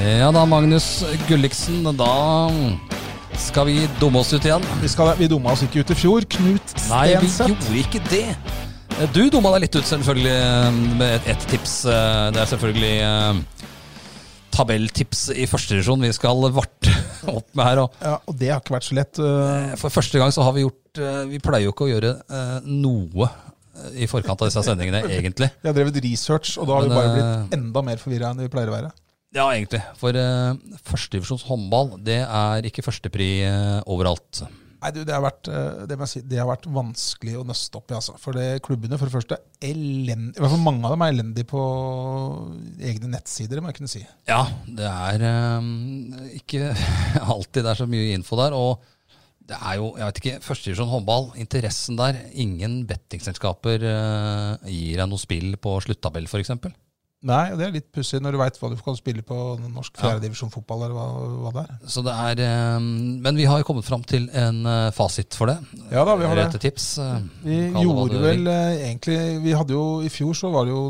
Ja da, Magnus Gulliksen, da skal vi dumme oss ut igjen. Vi, skal, vi dumma oss ikke ut i fjor. Knut Nei, vi Stenseth. gjorde ikke det. Du dumma deg litt ut, selvfølgelig, med et- ett tips. Eh, Det er selvfølgelig eh, tabelltips i første divisjon vi skal varte opp med her. Og Ja, og det har ikke vært så lett. øh, for første gang så har vi gjort eh, Vi pleier jo ikke å gjøre eh, noe eh, i forkant av disse sendingene, egentlig. Vi har drevet research, og da har vi Men, bare øh, blitt enda mer forvirra enn vi pleier å være. Ja, egentlig. For eh, førstedivisjons håndball, det er ikke førstepri eh, overalt. Nei, du, det har vært, øh, det må jeg si, det har vært vanskelig å nøste opp i, altså. For det, klubbene, for det første, elend, i hvert fall mange av dem er elendige på egne nettsider, det må jeg kunne si. Ja, det er eh, ikke alltid det er så mye info der. Og det er jo, jeg vet ikke, førstedivisjon håndball, interessen der. Ingen bettingselskaper eh, gir deg noe spill på sluttabell, f.eks. Nei, og det er litt pussig når du veit hva du kan spille på norsk Ja. fjerdedivisjon fotball, eller hva, hva det er. Så det er eh, Men vi har jo kommet fram til en eh, fasit for det. Ja da, vi har Eller det. etter tips. eh, Vi kall det hva gjorde du vil. vel eh, egentlig Vi hadde jo I fjor så var det jo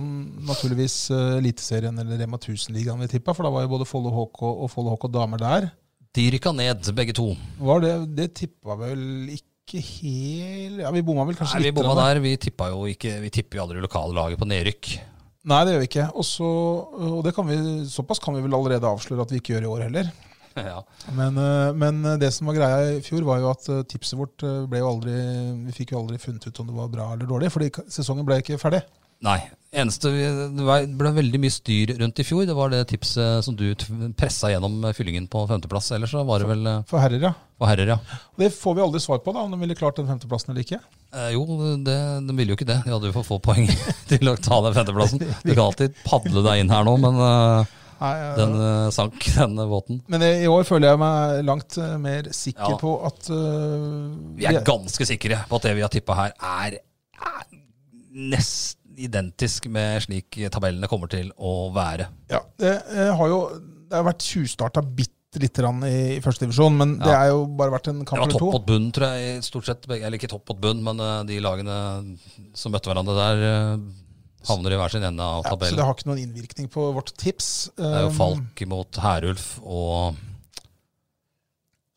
naturligvis eh, Eliteserien eller Rema 1000-ligaen vi tippa, for da var jo både Follo HK og Follo HK damer der. De rykka ned, begge to. Var det Det tippa vel ikke helt Ja, vi bomma vel kanskje Nei, vi litt. bomma grann, da. der. Vi tippa jo ikke Vi tipper jo aldri lokallaget på nedrykk. Nei, det gjør vi ikke. Og så, og det kan vi, såpass kan vi vel allerede avsløre at vi ikke gjør i år heller. ja. Men, eh, men det som var greia i fjor, var jo at eh, tipset vårt eh, ble jo aldri Vi fikk jo aldri funnet ut om det var bra eller dårlig, fordi ka- sesongen ble ikke ferdig. Nei. Eneste vi, Det var- ble veldig mye styr rundt i fjor. Det var det tipset som du t- pressa gjennom fyllingen på femteplass. Ellers så var det vel eh, For herrer, ja. for herrer, ja. Og det får vi aldri svar på, da, om de ville klart den femteplassen eller ikke. Eh, jo, det, de ville jo ikke det. De hadde jo for få poeng til å ta den femteplassen. Du kan alltid padle deg inn her nå, men eh, Nei, eh, den eh, sank, den eh, båten. men i år føler jeg meg langt eh, mer sikker Ja. på at eh, Vi er ganske sikre på at det vi har tippa her, er, er nesten identisk med slik tabellene kommer til å være. Ja, det, eh, har jo, det har vært tjuvstarta bitte lite grann i, i første divisjon, men det er jo bare vært en Det kamp var eller topp to. mot bunn, tror jeg. i stort sett, begge- Eller ikke topp mot bunn, men eh, de lagene som møtte hverandre der, eh, havner i hver sin ende av Ja, så tabellen. det har ikke noen innvirkning på vårt tips. det, er jo Um, Falk mot Herulf og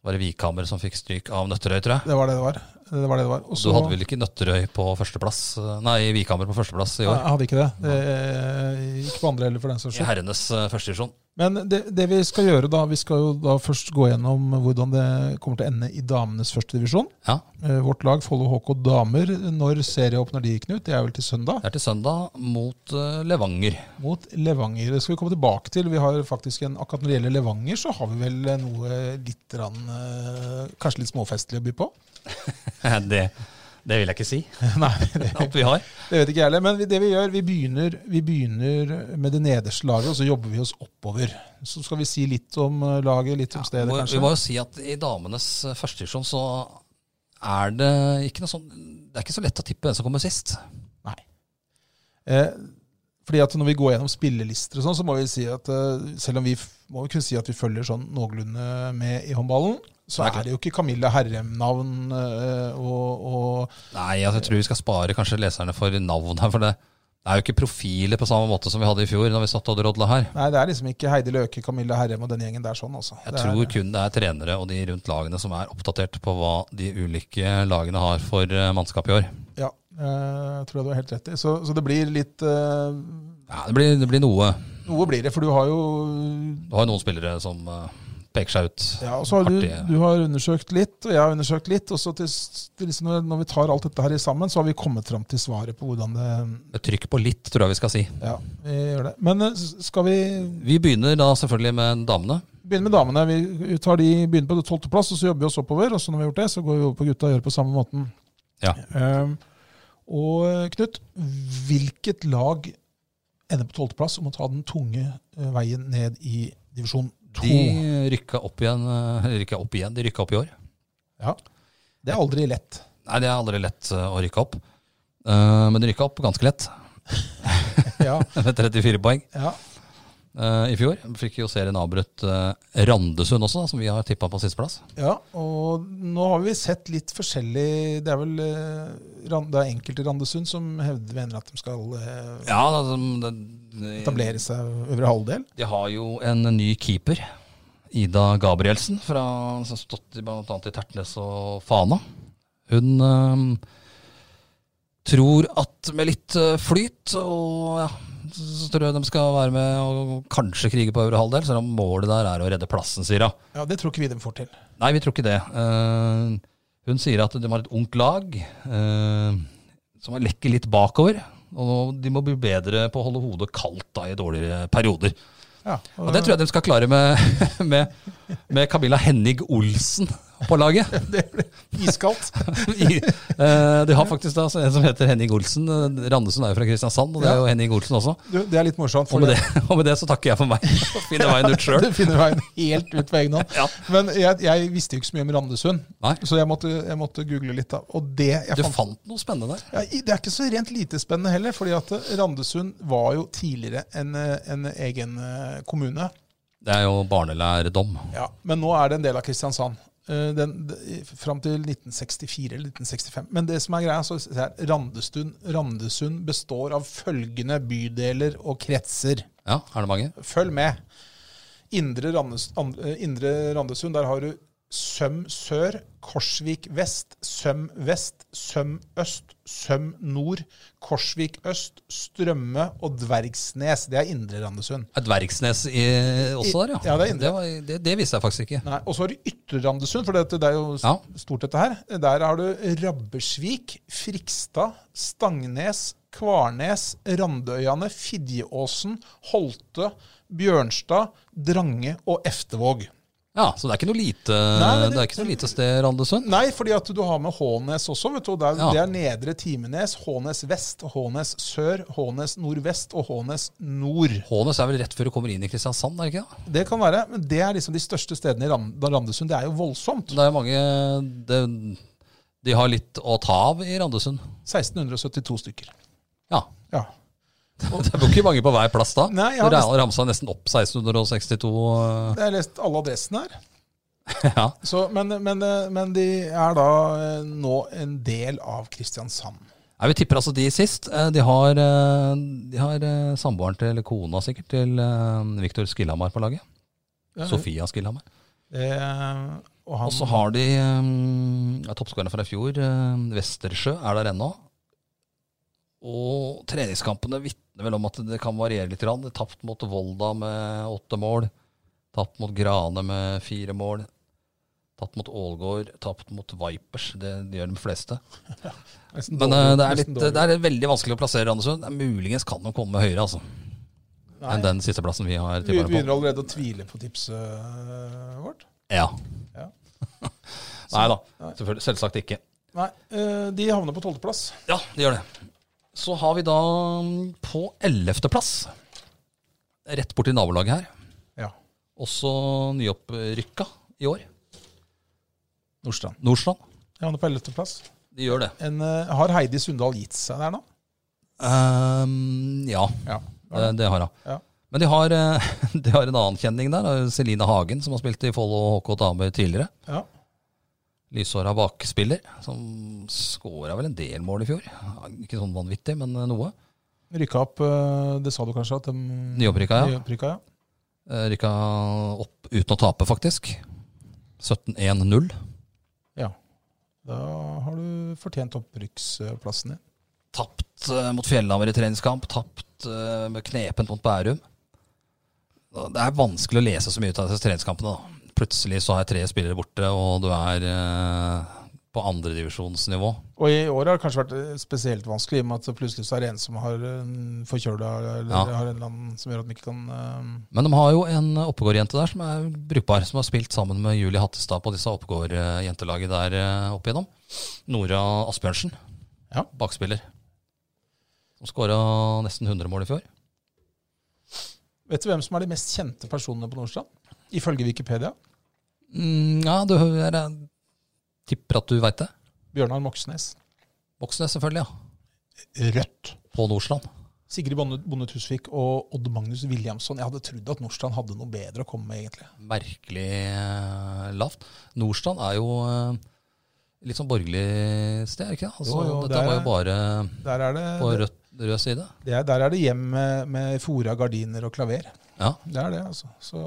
Var det Vikhammer som fikk stryk av Nøtterøy, tror jeg? Det var det det var. Det var, det det var. Og Du så- hadde vel ikke Nøtterøy på førsteplass? eh, Nei, Vikhammer på førsteplass i Nei, år. Jeg hadde ikke det. det eh, ikke på andre heller, for den saks I skyld. herrenes eh, første divisjon. Men det, det vi skal gjøre da, vi skal jo da først gå gjennom hvordan det kommer til å ende i damenes første divisjon. Ja, Eh, Vårt lag, Follo HK damer, når serieåpner de, Knut? Det er vel til søndag? det er til søndag mot eh, Levanger. mot Levanger. Det skal vi komme tilbake til. Vi har faktisk en, Akkurat når det gjelder Levanger, så har vi vel eh, noe litt grann, eh, Kanskje litt småfestlig å by på? det, det vil jeg ikke si Nei, det, at vi har. det vet ikke jeg heller. Men vi- det vi gjør, vi begynner, vi begynner med det nederste laget, og så jobber vi oss oppover. Så skal vi si litt om eh, laget, litt om stedet, må- kanskje. Vi må jo si at i damenes eh, første divisjon så er det ikke noe sånn Det er ikke så lett å tippe hvem som kommer sist. Nei. Eh, fordi at når vi går gjennom spillelister og sånn, så må vi si at eh, selv om vi f- må vi kunne si at vi følger sånn noenlunde med i håndballen, så Det er er, klart. det jo ikke Camilla Herrem-navn eh, og, og Nei, altså, jeg tror vi skal spare kanskje leserne for navn her, for det, det er jo ikke profiler på samme måte som vi hadde i fjor når vi satt og drodla her. Nei, det er liksom ikke Heidi Løke, Camilla Herrem og den gjengen der sånn, altså. Jeg Det tror er, kun det er trenere og de rundt lagene som er oppdatert på hva de ulike lagene har for eh, mannskap i år. Ja, eh, jeg tror jeg du har helt rett i. Så, så det blir litt eh, Ja, det, blir, det blir noe. Noe blir det, for du har jo Du har jo noen spillere som eh, peker seg ut. ja, og så har du, Artig. du har undersøkt litt, og jeg har undersøkt litt. Og så til, s- til liksom når, når vi tar alt dette her sammen, så har vi kommet fram til svaret på hvordan det Trykk på litt, tror jeg vi skal si. Ja, vi gjør det. Men eh, s- skal vi Vi begynner da selvfølgelig med damene. begynne med damene? Vi tar de, begynner på det tolvteplass, og så jobber vi oss oppover. Og så når vi har gjort det, så går vi over på gutta og gjør det på samme måten. Ja. Ehm, og eh, Knut, hvilket lag ender på tolvteplass om å ta den tunge eh, veien ned i divisjon De rykka opp igjen, eh, rykka opp igjen. De rykka opp i år. Ja. Det er aldri lett. Nei, det er aldri lett eh, å rykke opp. Eh, men de rykka opp ganske lett, Ja, med 34 poeng ja. eh, i fjor. Fikk jo serien avbrutt eh, Randesund også, da, som vi har tippa på sisteplass. ja. Og nå har vi sett litt forskjellig Det er vel eh, Ran- det er enkelte i Randesund som hevder mener at de skal eh, Ja, da, som det- etablere seg øvre halvdel. De har jo en ny keeper, Ida Gabrielsen, fra, som har stått i blant annet i Tertnes og Fana. Hun øhm, tror at med litt øh, flyt og ja, så så tror jeg de skal være med og kanskje krige på øvre halvdel, selv om målet der er å redde plassen, sier hun. Ja, Det tror ikke vi de får til. Nei, vi tror ikke det. Eh, hun sier at de har et ungt lag eh, som lekker litt bakover. Og de må bli bedre på å holde hodet kaldt da, i dårligere perioder. Ja, Og det tror jeg de skal klare med, med, med Camilla Henning Olsen på laget. det blir iskaldt. I, eh, de har faktisk da en som heter Henning Olsen. Randesund er jo fra Kristiansand, og det er jo Henning Olsen også. Du, Det er litt morsomt. Og for med det- det, og med det så takker jeg for meg. og Finner veien ut sjøl. Du finner veien helt ut på egen hånd. Ja. Men jeg, jeg visste jo ikke så mye om Randesund, Nei. så jeg måtte, jeg måtte google litt. da. Og det jeg Du fant, fant noe spennende der. ja, i- det er ikke så rent lite spennende heller, fordi at Randesund var jo tidligere en, eh, en egen eh, kommune. Det er jo barnelærdom. Ja, Men nå er det en del av Kristiansand. Eh, Den, de- fram til 1964 eller 1965. Men det som er greia, så er det Randestund, Randesund består av følgende bydeler og kretser. Ja, er det mange? Følg med. Indre, Randes, and- eh, indre Randesund, der har du Søm sør, Korsvik vest, Søm vest, Søm øst, Søm nord, Korsvik øst, Strømme og Dvergsnes. Det er Indre Randesund. Er Dvergsnes i, også der, ja? Ja, det er indre. var, det, det visste jeg faktisk ikke. Nei, Og så har du Ytre Randesund, for dette, det er jo s- Ja. stort, dette her. Der har du Rabbersvik, Frikstad, Stangnes, Kvarnes, Randøyane, Fidjeåsen, Holte, Bjørnstad, Drange og Eftevåg. Ja, Så det er ikke noe lite, Nei, men det- det er ikke noe lite sted, Randesund? Nei, fordi at du har med Hånes også. vet du. og Det er, Ja. det er Nedre Timenes, Hånes vest, Hånes sør, Hånes nordvest og Hånes nord. Hånes er vel rett før du kommer inn i Kristiansand, er det ikke det? Det kan være, men det er liksom de største stedene i Rand Randesund. Det er jo voldsomt. Det er mange det, De har litt å ta av i Randesund. 1672 stykker. Ja. Ja. Det bor ikke mange på hver plass da. Nei, jeg ja, har Real ramsa nesten opp 1662. øh, Jeg har lest alle adressene her. Ja. Så, men, men, men de er da eh, nå en del av Kristiansand. Nei, vi tipper altså de sist. Eh, De har, øh, de har øh, samboeren til eller kona sikkert til øh, Viktor Skillhamar på laget. Sofia Skillhamar. Eh, og han Og så har de øh, ja, toppskårerne fra i fjor. øh, Westersjø er der ennå. Og treningskampene vitner vel om at det kan variere litt. grann. Tapt mot Volda med åtte mål. Tapt mot Grane med fire mål. Tapt mot Ålgård. Tapt mot Vipers. Det, det gjør de fleste. nesten Men dårlig- eh, det, er nesten litt, dårlig. det er veldig vanskelig å plassere Randesund. Muligens kan de komme høyere altså, Nei, enn den sisteplassen vi har Vi tippa dem på. begynner allerede å tvile på tipset eh, vårt. Ja. Ja. Nei da, Nei. selvfølgelig- selvsagt ikke. Nei, eh, de havner på tolvteplass. Ja, det gjør det. Så har vi da mm, på ellevteplass, rett borti nabolaget her, Ja. også nyopprykka i år, Nordstrand. Nordstrand. De havner på ellevteplass. De gjør det. En, eh, Har Heidi Sundal gitt seg der nå? Ehm, ja, Ja. det, det har hun. Ja. Men de har, eh, de har en annen kjenning der, eh, Celine Hagen, som har spilt i Follo og HK Damer tidligere. ja. Lyshåra bakspiller, som skåra vel en del mål i fjor. Ja, Ikke sånn vanvittig, men noe. Rykka opp eh, Det sa du kanskje? at de... Nyopprykka, ja. Nyopprykka, ja. Eh, Rykka opp uten å tape, faktisk. 17-1-0. ja. Da har du fortjent opprykksplassen din. Tapt eh, mot Fjellhammer i treningskamp. Tapt eh, med knepent mot Bærum. Da- Det er vanskelig å lese så mye ut av disse treningskampene. da. Plutselig så er tre spillere borte, og du er eh, på andredivisjonsnivå. Og i år har det kanskje vært eh, spesielt vanskelig, i og med at plutselig så er det en som har eh, forkjøla, eller Ja. har en eller annen som gjør at de ikke kan eh, Men de har jo en Oppegård-jente der som er brukbar, som har spilt sammen med Julie Hattestad på disse Oppegård-jentelaget der eh, opp igjennom. Nora Asbjørnsen, Ja. bakspiller. Som skåra nesten 100 mål i fjor. Vet du hvem som er de mest kjente personene på Nordstrand? Ifølge Wikipedia. Mm, ja, du hører jeg tipper at du veit det. Bjørnar Moxnes. Voksnes, selvfølgelig. ja. Rødt. På Nordsland. Sigrid Bonde, Bonde Tusvik og Odd Magnus Williamson. Jeg hadde trodd at Nordstrand hadde noe bedre å komme med, egentlig. Merkelig eh, lavt. Nordstrand er jo eh, litt sånn borgerlig sted, er det ikke det? Altså, Jo, jo, dette det var er- jo bare Der er det, på rødt, rød side. det er, der er det hjem med, med fora, gardiner og klaver. Ja. Det er det, altså. Så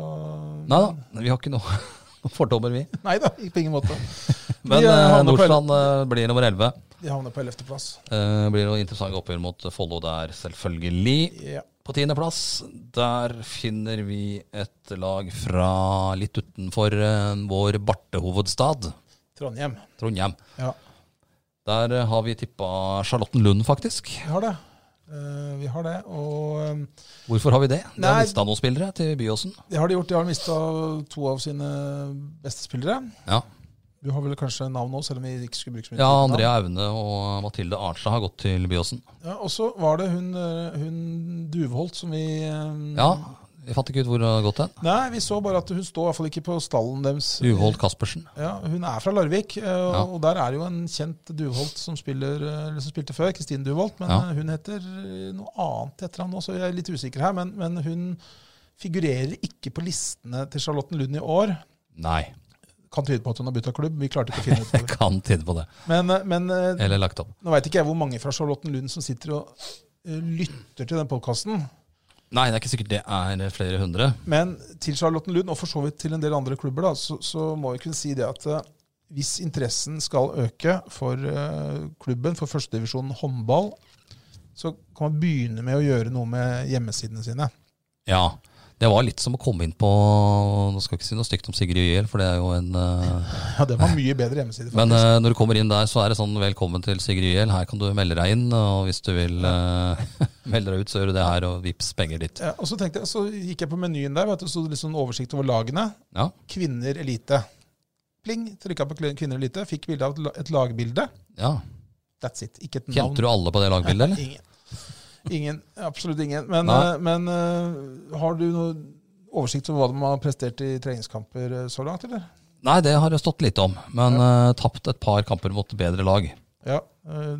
Nei da, vi har ikke noe noen fordommer, vi. Nei da, på ingen måte. Men Vi, eh, eh, havner på Nordstrand eh, blir nummer 11. De havner på ellevteplass. Eh, blir noe interessant oppgjør mot Follo der, selvfølgelig. Ja. På tiendeplass, der finner vi et lag fra litt utenfor eh, vår bartehovedstad, Trondheim. Trondheim. Ja, Der eh, har vi tippa Charlottenlund, faktisk. vi har det. Eh, vi har det. Og eh, Hvorfor har vi det? De har Nei. mista noen spillere til Byåsen. det har de gjort. De har mista to av sine beste spillere. Ja. Du har vel kanskje navn nå, selv om vi ikke skulle bruke så mye ja, tid på navn. Andrea Aune og Mathilde Arnstad har gått til Byåsen. Ja, og så var det hun, eh, hun Duvholt som vi eh, Ja, vi fant ikke ut hvor det har gått hen. Nei, vi så bare at hun står i hvert fall ikke på stallen deres. Uvold Caspersen. Ja, hun er fra Larvik, eh, og der er det jo en kjent Duvholt som, spiller, eh, eller som spilte før, Kristin Duvholt. Men Ja. eh, hun heter eh, noe annet etter ham nå, så jeg er litt usikker her. Men, men hun figurerer ikke på listene til Charlotten Lund i år. Nei, Kan tyde på at hun har bytta klubb. Vi klarte ikke å finne ut av det. kan tyde på det. Men, eh, men eh, Eller lagt opp. nå veit ikke jeg hvor mange fra Charlotten Lund som sitter og eh, lytter til den podkasten. Nei, det er ikke sikkert det er flere hundre. Men til Charlottenlund, og for så vidt til en del andre klubber, da, så, så må vi kunne si det at eh, hvis interessen skal øke for eh, klubben, for førstedivisjonen håndball, så kan man begynne med å gjøre noe med hjemmesidene sine. Ja. Det var litt som å komme inn på Nå skal jeg ikke si noe stygt om Sigrid Gjel, for det er jo en eh, Ja, det var mye bedre hjemmeside, Men faktisk. eh, når du kommer inn der, så er det sånn 'velkommen til Sigrid Gjel', her kan du melde deg inn. Og hvis du vil eh, melde deg ut, så gjør du det her, og vips penger dit. Ja, og så tenkte jeg, så gikk jeg på menyen der, vet du, så det litt sånn oversikt over lagene. Ja. Kvinner elite. Pling, trykka på kli- kvinner elite, fikk bilde av et la- et lagbilde. ja. That's it. Ikke et navn. Kjente du alle på det lagbildet, eller? Ingen. ingen. Absolutt ingen. Men, Nei. eh, men eh, har du noe oversikt over hva de har prestert i treningskamper eh, så langt, eller? Nei, det har det stått litt om. Men eh, tapt et par kamper mot bedre lag. Ja. eh,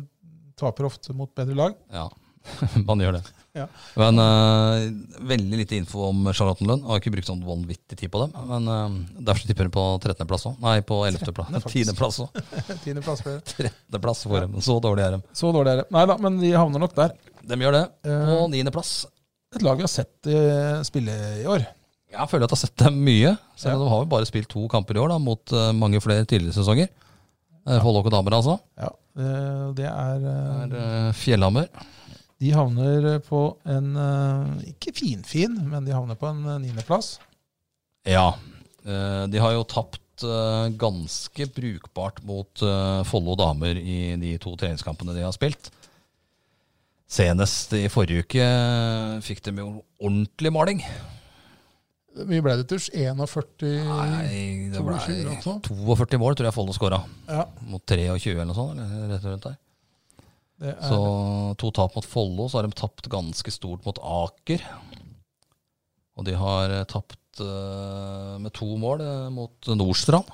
taper ofte mot bedre lag. Ja, man gjør det. Ja. Men eh, veldig lite info om Charlottenlund. Har ikke brukt sånn vanvittig tid på dem. Men eh, derfor tipper hun på 13.-plass òg. Nei, på 11.-plass. faktisk. 10.-plass òg. Tiendeplass ble det. 13.-plass for dem. Så dårlig er de. Så dårlig er det. Nei da, men de havner nok der. De gjør det. På Eh, 9.-plass. et lag vi har sett eh, spille i år. Jeg føler at jeg har sett dem mye. Selv om Ja. de har jo bare spilt to kamper i år, da, mot eh, mange flere tidligere sesonger. Eh, Follo og damer, altså. Ja, eh, det er, eh, Er, eh, Fjellhammer. De havner eh, på en eh, Ikke finfin, men de havner på en eh, niendeplass. Ja. eh, De har jo tapt eh, ganske brukbart mot eh, Follo damer i de to treningskampene de har spilt. Senest i forrige uke eh, fikk de jo ordentlig maling. Hvor mye ble det, Tusj? 41? Nei, det ble 22 eller noe sånt. 42 mål, tror jeg Follo skåra. Ja, Mot 23 eller noe sånt. Eller rett rundt der. det er, Så to tap mot Follo, så har de tapt ganske stort mot Aker. Og de har eh, tapt eh, med to mål eh, mot Nordstrand,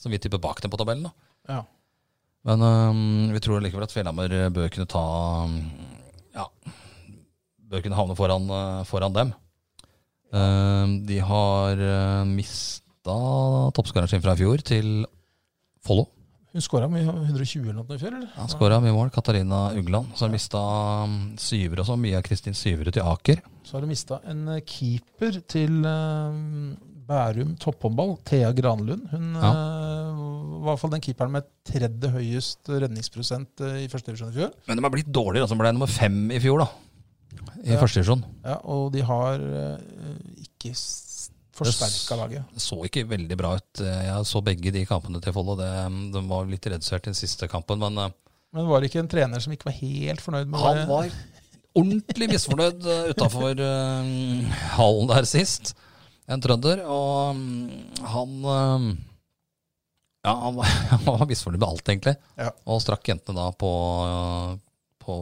som vi tipper bak dem på tabellen. da. ja. Men øhm, vi tror likevel at Fjellhammer øh, bør kunne ta øhm, Ja, bør kunne havne foran, øh, foran dem. Øhm, de har øh, mista toppskåreren sin fra i fjor til Follo. Hun skåra 120 eller noe i fjor, eller? Han skåra mye mål. Katarina Ugland. Så har de mista øhm, syvere og sånn. Mia Kristin Syvere til Aker. Så har de mista en eh, keeper til eh, Bærum topphåndball, Thea Granlund. Hun Ja. eh, var i hvert fall den keeperen med tredje høyest redningsprosent eh, i første divisjon i fjor. Men de har blitt dårligere. altså. De ble nummer fem i fjor, da. I Ja. første divisjon. Ja, og de har eh, ikke s- forsterka laget. Det så ikke veldig bra ut. Eh, Jeg så begge de kampene til Follo. Det- ehm, De var litt redusert i den siste kampen, men øh, Men var det ikke en trener som ikke var helt fornøyd med Han det? var ordentlig misfornøyd utafor hallen der sist. En trønder. Og mm, han eh, Ja, han var, han var misfornøyd med alt, egentlig. Ja. Og strakk jentene da på, eh, på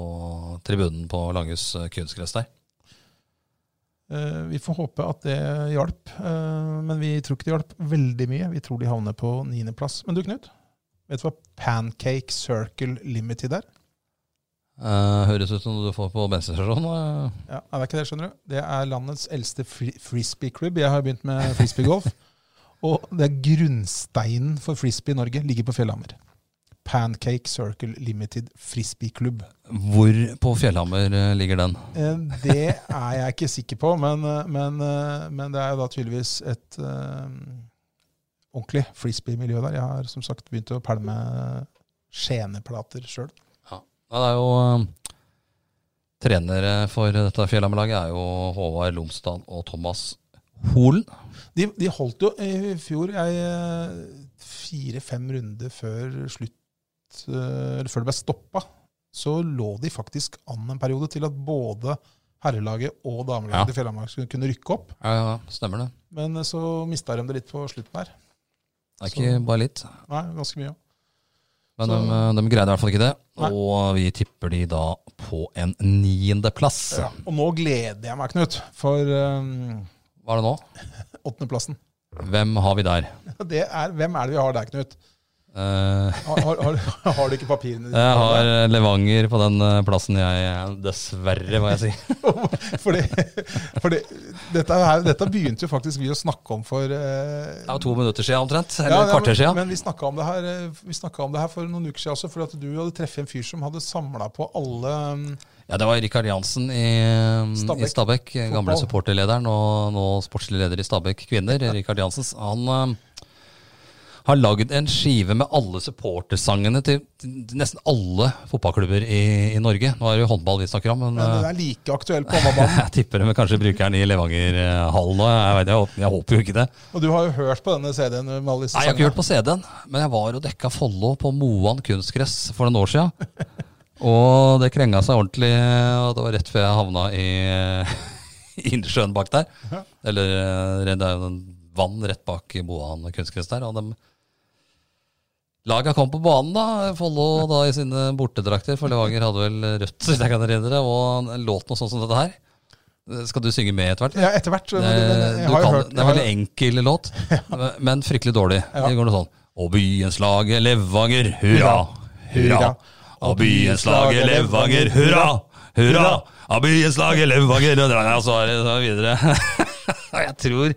tribunen på Langhus eh, kunstgress der. Eh, Vi får håpe at det hjalp, eh, men vi tror ikke det hjalp veldig mye. Vi tror de havner på niendeplass. Men du, Knut, vet du hva Pancake Circle Limited er? Eh, høres ut som noe du får på bensinstasjonen. eh. Ja, nei, det er ikke det, skjønner du. Det er landets eldste fri frisbee-klubb. Jeg har begynt med frisbee-golf. og det er grunnsteinen for frisbee i Norge ligger på Fjellhammer. Pancake Circle Limited Frisbee-klubb. Hvor på Fjellhammer eh, ligger den? Eh, Det er jeg ikke sikker på, men, eh, men, eh, men det er jo da tydeligvis et eh, ordentlig frisbee-miljø der. Jeg har som sagt begynt å pælme skjeneplater sjøl. Nei, det er jo eh, Trenere for dette Fjellhammerlaget er jo Håvard Lomsdal og Thomas Holen. De, de holdt jo i fjor jeg, eh, fire-fem runder før slutt, eh, eller før det ble stoppa. Så lå de faktisk an en periode til at både herrelaget og damelaget Ja. til Fjellhamar skulle kunne rykke opp. Ja, ja, stemmer det. Men eh, så mista de det litt på slutten her. Det er ikke bare litt. Nei, ganske mye. Men Så- de, eh, de greide i hvert fall ikke det. Nei. Og vi tipper de da på en niendeplass. Ja. Og nå gleder jeg meg, Knut, for eh, Hva er det nå? åttendeplassen. Hvem har vi der? Det er, hvem er det vi har der, Knut? Eh, Har, har, har, har du ikke papirene dine? jeg har Levanger på den eh, plassen jeg Dessverre, må jeg si. Fordi, fordi dette, her, dette begynte jo faktisk vi å snakke om for eh, Det var to minutter siden omtrent. ja, Eller et ja, kvarter siden. Men, men vi snakka om, det her, eh, vi snakket om det her for noen uker siden også, fordi at du hadde treffet en fyr som hadde samla på alle mm, Ja, det var Rikard Jansen i Stabæk. Stabæk. I Stabæk eh, gamle Fotball. supporterlederen og nå sportslig leder i Stabæk Kvinner. Rikard Jansen. Han eh, har lagd en skive med alle supportersangene til til nesten alle fotballklubber i, i Norge. Nå er det jo håndball vi snakker om, men Men den eh, er like aktuell på håndballbanen. jeg tipper de kanskje bruker den i Levangerhallen òg. Jeg, vet- jeg, håper- jeg håper jo ikke det. Og du har jo hørt på denne CD-en med alle disse Nei, Jeg har ikke sangene. hørt på CD-en, men jeg var og dekka Follo på Moan kunstgress for noen år sia. Og det krenga seg ordentlig, og det var rett før jeg havna i i innsjøen bak der. Eller eh, det er jo en vann rett bak i Moan kunstgress der. Og dem Laga kom på banen, da. Follo da i sine bortedrakter, for Levanger hadde vel rødt, så vidt jeg kan erindre, og en låt noe sånt som dette her. Skal du synge med etter hvert? Ja, etter hvert. men- men Eh, Jeg Du har jo kan, hørt det er en veldig enkel låt, men fryktelig dårlig. Det går noe sånn Og byens laget Levanger, hurra, hurra. Hurra. Og byens laget Levanger, hurra, hurra. Og byens laget Levanger Og så er det så er det videre. Og jeg tror,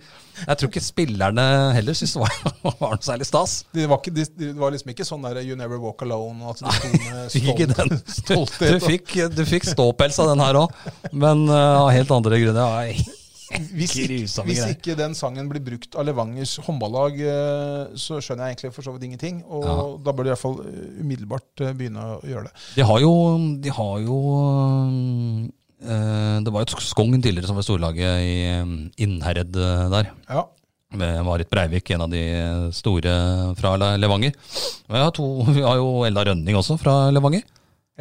jeg tror ikke spillerne heller syntes det var, var noe særlig stas. Det var, ikke, de- det var liksom ikke sånn der You Never Walk Alone og at de sto med Fikk ikke stolt- den. Du, stolthet. du, fikk, du fikk ståpels av den her òg, men eh, av helt andre grunner. Ja, Hvis, ikke, Grusomme hvis greier. ikke den sangen blir brukt av Levangers håndballag, eh, så skjønner jeg egentlig for så vidt ingenting. Og Ja. da bør de i hvert fall eh, umiddelbart eh, begynne å gjøre det. De har jo, de har jo eh, Det var jo et Skogn tidligere som var storlaget i eh, Innherred eh, der. Ja, Med Marit Breivik, en av de store fra Le- Levanger. Og jeg har to, vi har jo Ella Rønning også fra Levanger.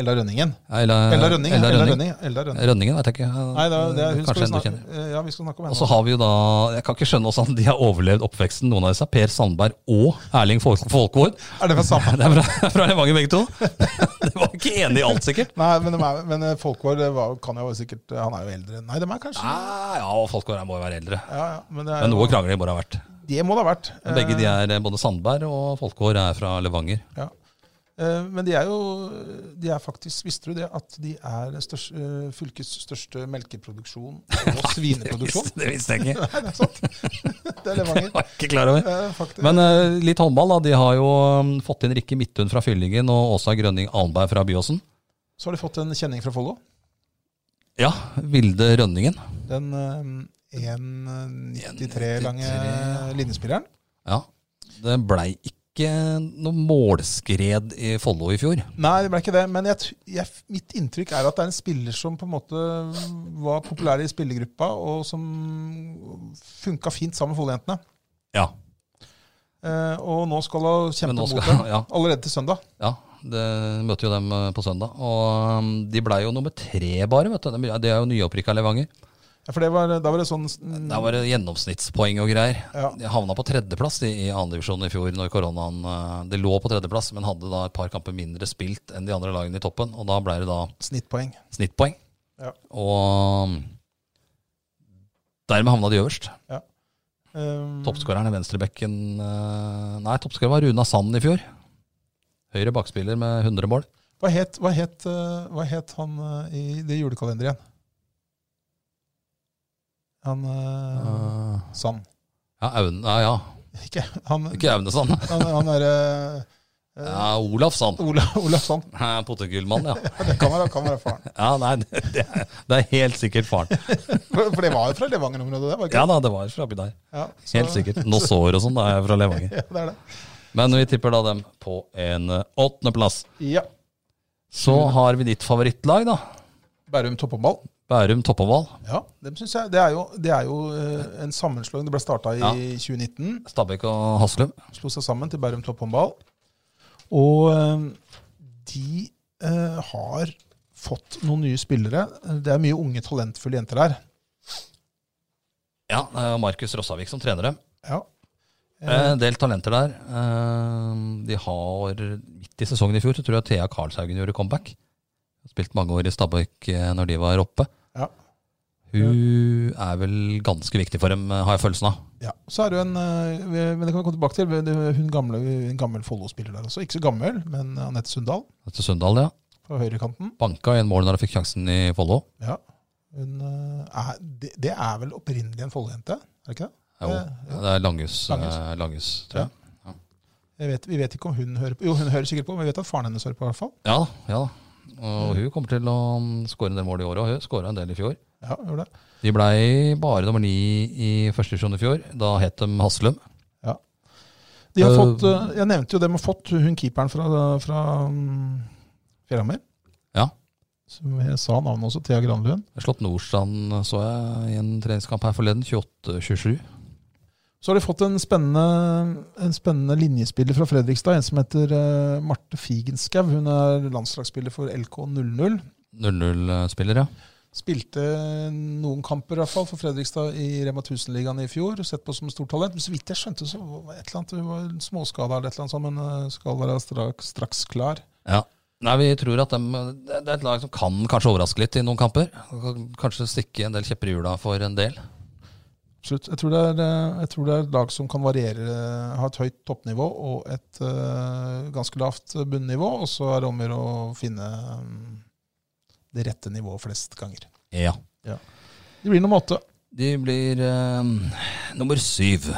Ella Rønningen. Ja, Ella, Ella Rønning. Eh, Ella Ella Rønning. Rønning. Ella Rønning. Rønningen vet jeg ikke. Nei, det er, det er, hun skal Kanskje vi en du snakke, kjenner. eh, ja, vi skal snakke om Og så henne. har vi jo da, jeg kan ikke skjønne hvordan de har overlevd oppveksten, noen av disse. Per Sandberg og Erling Folk Folkvord. Er det fra samme? Det er fra, fra Levanger begge to. De var ikke enige i alt, sikkert. Nei, men, de er, men eh, Folkvord det var, kan jo sikkert Han er jo eldre. Nei, de er kanskje Ah, ja, og Folkvord må jo være eldre. ja, ja, men det, er, Men noe krangling må det ha vært. det må det ha vært. Eh, Men Begge de er eh, både Sandberg og Folkår er fra Levanger. Ja. Eh, Men de er jo de er faktisk, Visste du det, at de er den største, eh, fylkets største melkeproduksjon og svineproduksjon? Det visste jeg ikke. Nei, det er sant. Det er Jeg Levanger. var ikke klar over. Eh, Faktisk. Men eh, litt håndball, da. De har jo mm, fått inn Rikke Midthun fra Fyllingen og Åsa Grønning Alnberg fra Byåsen. Så har de fått en kjenning fra Follo. Ja, Vilde Rønningen. Den eh, 1,93 lange 1,93, linjespilleren. Ja. Det blei ikke noe målskred i Follo i fjor. Nei, det ble ikke det. Men jeg, t- jeg, mitt inntrykk er at det er en spiller som på en måte var populær i spillergruppa, og som funka fint sammen med Follo-jentene. Ja. Eh, Og nå skal hun Men kjempe nå mot skal dem Ja. allerede til søndag. ja det møter jo dem eh, på søndag. Og mm, de blei jo nummer tre, bare. vet du. De- De er jo nyopprykka Levanger. Ja, for det var, da var det sånn mm, Der var det gjennomsnittspoeng og greier. Ja. De havna på tredjeplass de, i andredivisjon i fjor når koronaen eh, De lå på tredjeplass, men hadde da et par kamper mindre spilt enn de andre lagene i toppen. Og da ble det da snittpoeng. snittpoeng. Ja. Og Dermed havna de øverst. Um, Toppskåreren i venstrebekken eh, Nei, toppskårer var Runa Sand i fjor. Høyre bakspiller med 100 mål. hva, het, hva, het, eh, hva het han eh, i det julekalenderet igjen? Han uh, Eh, Sand. ja, Aune, ja, ja. Ikke han, Ikke Aune Sand. han, han derre Ja, Olaf Sand. Olav, Olav Sand. Ja, Potetgullmann, ja. Ja, Det kan være, kan være faren. ja nei, det, det, er, det er helt sikkert faren. For for det var jo fra Levanger-området, det? var det ikke? Ja da, det var fra oppi der. Ja, så- Helt sikkert. Nå sår og sånn, da er jeg fra Levanger. Ja, det er det. Men vi tipper da dem på en eh, åttendeplass. Ja. Så har vi ditt favorittlag, da. Bærum Toppåball. Bærum Toppoval. Ja, dem synes jeg. Det er jo, det er jo eh, en sammenslåing. Det ble starta i Ja. 2019. Stabæk og Haslum. Slo seg sammen til Bærum Topphåndball. Og eh, de eh, har fått noen nye spillere. Det er mye unge, talentfulle jenter her. Ja, det er Markus Rossavik som trener dem. Ja. Eh, En del talenter der. Eh, De har Midt i sesongen i fjor så tror jeg Thea Karlshaugen gjorde comeback. Spilt mange år i Stabæk eh, når de var oppe. Ja. Hun er vel ganske viktig for dem, eh, har jeg følelsen av. ja. Så er det jo en eh, vi- Men det kan vi komme tilbake til. Det er Hun gamle, en gammel Follo-spiller der også. Ikke så gammel, men Anette Sundal Etter Sunndal, ja. på høyrekanten. Banka en mål når hun fikk sjansen i Follo. Ja. Hun eh, er, det, det er vel opprinnelig en Follo-jente? Er det ikke det? Jo, Eh, det er Langhus, eh, Langhus. Langhus tror jeg. Jeg vet, vi vet ikke om hun hører på. Jo, hun hører sikkert på, men vi vet at faren hennes hører på. i hvert fall. Ja da. ja da. Og hun kommer til å skåre en del mål i år, og hun skåra en del i fjor. Ja, gjør det. De blei bare nummer ni i første divisjon i fjor. Da het de Haslum. De har Øh, fått, eh, jeg nevnte jo dem har fått hun keeperen fra, fra mm, Fjellhammer. Ja. Som jeg sa navnet også, Thea Granlund. Jeg har Slått Nordstrand så jeg i en treningskamp her forleden. 28-27. Så har de fått en spennende, en spennende linjespiller fra Fredrikstad, en som heter eh, Marte Figenskau. Hun er landslagsspiller for LK00. 0-0-spiller, ja. Spilte noen kamper i hvert fall for Fredrikstad i Rema 1000-ligaen i fjor. Sett på som stort talent. Men så vidt jeg skjønte, så var det et eller annet, hun var småskada eller et eller annet sånt, men eh, skal være straks, straks klar. ja. Nei, vi tror at dem- det det er et lag som kan kanskje overraske litt i noen kamper. Kan Kanskje stikke en del kjepper i hjula for en del. Absolutt. Jeg tror, det er, eh, jeg tror det er et lag som kan variere, eh, ha et høyt toppnivå og et eh, ganske lavt bunnivå. Og så er det om å gjøre å finne mm, det rette nivået flest ganger. Ja. Det blir nummer åtte. De blir eh, nummer syv.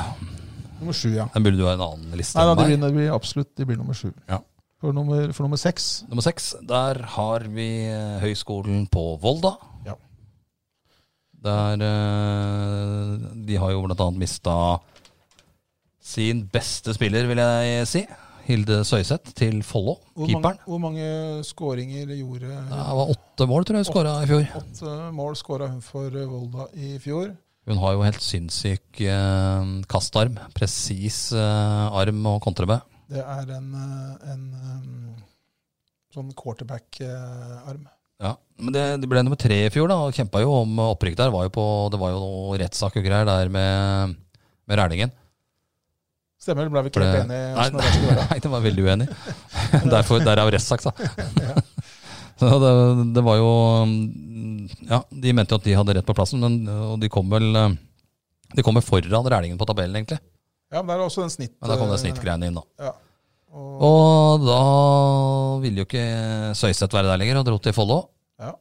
Nummer sju, ja. Den burde du ha en annen liste Nei, da, enn meg. det, blir, det blir absolutt det blir nummer sju. Ja. For nummer, for nummer seks Nummer seks, der har vi eh, Høgskolen på Volda. Ja. Der eh, De har jo bl.a. mista sin beste spiller, vil jeg si. Hilde Søyseth til Follo, Hvor keeperen. Mange, hvor mange skåringer gjorde Det var åtte mål, tror jeg, hun skåra i fjor. Åtte mål skåra hun for eh, Volda i fjor. Hun har jo helt sinnssyk eh, kastarm. Presis eh, arm å kontre med. Det er en, eh, en eh, sånn eh, quarterback-arm. Ja, men det, det ble nummer tre i fjor, da, og kjempa jo om opprykk der. Var jo på, det var jo noe rettssak og greier der med, med Rælingen. Stemmer, ble vi ikke For helt det- enige? i Nei, hvordan det skulle være. nei, det var veldig uenig. Derfor, derav rettssak, da. Så det, det var jo mm, Ja, de mente jo at de hadde rett på plassen, men, og de kom vel eh, De kommer foran Rælingen på tabellen, egentlig. Ja, men det er også den snitt... Men da kom det eh, snittgreiene inn, da. Ja. Og, Og da ville jo ikke Søyseth være der lenger, og dro til Follo. Ja.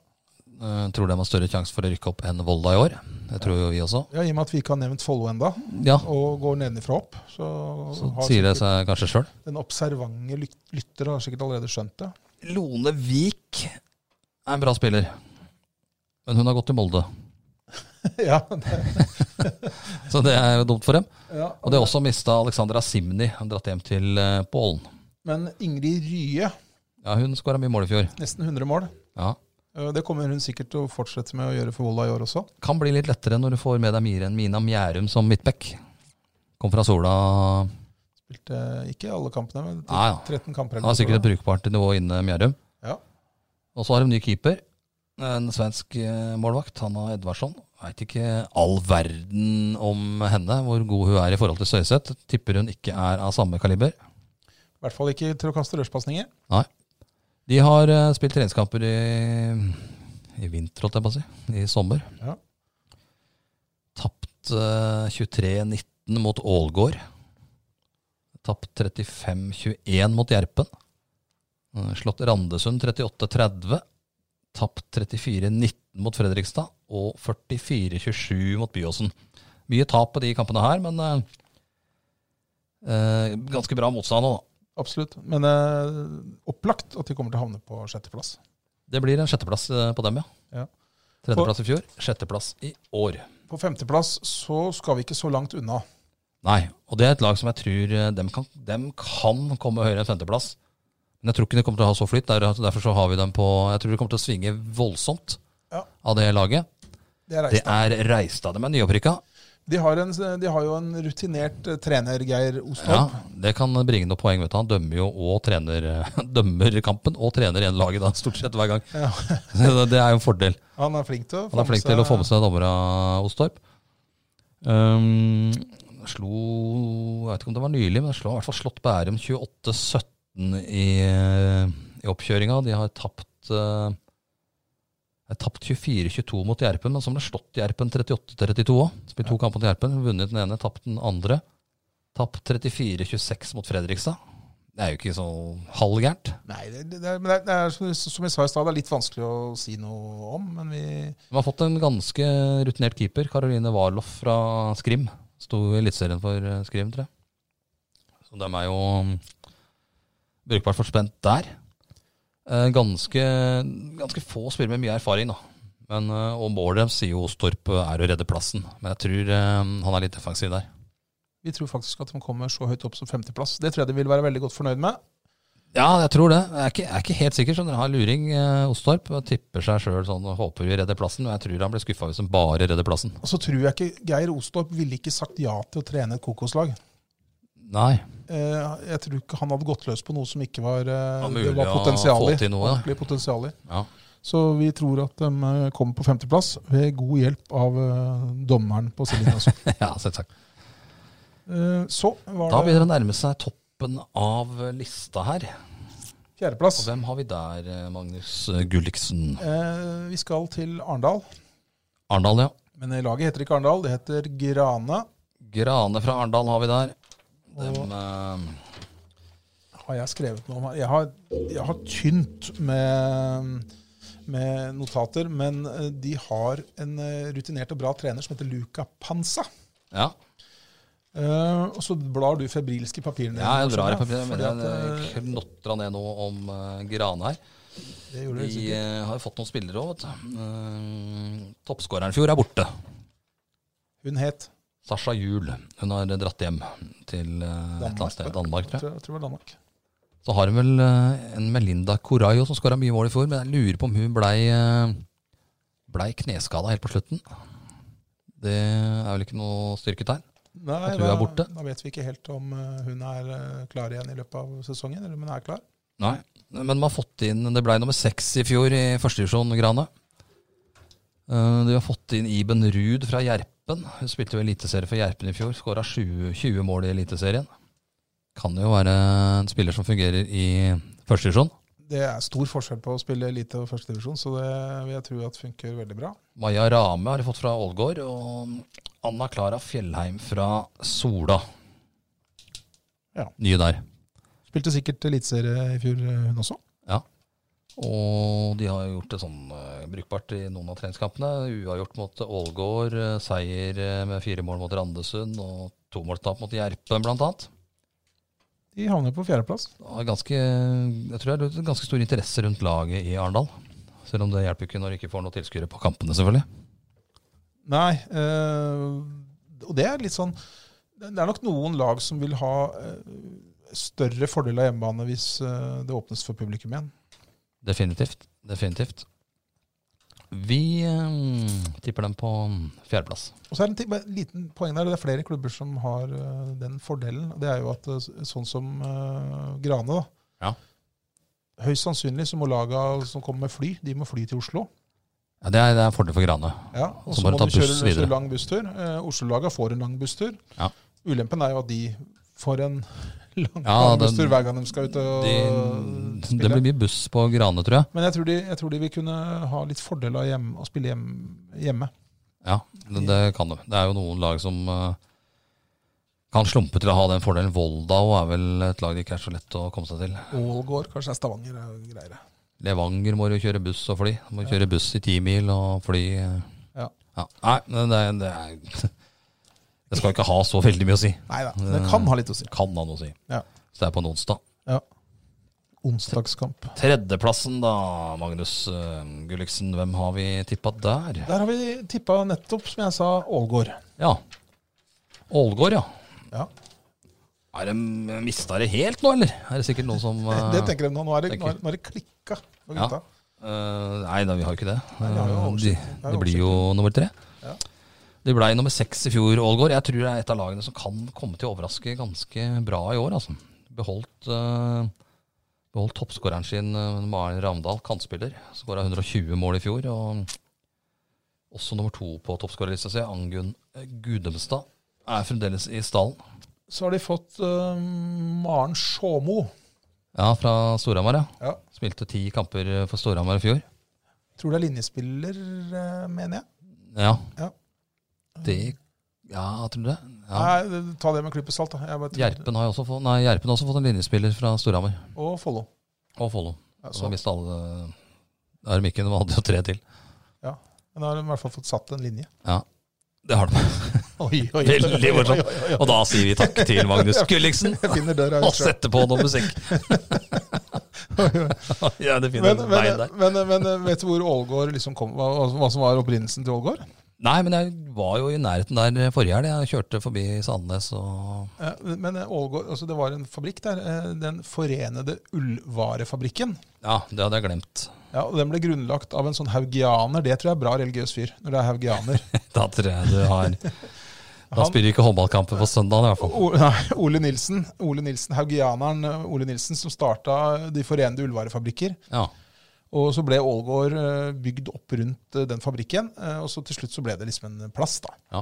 Eh, Tror de har større sjanse for å rykke opp enn Volda i år. Det tror jo vi også. ja, I og med at vi ikke har nevnt Follo enda, Ja, og går nedenfra opp, så, så har sier det sikkert seg kanskje sjøl. den observante lyt- lytter har sikkert allerede skjønt det. Lone Vik er en bra spiller, men hun har gått til Molde. ja, det, Så det er jo dumt for dem. ja. Og de har også mista Alexandra Simni, han dratt hjem til eh, Pålen. Men Ingrid Rye, Ja, hun skåra mye mål i fjor. nesten 100 mål. Ja. Eh, Det kommer hun sikkert til å fortsette med å gjøre for Volda i år også. Kan bli litt lettere når du får med deg Mire enn Mina Mjærum som midtback. Kom fra Sola Spilte ikke alle kampene, men Ja, ja. 13 kamper. Han har sikkert et brukbart nivå inne, Mjærum. Ja. Og så har de ny keeper. En svensk eh, målvakt, Hanna Edvardsson. Veit ikke all verden om henne, hvor god hun er i forhold til Søyseth. Tipper hun ikke er av samme kaliber. I hvert fall ikke til å kaste rørspasninger. Nei. De har eh, spilt treningskamper i, i vinter, holdt jeg på å si. I sommer. Ja. Tapt eh, 23-19 mot Ålgård. Tapt 35-21 mot Gjerpen. Eh, Slått Randesund 38-30. Tapt 34-19 mot Fredrikstad. Og 44-27 mot Byåsen. Mye tap på de kampene her, men eh, eh, ganske bra motstand nå, da. Absolutt. Men eh, opplagt at de kommer til å havne på sjetteplass. Det blir en sjetteplass eh, på dem, ja. Ja. Tredjeplass i fjor, sjetteplass i år. På femteplass så skal vi ikke så langt unna. Nei, og det er et lag som jeg tror eh, dem kan, dem kan komme høyere enn femteplass. Men jeg tror ikke de kommer til å ha så flyt. der- altså, Derfor så har vi dem på Jeg tror de kommer til å svinge voldsomt Ja. av det laget. Det er Det Reistad. er Reistad. De er nyopprykka. De har, en, de har jo en rutinert eh, trener, Geir Ja, Ostad. det kan bringe noe poeng. vet du. Han dømmer jo og trener dømmer kampen og trener igjen laget da, stort sett hver gang. Så det er jo en fordel. Han er flink til å Han er flink til å få med seg dommere hos Torp. Um, slo Jeg vet ikke om det var nylig, men det slo i hvert fall slått Bærum 28-17 i, i oppkjøringa. De har tapt eh, de har tapt 24-22 mot Gjerpen, men så har de slått Gjerpen 38-32 òg. Spilt to kamper mot Gjerpen, vunnet den ene, tapt den andre. Tapt 34-26 mot Fredrikstad. Det er jo ikke så halvgærent. Nei, det, det, det, er- men det, er- det er som- som jeg sa i stad, det er litt vanskelig å si noe om. Men vi De har fått en ganske rutinert keeper. Karoline Warloff fra Skrim. Sto i Eliteserien for eh, Skrim, tror jeg. Så de er jo mm, brukbart forspent der. Eh, Ganske, ganske få spiller med mye erfaring, da. Men, eh, og målet deres sier jo Storp er å redde plassen. Men jeg tror eh, han er litt defensiv der. Vi tror faktisk at de kommer så høyt opp som femteplass. Det tror jeg de vil være veldig godt fornøyd med. Ja, jeg tror det. Jeg er ikke, jeg er ikke helt sikker. Skjønner du. Han er luring, eh, Ostorp. og Tipper seg sjøl sånn og håper vi redder plassen. Men jeg tror han blir skuffa hvis han bare redder plassen. Og så tror jeg ikke Geir Ostorp ville ikke sagt ja til å trene et kokoslag. Nei. Eh, jeg tror ikke han hadde gått løs på noe som ikke var, eh, Ja, det mulig var å potensial i. få til noe, ja. Ordentlig potensial i. Ja. Så vi tror at de eh, kommer på femteplass ved god hjelp av eh, dommeren på Celine. Altså. ja selvsagt. Eh, så var Da det begynner det å nærme seg toppen av lista her. Og fjerdeplass. hvem har vi der, eh, Magnus Gulliksen? Eh, vi skal til Arendal. Arendal, ja. Men eh, laget heter ikke Arendal, det heter Grane. Grane fra Arendal har vi der. Dem, eh, Har jeg skrevet noe om her? Jeg har, jeg har tynt med, med notater, men eh, de har en eh, rutinert og bra trener som heter Luca Panza. ja. Eh, og så blar du febrilsk i papirene. ja, jeg drar i papiret, men Fordi at, jeg eh, knotra ned noe om eh, Grane her. det gjorde De du sikkert. eh, har jo fått noen spillere òg, vet du. Eh, Toppskåreren i fjor er borte. eh, Hun het Sasha Juel. Hun har dratt hjem til eh, et eller annet sted. Danmark, tror jeg. jeg tror, jeg tror det var Danmark. Så har hun vel eh, en Melinda Corayo som skåra mye mål i fjor, men jeg lurer på om hun blei ble kneskada helt på slutten. Det er vel ikke noe styrketegn. Nei, Jeg tror hun er borte. Da vet vi ikke helt om eh, hun er eh, klar igjen i løpet av sesongen. Eller om hun er klar. Nei. Men man har fått inn Det blei nummer seks i fjor i førstedivisjon, Grane. Eh, De har fått inn Iben Ruud fra Gjerpen. Hun spilte jo eliteserie for Gjerpen i fjor. Skåra 20, 20 mål i Eliteserien. Kan jo være en spiller som fungerer i førstedivisjon. Det er stor forskjell på å spille elite og førstedivisjon, så det vil jeg tro at funker veldig bra. Maja Rame har de fått fra Ålgård, og Anna Klara Fjellheim fra Sola. Ja. Nye der. Spilte sikkert eliteserie i fjor, eh, hun også. Og de har gjort det sånn eh, brukbart i noen av treningskampene. Uavgjort mot Ålgård, eh, seier eh, med fire mål mot Randesund og tomålstap mot Gjerpen blant annet. De havner på fjerdeplass. Det er Ganske, jeg tror det er ganske stor interesse rundt laget i Arendal. Selv om det hjelper ikke når de ikke får noen tilskuere på kampene, selvfølgelig. Nei, eh, og det er litt sånn Det er nok noen lag som vil ha eh, større fordel av hjemmebane hvis eh, det åpnes for publikum igjen. Definitivt. Definitivt. Vi eh, tipper dem på fjerdeplass. Og så er det en ting- bare en liten poeng der, det er flere klubber som har eh, den fordelen. og Det er jo at eh, sånn som eh, Grane, da. Ja. Høyst sannsynlig så må laga som kommer med fly, de må fly til Oslo. Ja, det er, det er en fordel for Grane. Ja, og Så så må må de ta de kjøre buss kjøre videre. lang busstur. Eh, Oslo-laga får en lang busstur. Ja. Ulempen er jo at de får en lang, Ja, lang den- busstur hver gang de skal ut og De, det spille. blir mye buss på Grane, tror jeg. Men jeg tror, de, jeg tror de vil kunne ha litt fordel av hjem, å spille hjem, hjemme. Ja, det, det kan du. Det er jo noen lag som eh, kan slumpe til å ha den fordelen. Volda og er vel et lag det ikke er så lett å komme seg til. Ålgård, kanskje det er Stavanger er jo greiere. Levanger må jo kjøre buss og fly. Må kjøre buss i ti mil og fly. eh. Ja. Ja. Nei, men det, det er Det skal ikke ha så veldig mye å si. Nei da, det Eh. kan ha litt å si. Kan ha noe å si. Ja. Så det er på en onsdag. ja. Onsdagskamp. Tredjeplassen da, Magnus eh, Gulliksen. Hvem har vi tippa der? Der har vi tippa nettopp, som jeg sa, Ålgård. Ja. Ålgård, ja. Ja. Er de mista det helt nå, eller? Er det sikkert noen som eh, Det tenker jeg nå. Nå er det, nå tenker- er, nå er det klikka for Ja. gutta. eh, Nei da, vi har jo ikke det. Nei, vi har jo Eh, oversikt. de, Vi har det blir jo nummer tre. Ja. Det blei nummer seks i fjor, Ålgård. Jeg tror det er et av lagene som kan komme til å overraske ganske bra i år, altså. Beholdt, eh, beholdt toppskåreren sin, eh, Maren Ravndal, kantspiller. Skåra 120 mål i fjor. og... Også nummer to på toppskårerlista si, Angunn Gudemstad, er fremdeles i stallen. Så har de fått eh, Maren Sjåmo. Ja, fra Storhamar, ja. Ja. Spilte ti kamper for Storhamar i fjor. Tror det er linjespiller, eh, mener jeg. Ja. Ja. Det Ja, tror du det? Ja. Nei, det- ta det med en klype salt. da. Jeg bare tror- Gjerpen har jo også fått, nei, Gjerpen har også fått en linjespiller fra Storhamar. Og Follo. Og Follo. Ja, Så så- har mista alle Da er de ikke, de hadde jo tre til. ja. Men da har de i hvert fall fått satt en linje. Ja, det har de. Oi, oi, Veldig morsomt. Oi, oi, oi. Og da sier vi takk til Magnus Gulliksen. Jeg finner døra Og ut selv. setter på noe musikk. ja, det finner Men, en vei men, der. men, men vet du hvor Ålgård liksom kom, hva, hva som var opprinnelsen til Ålgård? Nei, men jeg var jo i nærheten der forrige helg. Jeg kjørte forbi Sandnes og Eh, Men eh, Ålgård, altså det var en fabrikk der, eh, Den forenede ullvarefabrikken. Ja, det hadde jeg glemt. Ja, og Den ble grunnlagt av en sånn haugianer. Det tror jeg er bra religiøs fyr. når det er haugianer. Da tror jeg du har Da spiller du ikke håndballkamper på søndag, i hvert fall. O, nei, Ole Nilsen, Ole Nilsen, haugianeren eh, Ole Nilsen, som starta De forenede ullvarefabrikker. Ja. Og så ble Ålgård eh, bygd opp rundt eh, den fabrikken. eh, Og så til slutt så ble det liksom en plass, da. Ja.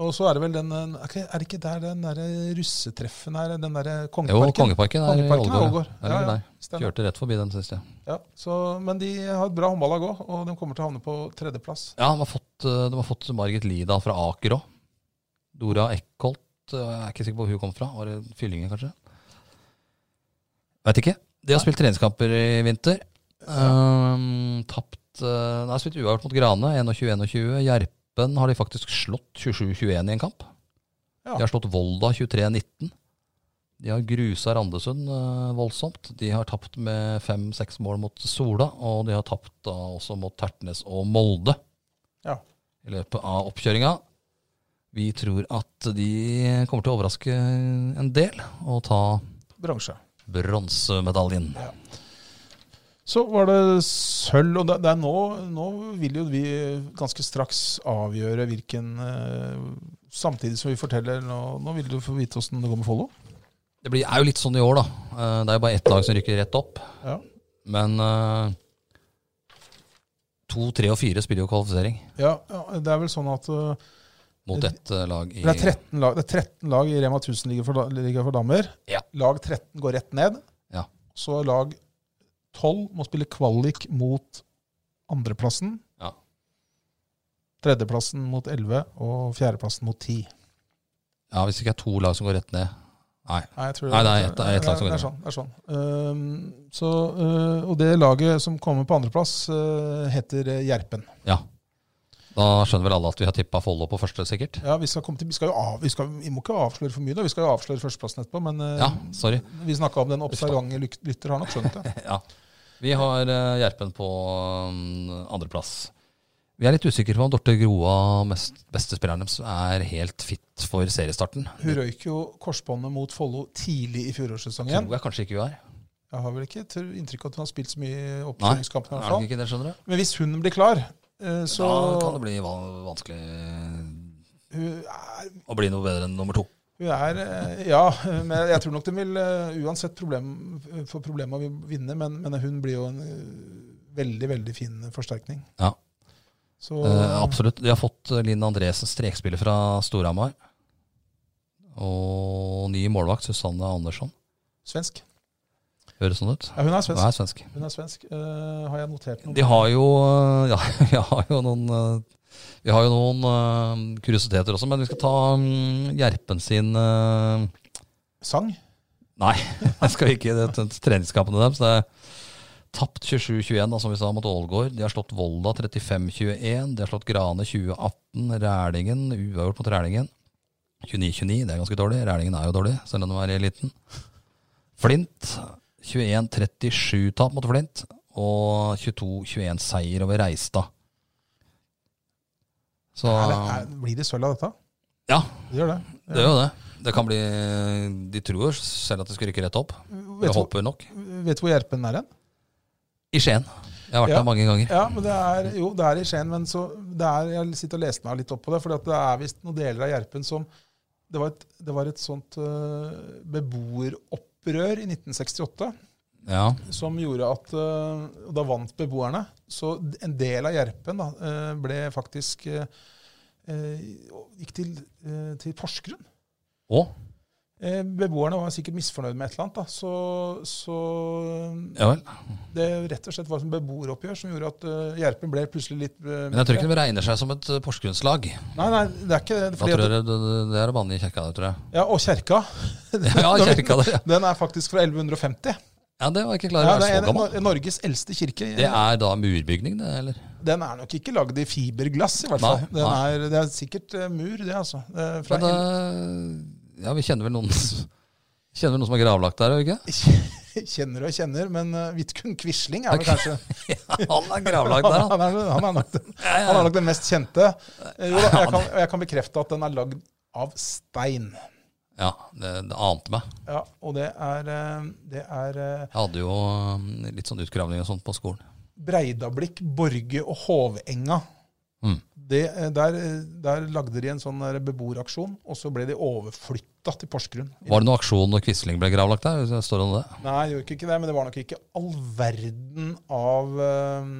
Og så er det vel den eh, Er ikke- er det ikke der den derre russetreffen er? Den derre Jo, Kongeparken? Kongeparken er i Kongeparken er Ålgård. Ålgård. Ja, ja, der. stemmer. Kjørte rett forbi den, syns jeg. Ja, så, men de har et bra håndballag òg, og de kommer til å havne på tredjeplass. Ja, de har fått, eh, de har fått Margit Lida fra Aker òg. Dora Eckholt. eh, Jeg er ikke sikker på hvor hun kom fra. Var det Fyllingen, kanskje? Veit ikke. De har spilt treningskamper i vinter. Um, Tapt eh, Nei, spilt uavgjort mot Grane. 21-21. Gjerpen har de faktisk slått 27-21 i en kamp. Ja. De har slått Volda 23-19. De har grusa Randesund eh, voldsomt. De har tapt med fem-seks mål mot Sola, og de har tapt da også mot Tertnes og Molde Ja. i løpet av oppkjøringa. Vi tror at de kommer til å overraske en del og ta Bransje. bronsemedaljen. Så var det sølv, og det, det er nå, nå vil jo vi ganske straks avgjøre hvilken eh, Samtidig som vi forteller Nå, nå vil du få vite åssen det går med Follo. Det blir, er jo litt sånn i år, da. Eh, Det er jo bare ett lag som rykker rett opp. Ja. Men eh, to, tre og fire spiller jo kvalifisering Ja, ja, det er vel sånn at eh, mot ett eh, lag i det, er 13 lag, det er 13 lag i Rema 1000-liga for, da- liga for damer. Ja. Lag 13 går rett ned. Ja. Så lag 12 må spille kvalik mot andreplassen. Ja. Tredjeplassen mot 11 og fjerdeplassen mot 10. Ja, hvis det ikke er to lag som går rett ned. Nei. Nei, jeg tror Nei, det er ett- det er ett lag som det er sånn. Det er sånn. Ehm, så, øh, og det laget som kommer på andreplass, øh, heter eh, Gjerpen. Ja. Da skjønner vel alle at vi har tippa Follo på første, sikkert. Ja, vi, skal komme til, vi, skal jo av, vi, skal, vi må ikke avsløre for mye, da. vi skal jo avsløre førsteplassen etterpå. Men eh, Ja, sorry. vi snakka om den observante lyk- lytter, har nok skjønt det. Ja. Vi har eh, Gjerpen på mm, andreplass. Vi er litt usikre på om Dorte Groa, mest, beste spilleren deres, er helt fit for seriestarten. Hun røyk jo korsbåndet mot Follo tidlig i fjorårssesongen. Tror jeg kanskje ikke hun er. Jeg har vel ikke tr- inntrykk av at hun har spilt så mye i Nei, oppkjøringskampen. er i hvert det fall. ikke det, skjønner du? Men hvis hun blir klar, eh, så Da kan det bli va- vanskelig hun, er, å bli noe bedre enn nummer to. hun er eh, Ja, eh, men jeg tror nok den vil eh, uansett problem, få problemer med å vinne, men, men hun blir jo en eh, veldig, veldig fin forsterkning. Ja. Så Eh, absolutt. De har fått eh, Linn Andresen, strekspiller fra Storhamar. Og ny målvakt, Susanne Andersson. svensk. Høres sånn ut? Ja, hun er Hun svensk. er svensk. Hun er svensk. Eh, har jeg notert noe? De har jo, ja, jeg har jo noen eh, Vi har jo noen eh, kuriositeter også, men vi skal ta mm, Gjerpen sin eh, Sang? Nei, jeg skal ikke i det t- treningskampene deres. Det er tapt 27-21, da, som vi sa, mot Ålgård. De har slått Volda 35-21. De har slått Grane 20-18. Rælingen, uavgjort mot Rælingen. 29-29, det er ganske dårlig. Rælingen er jo dårlig, selv om de er i eliten. Flint 21-37-tap mot Flint. Og 22-21-seier over Reistad. Så Er det, er, blir det sølv av dette? Ah. Ja, Det gjør det. det er jo det. Det kan bli De tror jo selv at de skal rykke rett opp. Vet Jeg du, håper nok. vet du hvor Gjerpen er hen? I Skien. Jeg har vært Ja. der mange ganger. Ja, men det er, jo, det er i Skien, men så, det er, jeg sitter og leste meg litt opp på det. For det er visst noen deler av Gjerpen som Det var et, det var et sånt eh, beboeropprør i 1968 Ja. som gjorde at eh, og Da vant beboerne. Så en del av Gjerpen da, eh, ble faktisk eh, eh, Gikk til, eh, til Porsgrunn. Og? Eh, beboerne var sikkert misfornøyd med et eller annet. Da. Så, så Ja vel. det rett og slett var et beboeroppgjør som gjorde at eh, Gjerpen ble plutselig litt eh, Men jeg tror ikke det regner seg som et eh, Porsgrunnslag. Nei, nei, det er ikke det. Da Fordi tror at, jeg det, det, det er å banne i kirka, det tror jeg. ja, og kjerka. Ja, kirka Ah, det. Den er faktisk fra 1150. Ja, det var jeg ikke klar Ja, over. det Ja, så er en, gammel. Norges eldste kirke. Det er da murbygning, det, eller? Den er nok ikke lagd i fiberglass, i hvert fall. Nei, Den nei. er, det er sikkert eh, mur, det, altså. Eh, Fra Men, eh, ja, vi kjenner vel noen Kjenner vel noen som er gravlagt der, er vi ikke? el- kjenner og kjenner, men eh, Vidkun Quisling er vel kanskje Ja, han er gravlagt han, der, han. er, han, er nok, den- han er nok den mest kjente. Eh, Jo, da, jeg, kan, jeg kan bekrefte at den er lagd av stein. Ja, det, det ante meg. Ja, og det er, eh, det er eh, Jeg hadde jo eh, litt sånn utgravning og sånt på skolen. Breidablikk, Borge og Hovenga. Mm. Det, eh, der, eh, der lagde de en sånn der beboeraksjon, og så ble de overflytta til Porsgrunn. Var det noen aksjon når Quisling ble gravlagt der? Hvis det Står det om det? Nei, det gjorde ikke- ikke det, men det var nok ikke all verden av eh,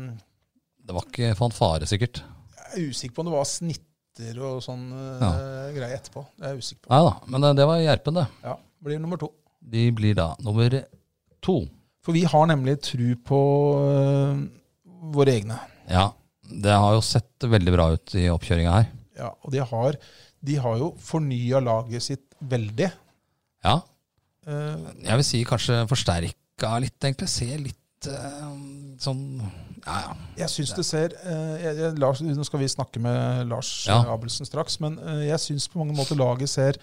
Det var ikke fanfare, sikkert. Jeg er usikker på om det var snitter og sånn eh, greie etterpå. Det er jeg usikker på. Nei da, men eh, det var Gjerpen, det. Ja, Blir nummer to. De blir da nummer to. For vi har nemlig tru på eh, våre egne. Ja, det har jo sett veldig bra ut i oppkjøringa her. Ja, og de har, de har jo fornya laget sitt veldig. Ja, Eh, jeg vil si kanskje forsterka litt, egentlig. Se litt eh, sånn Ja, ja. Jeg syns det ser eh, jeg, jeg, Lars, Nå skal vi snakke med Lars Ja. eh, Abelsen straks, men eh, jeg syns på mange måter laget ser,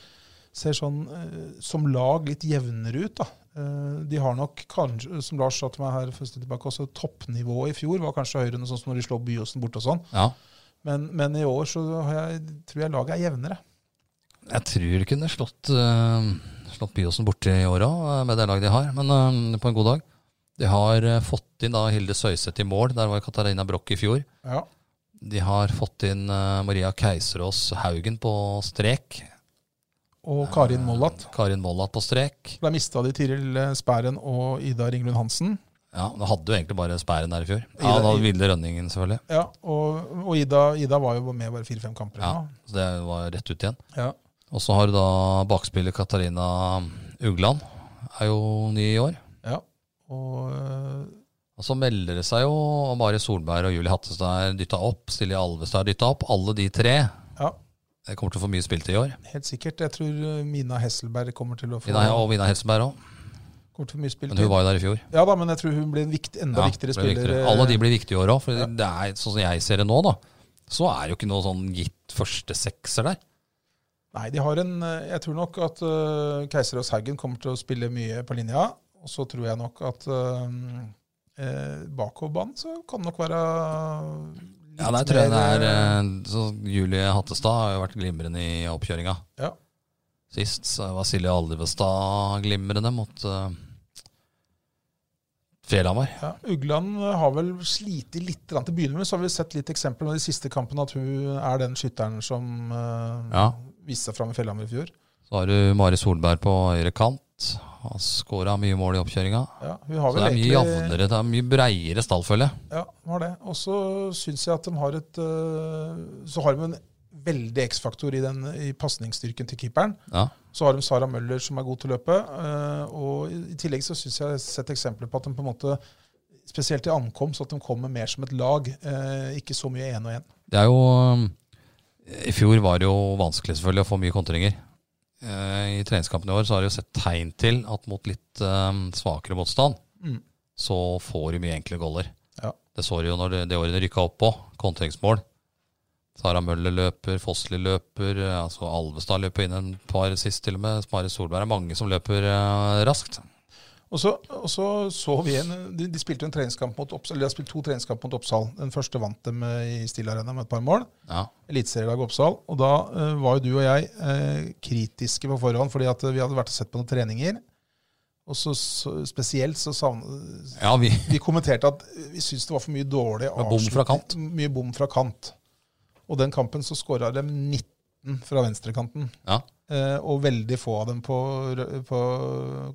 ser sånn eh, som lag litt jevnere ut. da. Eh, de har nok kanskje, som Lars sa til meg her for en stund tilbake, også toppnivået i fjor var kanskje høyere enn sånn som når de slår Byåsen bort og sånn, ja. men, men i år så har jeg, tror jeg laget er jevnere. Jeg tror de kunne slått, uh, slått Byåsen borti i år òg, med det laget de har. Men eh, på en god dag. De har eh, fått inn da Hilde Søyseth i mål. Der var Katarina Broch i fjor. Ja. De har fått inn eh, Maria Keiserås Haugen på strek. Og Karin Mollat. Karin Mollat på strek. Da mista de Tiril eh, Spæren og Ida Ringlund Hansen. Ja, Da hadde jo egentlig bare Spæren der i fjor. I Ja, Da det- i- hadde Vilde Rønningen, selvfølgelig. Ja, Og, og Ida, Ida var jo med bare fire-fem kamper. Ja, eller noe. så Det var rett ut igjen. Ja. Og så har du da bakspiller Katarina Ugland. Er jo ny i år. Ja. Og eh, Og så melder det seg jo og Mari Solberg og Julie Hattestad er dytta opp. Silje Alvestad er dytta opp. Alle de tre Ja. Jeg kommer til å få mye spilt i år. helt sikkert. Jeg tror eh, Mina Hesselberg kommer til å få, Ina, og Mina Helseberg òg. kommer til å få mye spill. Men hun var jo der i fjor. Ja da, men jeg tror hun blir en vikt, enda Ja, viktigere det blir spiller. viktigere. eh, Alle de blir viktige i år òg. For det er sånn som jeg ser det nå, da. Så er det jo ikke noe sånn gitt første sekser der. Nei, de har en eh, Jeg tror nok at eh, Keiserås Haugen kommer til å spille mye på linja. Og så tror jeg nok at eh, eh, bakoverbanen så kan nok være litt Ja, der tror jeg det mer, er eh, eh, så Julie Hattestad har jo vært glimrende i oppkjøringa. Ja. Sist så var Silje Alvestad glimrende mot uh, Fjellhamar. eh, ja. Ugland har vel slitt litt grann til å begynne med, så har vi sett litt eksempler med de siste kampene at hun er den skytteren som eh, Ja. viste seg fram i Fjellhammer i fjor. Så har du Mari Solberg på høyre kant. Har skåra mye mål i oppkjøringa. Ja, hun har Så vel det er mye egentlig, jevnere, det er mye breiere stallfølge. Ja, hun har det. Og så syns jeg at de har et øh, Så har de en veldig X-faktor i, den- i pasningsstyrken til keeperen. Ja. Så har de Sara eh, Møller som er god til å løpe. øh, og i i tillegg så syns jeg jeg har sett eksempler på at de på en måte Spesielt i ankomst, at de kommer mer som et lag, eh, ikke så mye én og én. Det er jo eh, I fjor var det jo vanskelig selvfølgelig å få mye kontringer. Eh, I treningskampen i år så har de jo sett tegn til at mot litt eh, svakere motstand, Mm. så får de mye enkle goller. Ja. Det så de jo når det, det året de rykka opp på, kontringsmål. Sara Møller løper, Fossli løper, eh, altså Alvestad løper inn en par sist til og med. Mare Solberg er mange som løper eh, raskt. Og så, og så så vi en De, de spilte jo en treningskamp mot Oppsal, eller de har spilt to treningskamper mot Oppsal. Den første vant dem eh, i Stille Arena med et par mål. Ja. Eliteserielaget Oppsal. Og da eh, var jo du og jeg eh, kritiske på forhånd, fordi at eh, vi hadde vært og sett på noen treninger. Og så, så spesielt så savnet ja, vi Vi kommenterte at vi syntes det var for mye dårlig Med bom fra kant. Mye bom fra kant. Og den kampen så skåra de 19 fra venstrekanten. Ja. Eh, og veldig få av dem på, rø- på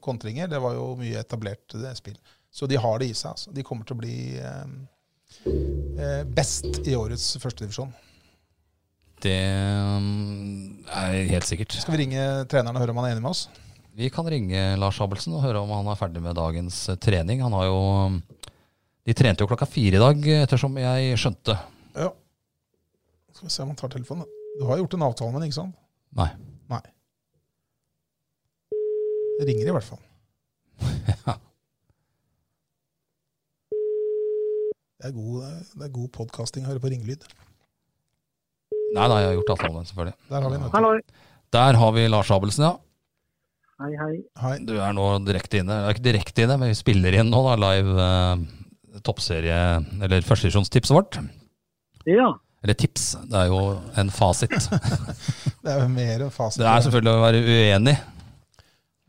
kontringer. Det var jo mye etablert eh, spill. Så de har det i seg. Altså. De kommer til å bli eh, eh, best i årets førstedivisjon. Det mm, er helt sikkert. Skal vi ringe treneren og høre om han er enig med oss? Vi kan ringe Lars Abelsen og høre om han er ferdig med dagens eh, trening. Han har jo mm, De trente jo klokka fire i dag, ettersom jeg skjønte. Ja. Skal vi se om han tar telefonen. da. Du har gjort en avtale med ham, ikke sant? Nei. Nei. Det ringer i hvert fall. Ja. Det er god, det er god podcasting å høre på ringelyd. Nei, nei, jeg har gjort avtalen, selvfølgelig. Der har vi en. vet du. Hallo. Der har vi Lars Abelsen, ja. Hei, hei. Hei. Du er nå direkte inne. Eller ikke direkte inne, men vi spiller inn nå, da. Live eh, toppserie, eller førstedivisjonstipset vårt. Ja, Eller tips, det er jo en fasit. Det er jo mer enn fasit. Det er selvfølgelig å være uenig.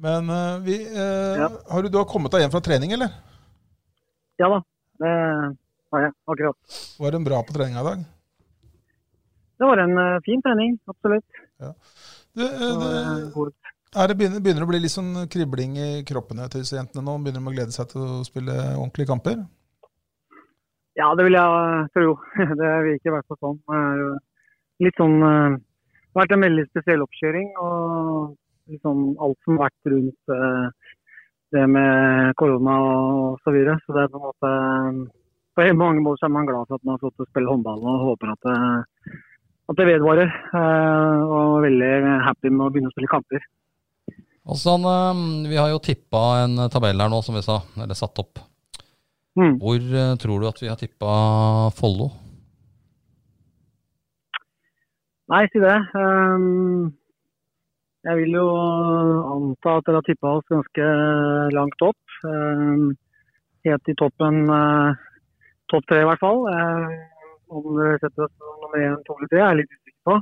Men eh, vi eh, Ja. har du, du har kommet deg hjem fra trening, eller? ja da. Det har jeg akkurat. Var den bra på treninga i dag? Det var en eh, fin trening, absolutt. Du, eh, Og, eh, det, god- er det begynner, begynner det å bli litt sånn kribling i kroppene til disse jentene nå? Begynner de å glede seg til å spille ordentlige kamper? Ja, det vil jeg eh, tro. Det virker i hvert fall sånn. Det er jo litt sånn eh, Det har vært en veldig spesiell oppkjøring. Og liksom alt som har vært rundt eh, det med korona og så videre. Så det er på en måte eh, På helt mange måter så er man glad for at man har fått til å spille håndball og håper at det, at det vedvarer. eh, Og er veldig happy med å begynne å spille kamper. Og sånn, eh, vi har jo tippa en tabell her nå, som vi sa. Eller satt opp. Mm. Hvor eh, tror du at vi har tippa Follo? Nei, si det. Ehm, jeg vil jo anta at dere har tippa oss ganske langt opp. Ehm, helt i toppen, eh, topp tre i hvert fall. Ehm, om dere setter oss som nummer én, to eller tre, er jeg litt usikker på.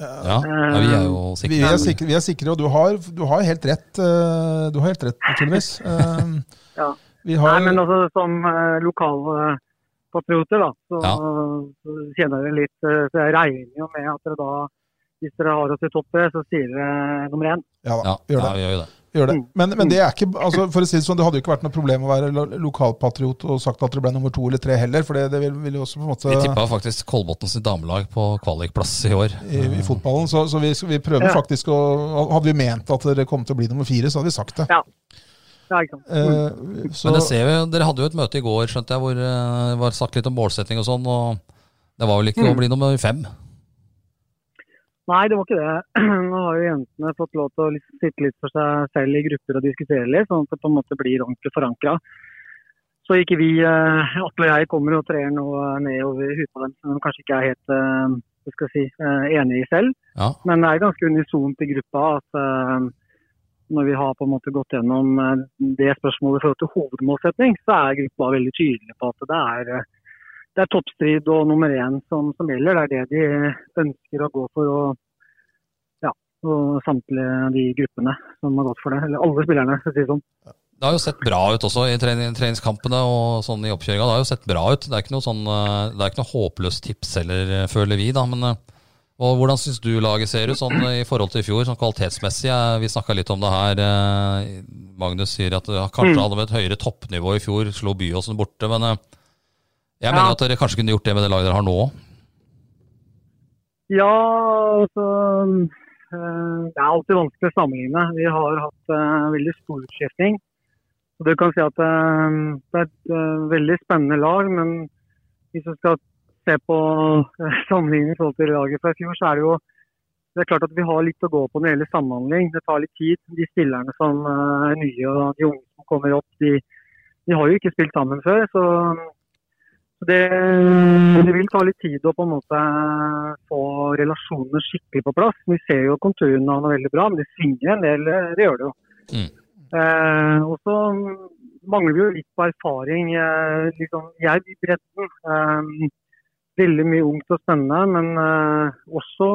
Eh, Ja, ja, vi er jo sikre. Vi er, sikre, vi er sikre, og du har, du har helt rett, eh, du har helt rett naturligvis. Eh, Ja. Vi har, Nei, men altså som eh, lokale patrioter, da, så, Ja. så kjenner dere litt eh, Så jeg regner jo med at dere da, hvis dere har oss i topp tre, så sier dere nummer én. ja da, Ja, gjør det. ja, vi gjør jo det. Gjør det. Mm. Men, men det er ikke, altså for å si det sånn, det hadde jo ikke vært noe problem å være lo- lokalpatriot og sagt at det ble nummer to eller tre heller, for det, det vil, vil jo også på en Vi måte tippa faktisk Kolbotns damelag på kvalikplass i år. i, i fotballen. Så, så vi, vi prøver Ja. faktisk å Hadde vi ment at det kom til å bli nummer fire, så hadde vi sagt det. Ja, ikke sant. Eh, så, Men det ser vi, Dere hadde jo et møte i går skjønte jeg, hvor eh, det var sagt litt om målsetting og sånn. og Det var vel ikke Mm. å bli nummer fem? Nei, det var ikke det. Nå har jo jentene fått lov til å liksom sitte litt for seg selv i grupper og diskutere litt, sånn at det på en måte blir ordentlig forankra. Så ikke vi, eh, Atle og jeg, kommer og trer noe ned over huet på dem som de kanskje ikke er helt eh, hva skal jeg si, eh, enige i selv. Ja. Men det er ganske unisont i gruppa at eh, når vi har på en måte gått gjennom eh, det spørsmålet i forhold til hovedmålsetting, så er gruppa veldig tydelig på at det er, eh, det er toppstrid og nummer én som, som gjelder. Det er det de ønsker å gå for. Og, ja, og samtlige de gruppene som har gått for det. Eller alle spillerne, for å si det sånn. Det har jo sett bra ut også i trening, treningskampene og sånn i oppkjøringa. Det har jo sett bra ut. Det er ikke noe, sånn, eh, det er ikke noe håpløst tips heller, eh, føler vi. da, men... eh, Og Hvordan syns du laget ser ut sånn eh, i forhold til i fjor, sånn kvalitetsmessig? Eh, Vi snakka litt om det her. eh, Magnus sier at ja, kanskje Mm. hadde de et høyere toppnivå i fjor, slo Byåsen borte. Men eh, jeg Ja. mener at dere kanskje kunne gjort det med det laget dere har nå òg. Ja, altså eh, Det er alltid vanskelig å sammenligne. Vi har hatt eh, veldig stor utskiftning. Og du kan si at eh, det er et eh, veldig spennende lag, men hvis du skal se på eh, sammenligning i forhold til laget fra i fjor, så er det jo det er klart at vi har litt å gå på når det gjelder samhandling. Det tar litt tid. De spillerne som eh, er nye og de unge som kommer opp, de, de har jo ikke spilt sammen før. Så så det, det vil ta litt tid å på en måte få relasjonene skikkelig på plass. Vi ser jo konturene av noe veldig bra, men det svinger en del. Det gjør det jo. Mm. Eh, og så mangler vi jo litt på erfaring. Eh, liksom, jeg i bredden. Eh, veldig mye ungt og spennende, men eh, også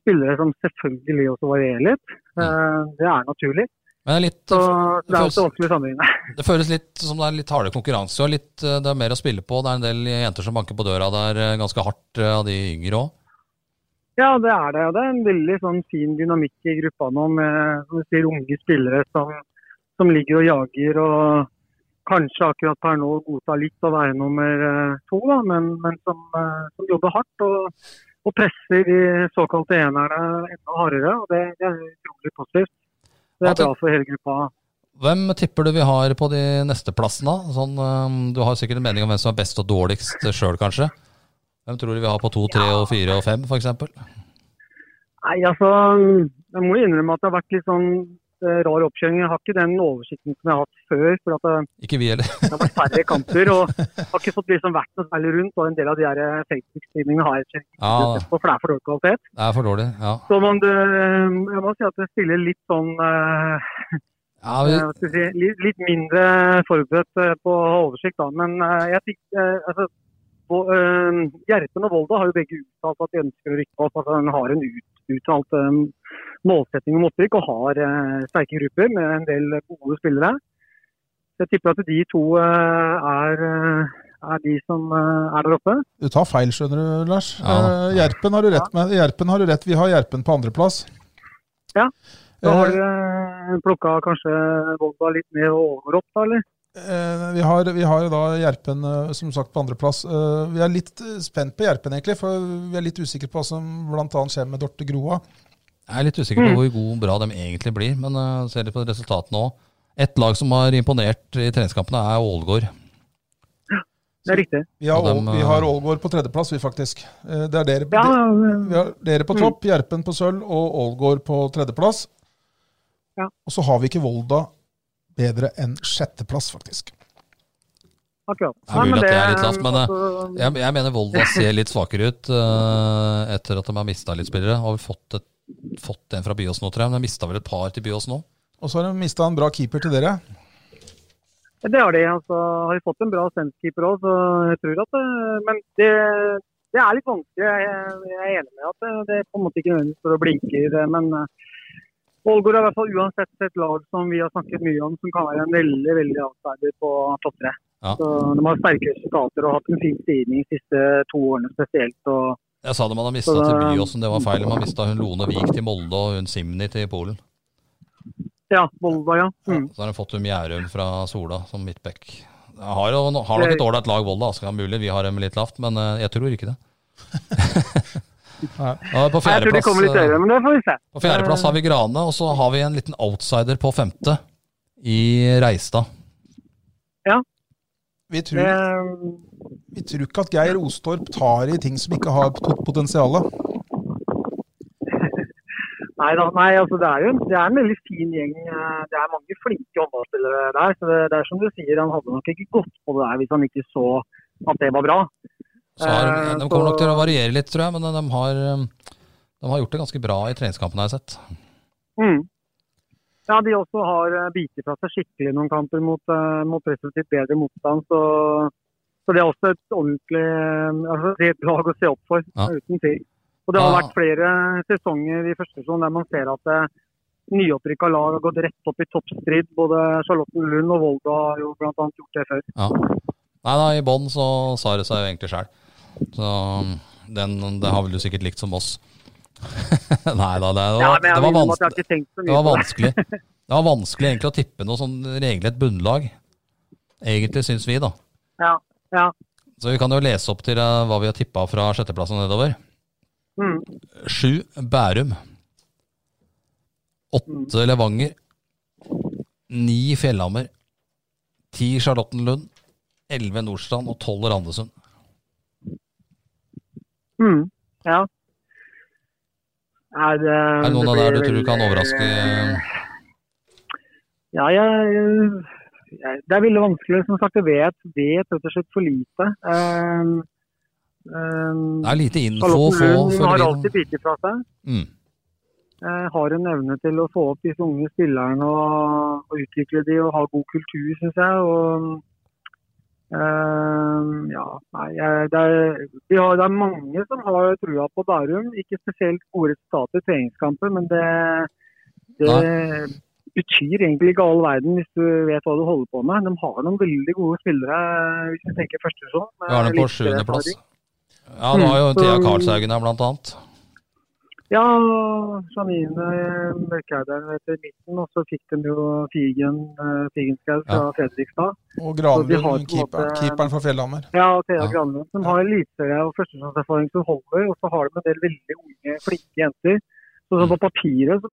spillere som selvfølgelig også varierer litt. Eh, det er naturlig. Men det er litt, Så det er føles- også vanskelig å sammenligne. Det føles litt som det er litt hardere konkurranse. og litt, eh, Det er mer å spille på. Det er en del jenter som banker på døra der eh, ganske hardt, eh, av de yngre òg. Ja, det er det. og Det er en veldig sånn, fin dynamikk i gruppa nå med som du sier, unge spillere som, som ligger og jager og kanskje akkurat per nå godtar litt å være nummer eh, to, da, men, men som, eh, som jobber hardt og, og presser de såkalte enerne enda hardere. og Det, det er utrolig positivt. Det Hva er bra for hele gruppa. Hvem tipper du vi har på de neste plassene? da? Sånn, eh, du har sikkert en mening om hvem som er best og dårligst sjøl, kanskje. Hvem tror du vi har på to, tre, og fire og fem, f.eks.? Nei, altså, Jeg må innrømme at det har vært litt sånn eh, rar oppkjøring. Jeg har ikke den oversikten som jeg har hatt før. for at eh, det, Ikke vi heller. Det har vært færre kamper og har ikke fått liksom vært noe særlig rundt. Og en del av de her eh, Facebook-streamingene har jeg ikke Ja, sett på, for det er for dårlig kvalitet. det er for dårlig. Ja, Så man, det, jeg må si at det stiller litt sånn eh, ja eh, vi, hva skal jeg si, litt, litt mindre forberedt eh, på å ha oversikt, da. Men eh, jeg fikk eh, altså, på, eh, Gjerpen og Volda har jo begge uttalt at de ønsker å rykke opp. Altså, de har en ut, uttalt eh, målsetting om opprykk og har eh, sterke grupper med en del gode spillere. Så Jeg tipper at de to eh, er, eh, er de som eh, er der oppe. Du tar feil, skjønner du, Lars. Ja. Eh, Gjerpen har du rett med. Gjerpen har du rett. Vi har Gjerpen på andreplass. Ja. Da Eh, har dere plukka kanskje Volda litt ned og over opp, da, eller? Eh, vi, har, vi har jo da Gjerpen eh, som sagt på andreplass. Eh, vi er litt eh, spent på Gjerpen, egentlig, for vi er litt usikre på hva som bl.a. skjer med Dorte Groa. Jeg er litt usikker på hvor god og bra de egentlig blir, men eh, ser litt på resultatene òg. Et lag som har imponert i treningskampene, er Ålgård. Det er riktig. Vi har, Og dem, Ål- vi har Ålgård på tredjeplass, vi faktisk. Eh, det er dere, Ja, Mm. vi har dere på topp, Gjerpen på sølv og Ålgård på tredjeplass. Ja. Og så har vi ikke Volda bedre enn sjetteplass, faktisk. akkurat. Det er mulig at det er litt lavt, men, eh, altså, Jeg, jeg mener Volda ser litt svakere ut eh, etter at de har mista litt spillere. Har vel fått, et, fått en fra Byås nå, tror jeg. Men de mista vel et par til Byås nå? Og så har de mista en bra keeper til dere. Ja, Det har de. altså, har de fått en bra sensekeeper òg, så jeg tror at det, Men det, det er litt vanskelig. Jeg, jeg er enig med at det, det er på en måte ikke nødvendigvis for å blinke i det. Men eh, Ålgård er i hvert fall uansett et lag som vi har snakket mye om, som kan være en veldig veldig outsider på topp tre. Ja. Så De har sterke resultater og har hatt en fin stigning de siste to årene spesielt. og Jeg sa de hadde mista Så det- til Byås, men det var feil. De har mista hun Lone Vik til Molde og hun Simni til Polen. Ja, Volda, ja. Mm. Så har de fått hun Gjærum fra Sola som midtback. Jeg Har, jo- har nok et ålreit lag, Volda. Altså, det er mulig vi har dem litt lavt, men eh, jeg tror ikke det. Nei. Ja, på Jeg tror de fjerdeplass kommer litt høyere, eh, men det får vi se. på fjerdeplass har vi Grane, og så har vi en liten outsider på femte i Reistad. Vi tror, Det, eh, vi tror ikke at Geir Ostorp tar i ting som ikke har pot- potensial. Nei da, nei, altså det er jo det er en veldig fin gjeng. eh, Det er mange flinke håndballspillere der. så det, det er som du sier, Han hadde nok ikke gått på det der hvis han ikke så at det var bra. Så har, Eh, de kommer så- nok til å variere litt, tror jeg, men de har, eh, de har gjort det ganske bra i treningskampene, har jeg sett. Mm. Ja, De også har eh, bitt fra seg skikkelig noen kamper mot, eh, mot resultivt bedre motstand. Så, så det er også et ordentlig eh, altså, det er et lag å se opp for, Ja. uten tvil. Og det har Ja. vært flere sesonger i første sesong der man ser at eh, nyopprykka lag har gått rett opp i toppstrid. Både Charlottenlund og Volda har jo bl.a. gjort det før. Ja. Nei da, i bånn så sa det seg jo egentlig sjøl. Så den, det har vel du sikkert likt som oss. Nei da, det, Ja, var, men jeg det, var minner om at vanskelig, jeg har ikke tenkt så det mye var på det. vanskelig. Det var vanskelig egentlig å tippe noe sånn regelrett bunnlag. Egentlig, syns vi, da. Ja, ja. Så vi kan jo lese opp til eh, hva vi har tippa fra sjetteplass og nedover. Mm. Sju Bærum. Mm. Åtte Levanger. Ni Fjellhammer. 10 Charlottenlund, 11 Nordstrand og 12 Randesund. Mm, ja. Nei, det, Er det noen av blir der du tror du veldig- kan overraske? Ja, jeg, jeg, det er veldig vanskelig. Som sagt, jeg vet, vet rett og slett for lite. Um, um, Det er lite info å få Charlottenlund før har vi alltid bitt fra seg. mm. eh, har en evne til å få opp disse unge spillerne og, og utvikle de og ha god kultur, syns jeg. Og, eh, ja, nei, jeg- det, er, vi har, det er mange som har trua på Bærum. Ikke spesielt gode resultater i treningskamper, men det, det betyr egentlig ikke all verden hvis du vet hva du holder på med. De har noen veldig gode spillere, hvis vi tenker første sesong. med Vi har den på litt sjuendeplass. erfaring. Ja, da har jo Mm, Thea så- Karlshaugen her, blant annet. Ja, Janine Mørkheideren heter midten, og så fikk de jo Figen, eh, Figenskaug fra Fredrikstad. Og Så de har på en Granlund, keeperen, måte- keeperen for Fjellhammer. Ja, og Thea Ja. Granlund, som har eliteserie og førstesesongserfaring som holder. Og så har de en del veldig unge, flinke jenter. Så sånn Mm. på papiret så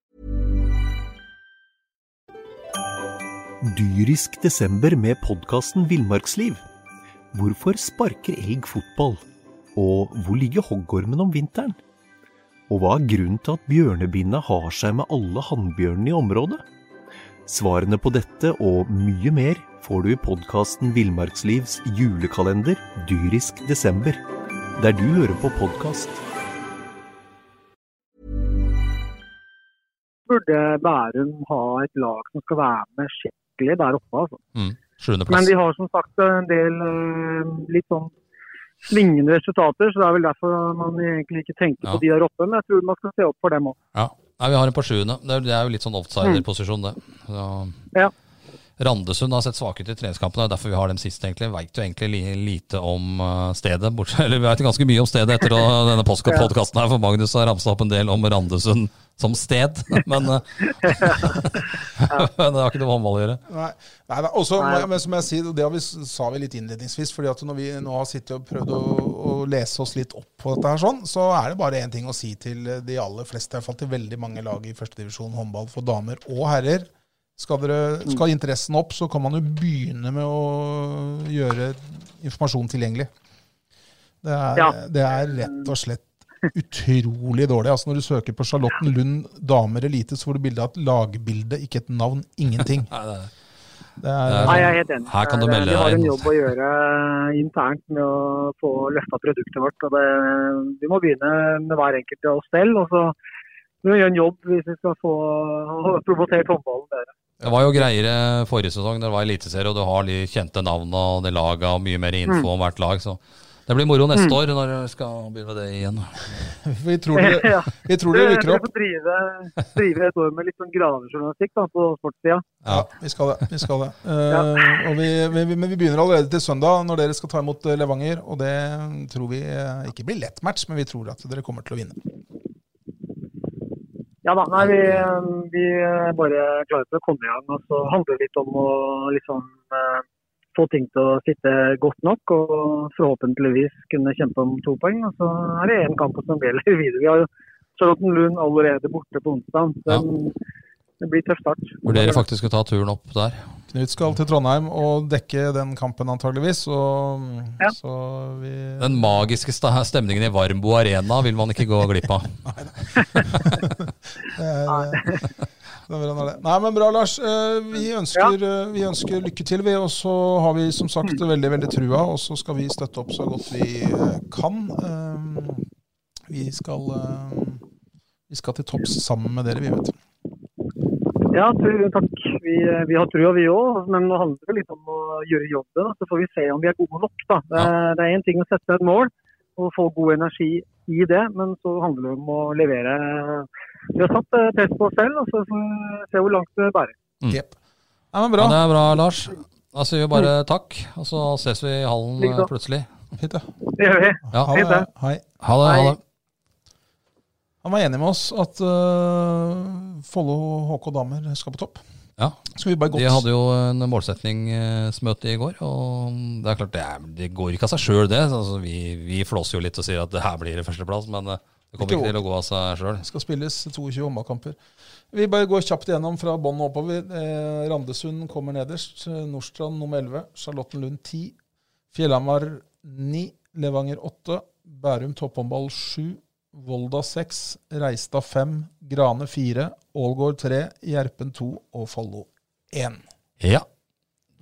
Dyrisk desember med podkasten Villmarksliv. Hvorfor sparker elg fotball? Og hvor ligger hoggormen om vinteren? Og hva er grunnen til at bjørnebinna har seg med alle hannbjørnene i området? Svarene på dette og mye mer får du i podkasten Villmarkslivs julekalender Dyrisk desember, der du hører på podkast. burde Bærum ha et lag som skal være med skikkelig der oppe. altså. Mm. Men Sjuendeplass. de har som sagt en del eh, litt sånn svingende resultater, så det er vel derfor man egentlig ikke tenker Ja. på de der oppe. Men jeg tror man skal se opp for dem òg. Ja. Nei, vi har en på sjuende. Det er- det er jo litt sånn offsider-posisjon, det. Så. Ja. Randesund har sett svake ut i treningskampene, det er derfor vi har dem sist, egentlig. Veit jo egentlig li- lite om eh, stedet, bortsett Eller vi veit ganske mye om stedet etter å, denne podkasten her, for Magnus har ramsa opp en del om Randesund som sted, men eh, Men det har ikke noe med håndball å gjøre. Nei, nei, da, også, Nei. Men som jeg sier, det har vi, sa vi litt innledningsvis, fordi at når vi nå har sittet og prøvd å, å lese oss litt opp på dette her sånn, så er det bare én ting å si til eh, de aller fleste, i hvert fall til veldig mange lag i førstedivisjon håndball for damer og herrer. Skal, dere, Mm. skal interessen opp, så kan man jo begynne med å gjøre informasjon tilgjengelig. Det er, Ja. det er rett og slett utrolig dårlig. Altså Når du søker på Charlottenlund damer elite, så får du bilde av et lagbilde, ikke et navn. Ingenting. Nei, det er- Det er, Nei, jeg er helt enig. Her kan du Eh, melde Vi har deg en inn. jobb å gjøre internt med å få løfta produktet vårt. Og det, vi må begynne med hver enkelt av oss selv. og så må vi gjøre en jobb hvis vi skal få få promotert håndballen bedre. Det var jo greiere forrige sesong, det var eliteserie, og du har de kjente navnene og det laget og mye mer Mm. info om hvert lag. Så det blir moro neste år når du skal begynne med det igjen. vi tror dere, Ja, vi tror dere Dere rykker dere opp. får drive, drive et år med litt sånn gravejournalistikk da, på sportssida. Ja, vi skal det. Vi skal det. Eh, og vi, vi, vi- men vi begynner allerede til søndag, når dere skal ta imot eh, Levanger. Og det tror vi eh, ikke blir lett match, men vi tror at dere kommer til å vinne. Ja da, nei, vi, um, vi er bare klare til å komme i gang. Og så handler det litt om å liksom eh, få ting til å sitte godt nok. Og forhåpentligvis kunne kjempe om to poeng. Og så er det én kamp som gjelder videre. Vi har jo Charlottenlund allerede borte på onsdag. Ja. Det, det blir tøff start. Vurderer faktisk å ta turen opp der. Knut skal til Trondheim og dekke den kampen antageligvis. Og, Ja. Så vi Den magiske sta- stemningen i Varmbo Arena vil man ikke gå glipp av. det er, det er bra, det. Nei, Eh, men bra, Lars. Eh, Vi ønsker, eh, vi ønsker lykke til, vi. Og så har vi som sagt veldig veldig trua, og så skal vi støtte opp så godt vi eh, kan. Eh, Vi skal, eh, vi skal til topps sammen med dere, vi, vet du. Ja, tu- takk. Vi, eh, vi har trua, vi òg. Men nå handler det litt om å gjøre jobben. Så får vi se om vi er gode nok. Da. Det, er- det er én ting å sette et mål og få god energi i det, men så handler det om å levere. Vi har satt eh, press på oss selv, og så får vi se hvor langt det bærer. Mm. Jep. Nei, men Ja, bra. det er bra, Lars. Da sier vi bare takk, og så ses vi i hallen eh, Likeså. plutselig. Fint, det. Det gjør vi. Ja. Ha det. Fint, Hei. Ha det. Ha det. Han var enig med oss at eh, Follo HK damer skal på topp. Ja. Skal vi bare De godt hadde jo en målsettingsmøte i går, og det er klart det, er, det går ikke av seg sjøl, det. Altså, vi, vi flåser jo litt og sier at det her blir det førsteplass, men eh, Det kommer ikke til å gå av seg sjøl. skal spilles 22 håndballkamper. Vi bare går kjapt igjennom fra bånn og oppover. Eh, Randesund kommer nederst. eh, Nordstrand nummer 11. Charlottenlund 10. Fjellhamar 9. Levanger 8. Bærum topphåndball 7. Volda 6. Reistad 5. Grane 4. Ålgård 3. Gjerpen 2. Og Follo 1. Ja.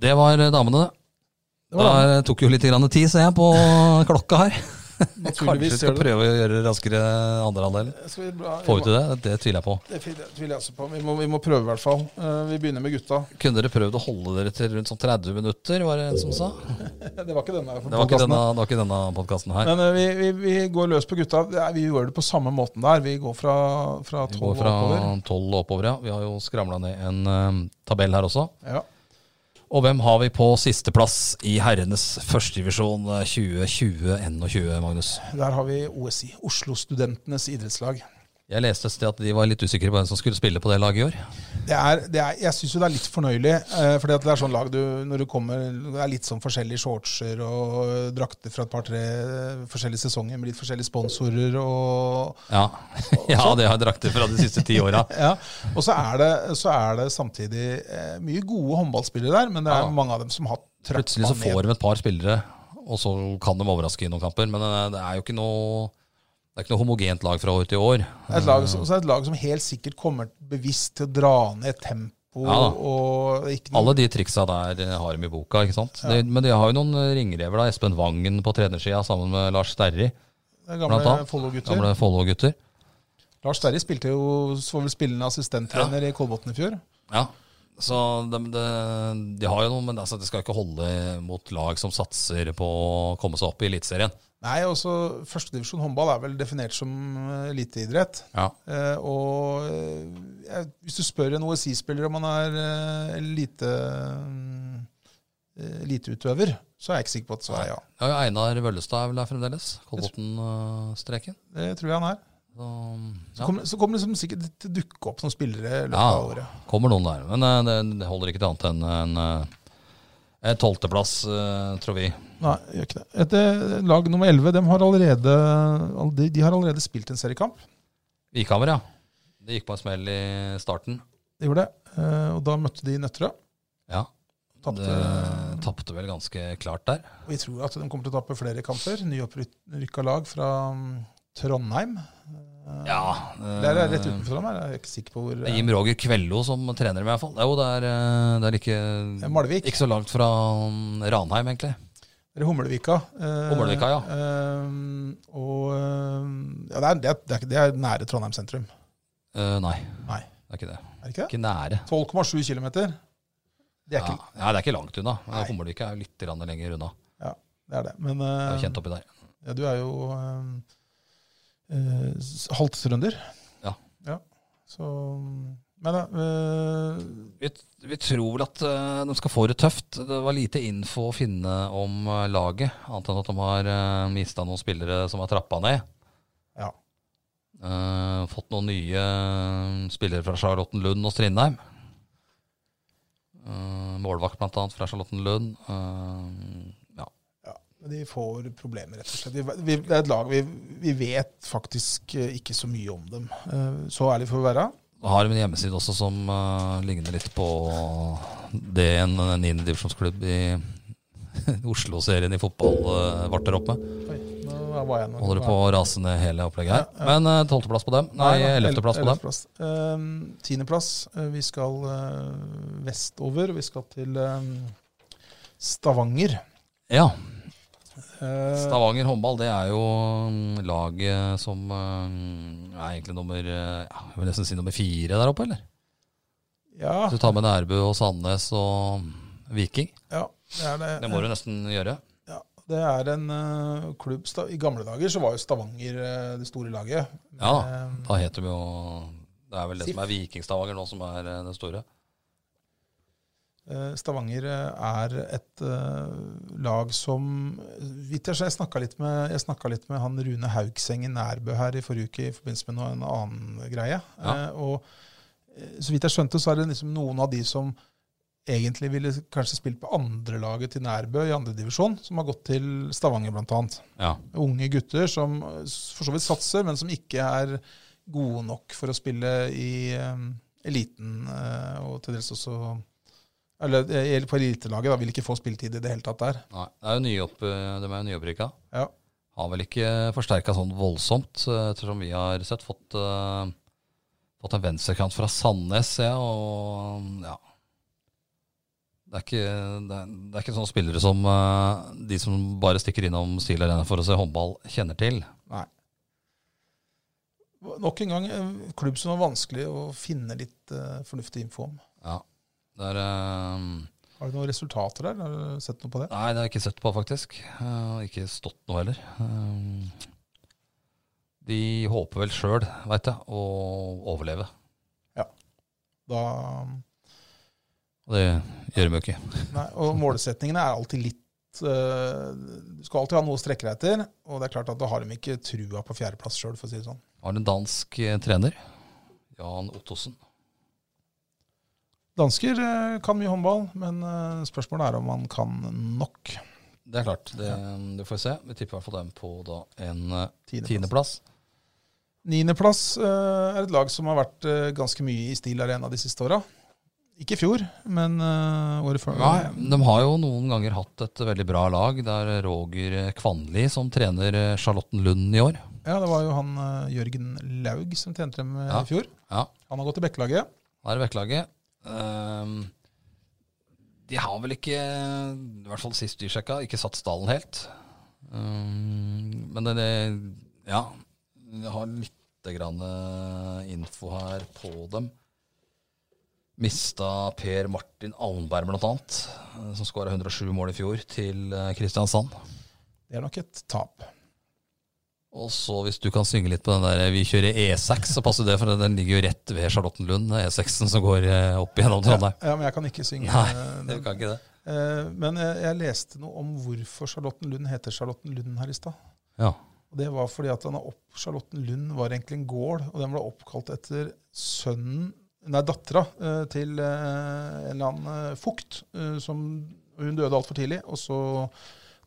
Det var eh, damene, det. Det var da Da eh, tok jo litt grann tid, ser jeg, på klokka her. Kanskje vi naturligvis. skal gjør det. prøve å gjøre raskere andre halvdel. Skal vi bla- Får vi til det? Det tviler jeg på. Det tviler tviler jeg også på. Vi må, vi må prøve, i hvert fall. Eh, Vi begynner med gutta. Kunne dere prøvd å holde dere til rundt sånn 30 minutter, var det en som sa? Det var ikke denne. Det var ikke denne, det var ikke denne podkasten her. Men eh, vi, vi, vi går løs på gutta. Det er- Vi gjør det på samme måten der. Vi går fra, fra Vi 12 går fra oppover. 12 og oppover, ja. Vi har jo skramla ned en eh, tabell her også. Ja. Og hvem har vi på sisteplass i herrenes eh, førstedivisjon 2020-21, Magnus? Der har vi OSI, Oslo Studentenes idrettslag. Jeg leste et sted at de var litt usikre på hvem som skulle spille på det laget i år. Det er, det er, jeg syns jo det er litt fornøyelig. Eh, fordi at det er sånn lag du når du kommer Det er litt sånn forskjellige shortser og eh, drakter fra et par-tre eh, forskjellige sesonger med litt forskjellige sponsorer og Ja, ja det har jeg drakter fra de siste ti åra. ja. Og så er, det, så er det samtidig eh, mye gode håndballspillere der, men det er Ja. mange av dem som har trappa Plutselig så får de et par spillere, og så kan de overraske i noen kamper. Men eh, det er jo ikke noe Det er ikke noe homogent lag fra år til år. Det er et lag, som- så er det et lag som helt sikkert kommer bevisst til å dra ned tempo Ja da. og ikke noe, Alle de triksa der eh, har de i boka, ikke sant. De, men de har jo noen eh, ringrever, da. Espen Vangen på trenersida sammen med Lars Sterri, det er blant gamle annet. Follo-gutter. Gamle Follo-gutter. Lars Terje spilte jo så var vel spillende assistenttrener i Kolbotn i fjor. Ja. Så de, de, de har jo noe, men altså, det skal ikke holde mot lag som satser på å komme seg opp i Eliteserien. Nei, også førstedivisjon håndball er vel definert som eh, eliteidrett. Ja. Eh, og eh, jeg- hvis du spør en OSI-spiller om han er eh, elite, eh, eliteutøver, så er jeg ikke sikker på at svaret er ja. Ja, ja, Einar Vøllestad er vel der fremdeles? Kolbotn-streken. Det tror jeg han er. Så, Så ja. kommer, så kommer det som sikkert til å dukke opp som spillere i løpet ja, av året. kommer noen der. Men eh, det, det holder ikke til annet enn en eh, en tolvteplass, eh, tror vi. Nei, gjør ikke det. Etter lag nummer 11 de har, allerede, all- de, de har allerede spilt en seriekamp. Vikhammer, ja. Det gikk på en smell i starten. De gjorde det. Eh, og da møtte de Nøtterøy. Ja, Tapte. det tapte vel ganske klart der. Og Vi tror at de kommer til å tape flere kamper. Nyopprykka lag fra mm, Trondheim. Eh, Ja. eh, Der er rett utenfor Trondheim. Jeg er ikke sikker på hvor Det er eh, Jim Roger Kvello som trener dem, i hvert fall. Jo, det er, eh, det er ikke, Eh, Malvik. ikke så langt fra mm, Ranheim, egentlig. Eller Humlevika. eh, Humlevika, ja. eh, og eh, ja, det, er, det, er, det, er, det er nære Trondheim sentrum, Eh, nei, Nei. det er ikke det. er det ikke det? Ikke nære. 12,7 km. Det er Ja. ikke Nei, det er ikke langt unna. Nei. Hummelvika er jo litt grann lenger unna. det. Er det. Men Det er jo eh, kjent oppi der. Ja, du er jo eh, eh, s- halvt trønder. Ja. Så Men ja, eh, Vi, vi tror vel at eh, de skal få det tøft. Det var lite info å finne om eh, laget, annet enn at de har uh, mista noen spillere som har trappa ned. ja. Eh, fått noen nye eh, spillere fra Charlottenlund og Strindheim. Eh, målvakt blant annet fra Charlottenlund. Eh, ja. ja. Men de får problemer, rett og slett. Vi, vi, det er et lag vi, vi vet faktisk eh, ikke så mye om dem. Eh, så ærlig får vi være. Da har de en hjemmeside også som eh, ligner litt på det en en niendedivisjonsklubb i Oslo-serien i fotball eh, varter opp med. Oi, nå var jeg nå- Holder du på å rase ned hele opplegget her. Ja, ja. Men eh, tolvteplass på dem. Nei, ellevteplass på dem. ellevteplass. Eh, Tiendeplass. Eh, vi skal eh, vestover. Vi skal til eh, Stavanger. Ja. Eh, Stavanger håndball det er jo mm, laget som mm, er egentlig nummer eh, ja, Jeg vil nesten si nummer fire der oppe, eller? ja, Du tar med Nærbø og Sandnes og mm, Viking. ja, det er det. Det må du nesten gjøre. Ja, det er en eh, klubb Sta- I gamle dager så var jo Stavanger eh, det store laget. Ja da. Eh, Da heter de jo Det er vel det Sif. som er Vikingstavanger nå, som er eh, det store. eh, Stavanger eh, er et eh, lag som eh, Vidt jeg, så jeg snakka litt, med- jeg snakket litt med han Rune Haugsengen Nærbø her i forrige uke i forbindelse med noe, en annen greie. Ja. Eh, og eh, så vidt jeg skjønte, så er det liksom noen av de som egentlig ville kanskje spilt på andrelaget til Nærbø i andredivisjon, som har gått til Stavanger bl.a. Ja. Unge gutter som eh, for så vidt satser, men som ikke er gode nok for å spille i eh, eliten eh, og til dels også Eller eh, på elitelaget, da. Vil ikke få spilletid i det hele tatt der. Nei, det er jo nyopp, de er jo nyopprykka. Ja. Har vel ikke forsterka sånn voldsomt, eh, ettersom vi har sett fått, eh, fått en venstrekant fra Sandnes, ja, og ja. Det er, ikke, det, er, det er ikke sånne spillere som eh, de som bare stikker innom Steele Arena for å se håndball, kjenner til. Nei. Nok en gang en klubb som var vanskelig å finne litt eh, fornuftig info om. Ja. Det er, eh, Har du noen resultater der? Har du sett noe på det? Nei, det har jeg ikke sett på, faktisk. Eh, Ikke stått noe heller. Eh, De håper vel sjøl, veit jeg, å overleve. Da, ehm, Og det gjør de jo ikke. nei, og målsetningene er alltid litt eh, Du skal alltid ha noe å strekke deg etter, og det er klart at da har de ikke trua på fjerdeplass sjøl, for å si det sånn. Har en dansk eh, trener, Jan Ottosen. Dansker eh, kan mye håndball, men eh, spørsmålet er om han kan nok. Det er klart, det, det får vi se. Vi tipper i hvert fall dem på da en eh, Tiendeplass. tiendeplass. Niendeplass eh, er et lag som har vært eh, ganske mye i Stil Arena de siste åra. Ikke i fjor, men eh, året før. Nei, de har jo noen ganger hatt et veldig bra lag. Det er Roger Kvanli som trener eh, Charlottenlund i år. Ja, det var jo han eh, Jørgen Laug som trente dem eh, Ja. i fjor. Ja, Han har gått til Bekkelaget. Da er det Bekkelaget. Ehm, de har vel ikke, i hvert fall sist de sjekka, ikke satt stallen helt. Ehm, men det, det Ja. Jeg har litt grann eh, info her på dem. Mista Per Martin Alnberg, blant annet, eh, som skåra 107 mål i fjor, til eh, Kristiansand. Det er nok et tap. Og så hvis du kan synge litt på den der eh, Vi kjører E6, så passer det, for den ligger jo rett ved Charlottenlund, E6-en som går eh, opp gjennom Trondheim. Ja, men jeg kan ikke synge. Nei, eh, det den. kan ikke det. Eh, Men eh, jeg leste noe om hvorfor Charlottenlund heter Charlottenlund her i stad. Ja. Og Det var fordi at han har opp, Charlottenlund var egentlig en gård, og den ble oppkalt etter sønnen Nei, dattera eh, til eh, en eller annen eh, fukt. eh, Som, hun døde altfor tidlig, og så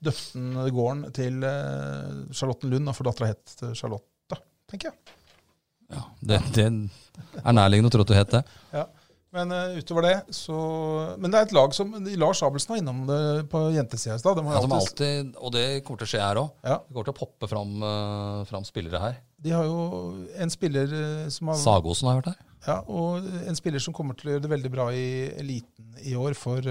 døpte han gården til eh, Charlottenlund, da, for dattera het eh, Charlotte, tenker jeg. Det, det er nærliggende å tro at du het det. Men eh, utover det, så Men det er et lag som Lars Abelsen var innom det på jentesida i stad. De, har Ja, som alltid- alltid, og det kommer til å skje her òg. Ja. Det kommer til å poppe fram, eh, fram spillere her. de har jo en spiller eh, som har Sagosen har jeg hørt her. ja, Og en spiller som kommer til å gjøre det veldig bra i eliten i år, for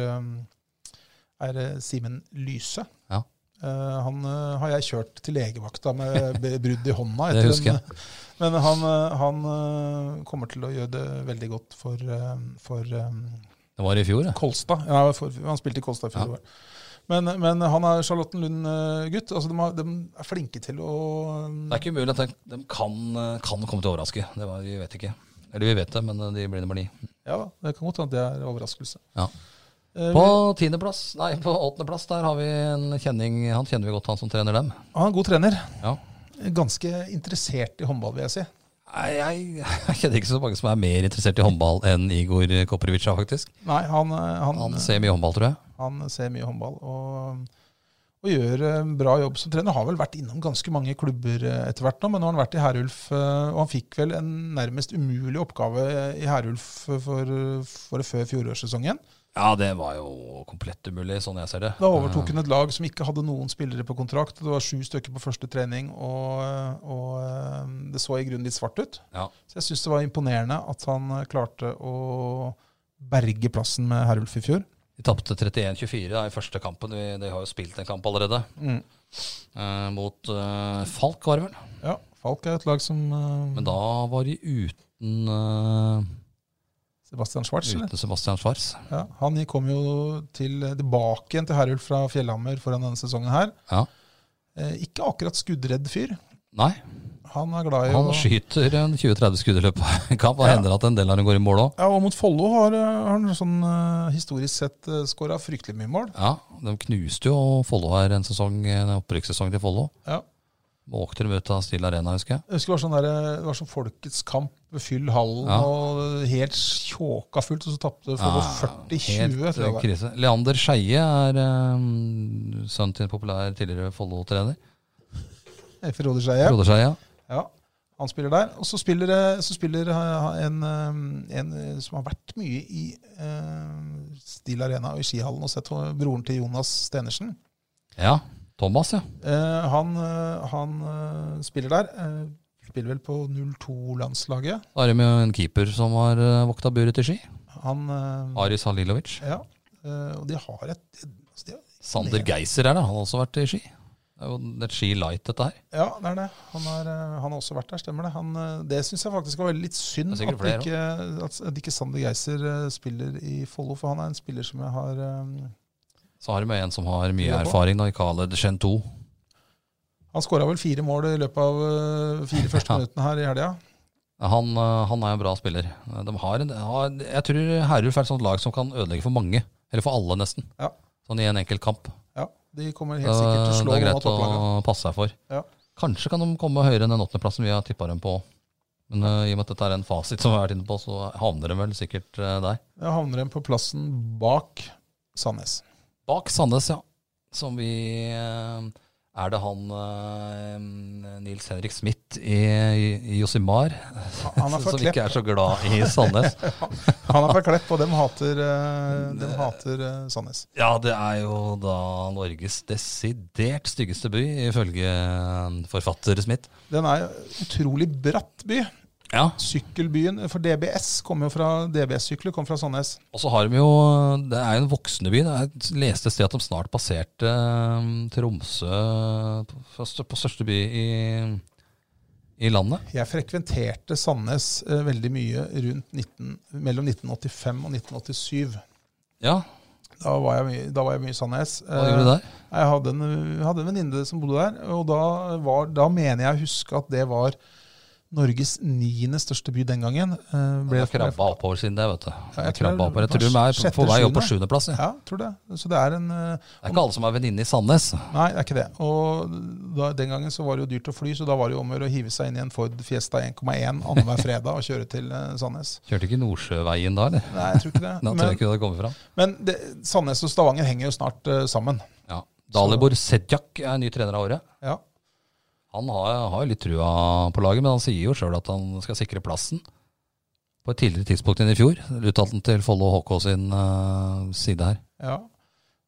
eh, er det Simen Lyse. Ja. Eh, han eh, har jeg kjørt til legevakta med b- brudd i hånda. Det etter husker en- men han, eh, han eh, kommer til å gjøre det veldig godt for, eh, for eh, Det var i fjor, det. Kolstad. Ja, for, han spilte i Kolstad i fjor. vel. Men, men han er Charlottenlund-gutt. Altså, de, har- de er flinke til å um, Det er ikke umulig at de, de kan, eh, kan komme til å overraske. Det var, vi vet ikke. Eller vi vet det, men eh, de blir nummer ni. Ja, det kan godt hende at det er overraskelse. Ja. Eh, På tiendeplass, nei, på åttendeplass, der har vi en kjenning. Han kjenner vi godt, han som trener dem. Han er en god trener. Ja. Ganske interessert i håndball, vil jeg si. Nei, jeg, jeg kjenner ikke så mange som er mer interessert i håndball enn Igor Koprivica, faktisk. Nei, han, eh, han, Han ser mye håndball, tror jeg. han ser mye håndball og, og gjør en bra jobb som trener. Har vel vært innom ganske mange klubber eh, etter hvert nå, men nå har han vært i Herulf. eh, Og han fikk vel en nærmest umulig oppgave i Herulf for, for før fjorårssesongen. Ja, det var jo komplett umulig, sånn jeg ser det. Da overtok hun et lag som ikke hadde noen spillere på kontrakt. Det var sju stykker på første trening, og, og eh, det så i grunnen litt svart ut. Eh, Ja. Så jeg syns det var imponerende at han eh, klarte å berge plassen med Herulf i fjor. Vi tapte 31-24 da, i første kampen. Vi, de har jo spilt en kamp allerede. Eh, mot eh, Falk, var det vel. Ja, Falk er et lag som eh, Men da var de uten, eh, Sebastian Schwartz, eller? uten Sebastian Schwarz. Ja, han kom jo til, eh, tilbake igjen til Herulf fra Fjellhammer foran denne sesongen her. Ja. Eh, ikke akkurat skuddredd fyr. Nei, Han er glad i han å skyter en 20-30 skudd i løpet av en kamp. Og Ja. hender at en del av dem går i mål òg. ja, og mot Follo har eh, har han sånn, eh, historisk sett skåra fryktelig mye mål. Ja, de knuste jo Follo her en sesong, en opprykkssesong til Follo. Ja. Måkte dem ut av Steel Arena, husker jeg. Jeg husker det var sånn, der, det var sånn Folkets kamp, fyll hallen Ja. og helt tjåka fullt, og så tapte Ja, Follo 40-20. helt, tror jeg det eh, var. krise. Leander Skeie er eh, sønnen til en populær tidligere Follo-trener. Etter Roder Skeie. Frode Skeie. Ja, han spiller der. Og så spiller, eh, så spiller eh, en, eh, en eh, som har vært mye i eh, Steel Arena og i skihallen og sett eh, broren til Jonas Stenersen. Ja. Thomas, ja. Eh, han eh, han eh, spiller der. Eh, spiller vel på 02-landslaget. Da er det med en keeper som har eh, vokta buret til ski. Han eh, Aris Halilovic. Ja. eh, og de har et altså de, Sander Geiser er det, han har også vært i ski. Det er jo et ski light, dette her. Ja, det er det. Han, er, eh, han har også vært der, stemmer det. Han, eh, det syns jeg faktisk var veldig litt synd Det at, er sikkert flere ikke, at, at ikke Sander Geiser eh, spiller i Follo, for han er en spiller som jeg har eh, Så har de med en som har mye Jobba. erfaring, da, i Khaled Shentou. Han skåra vel fire mål i løpet av eh, fire første Ja. minuttene her i helga. Han, eh, han er en bra spiller. Eh, De har en, har, jeg tror Herulf er et sånt lag som kan ødelegge for mange. Eller for alle, nesten. Ja. Sånn i en enkelt kamp. Ja, de kommer Det, helt sikkert til å slå Eh, det er noen av greit å topplagene. passe seg for. Ja. Kanskje kan de komme høyere enn den åttendeplassen vi har tippa dem på. Men eh, i og med at dette er en fasit som vi har vært inne på, så havner de vel sikkert eh, der. Jeg havner igjen på plassen bak Sandnes. Bak Sandnes, ja. Som vi eh, Er det han eh, Nils Henrik Smith i, i Josimar Han er fra som Klepp, ikke er så glad i Sandnes? Han er fra Klepp, og dem hater, eh, dem hater eh, Sandnes. Ja, det er jo da Norges desidert styggeste by, ifølge eh, forfatter Smith. Den er utrolig bratt by. Ja, Sykkelbyen for DBS kommer jo fra DBS-sykler, kommer fra Sandnes. Og så har de jo Det er jo en voksende by. Jeg leste et sted at de snart passerte eh, Tromsø på, første- på største by i, i landet. Jeg frekventerte Sandnes eh, veldig mye rundt 19, mellom 1985 og 1987. Ja, Da var jeg mye, da var jeg mye i Sandnes. hva gjorde du Eh, der? Jeg hadde en, jeg hadde en venninne som bodde der, og da, var, da mener jeg å huske at det var Norges niende største by den gangen. Eh, Det ble- har krabba oppover siden det, vet du. Det har jeg tror krabba det oppover. Jeg var tror de er på- sjette, på vei opp på sjuende. sjuendeplass. Ja. Ja, tror det. Så det er en eh, Det er ikke alle som er venninne i Sandnes. Nei, det er ikke det. Og da, den gangen så var det jo dyrt å fly, så da var det jo om å gjøre å hive seg inn i en Ford Fiesta 1,1 annenhver fredag og kjøre til eh, Sandnes. Kjørte ikke Nordsjøveien da, eller? Nei, jeg tror ikke det. Da tror jeg Men, ikke du hadde kommet fram. men det, Sandnes og Stavanger henger jo snart eh, sammen. Ja. Dalibor Sedjak er ny trener av året. Ja. Han har, har jo litt trua på laget, men han sier jo sjøl at han skal sikre plassen. På et tidligere tidspunkt enn i fjor, uttalte han til Follo HK sin eh, side her. ja.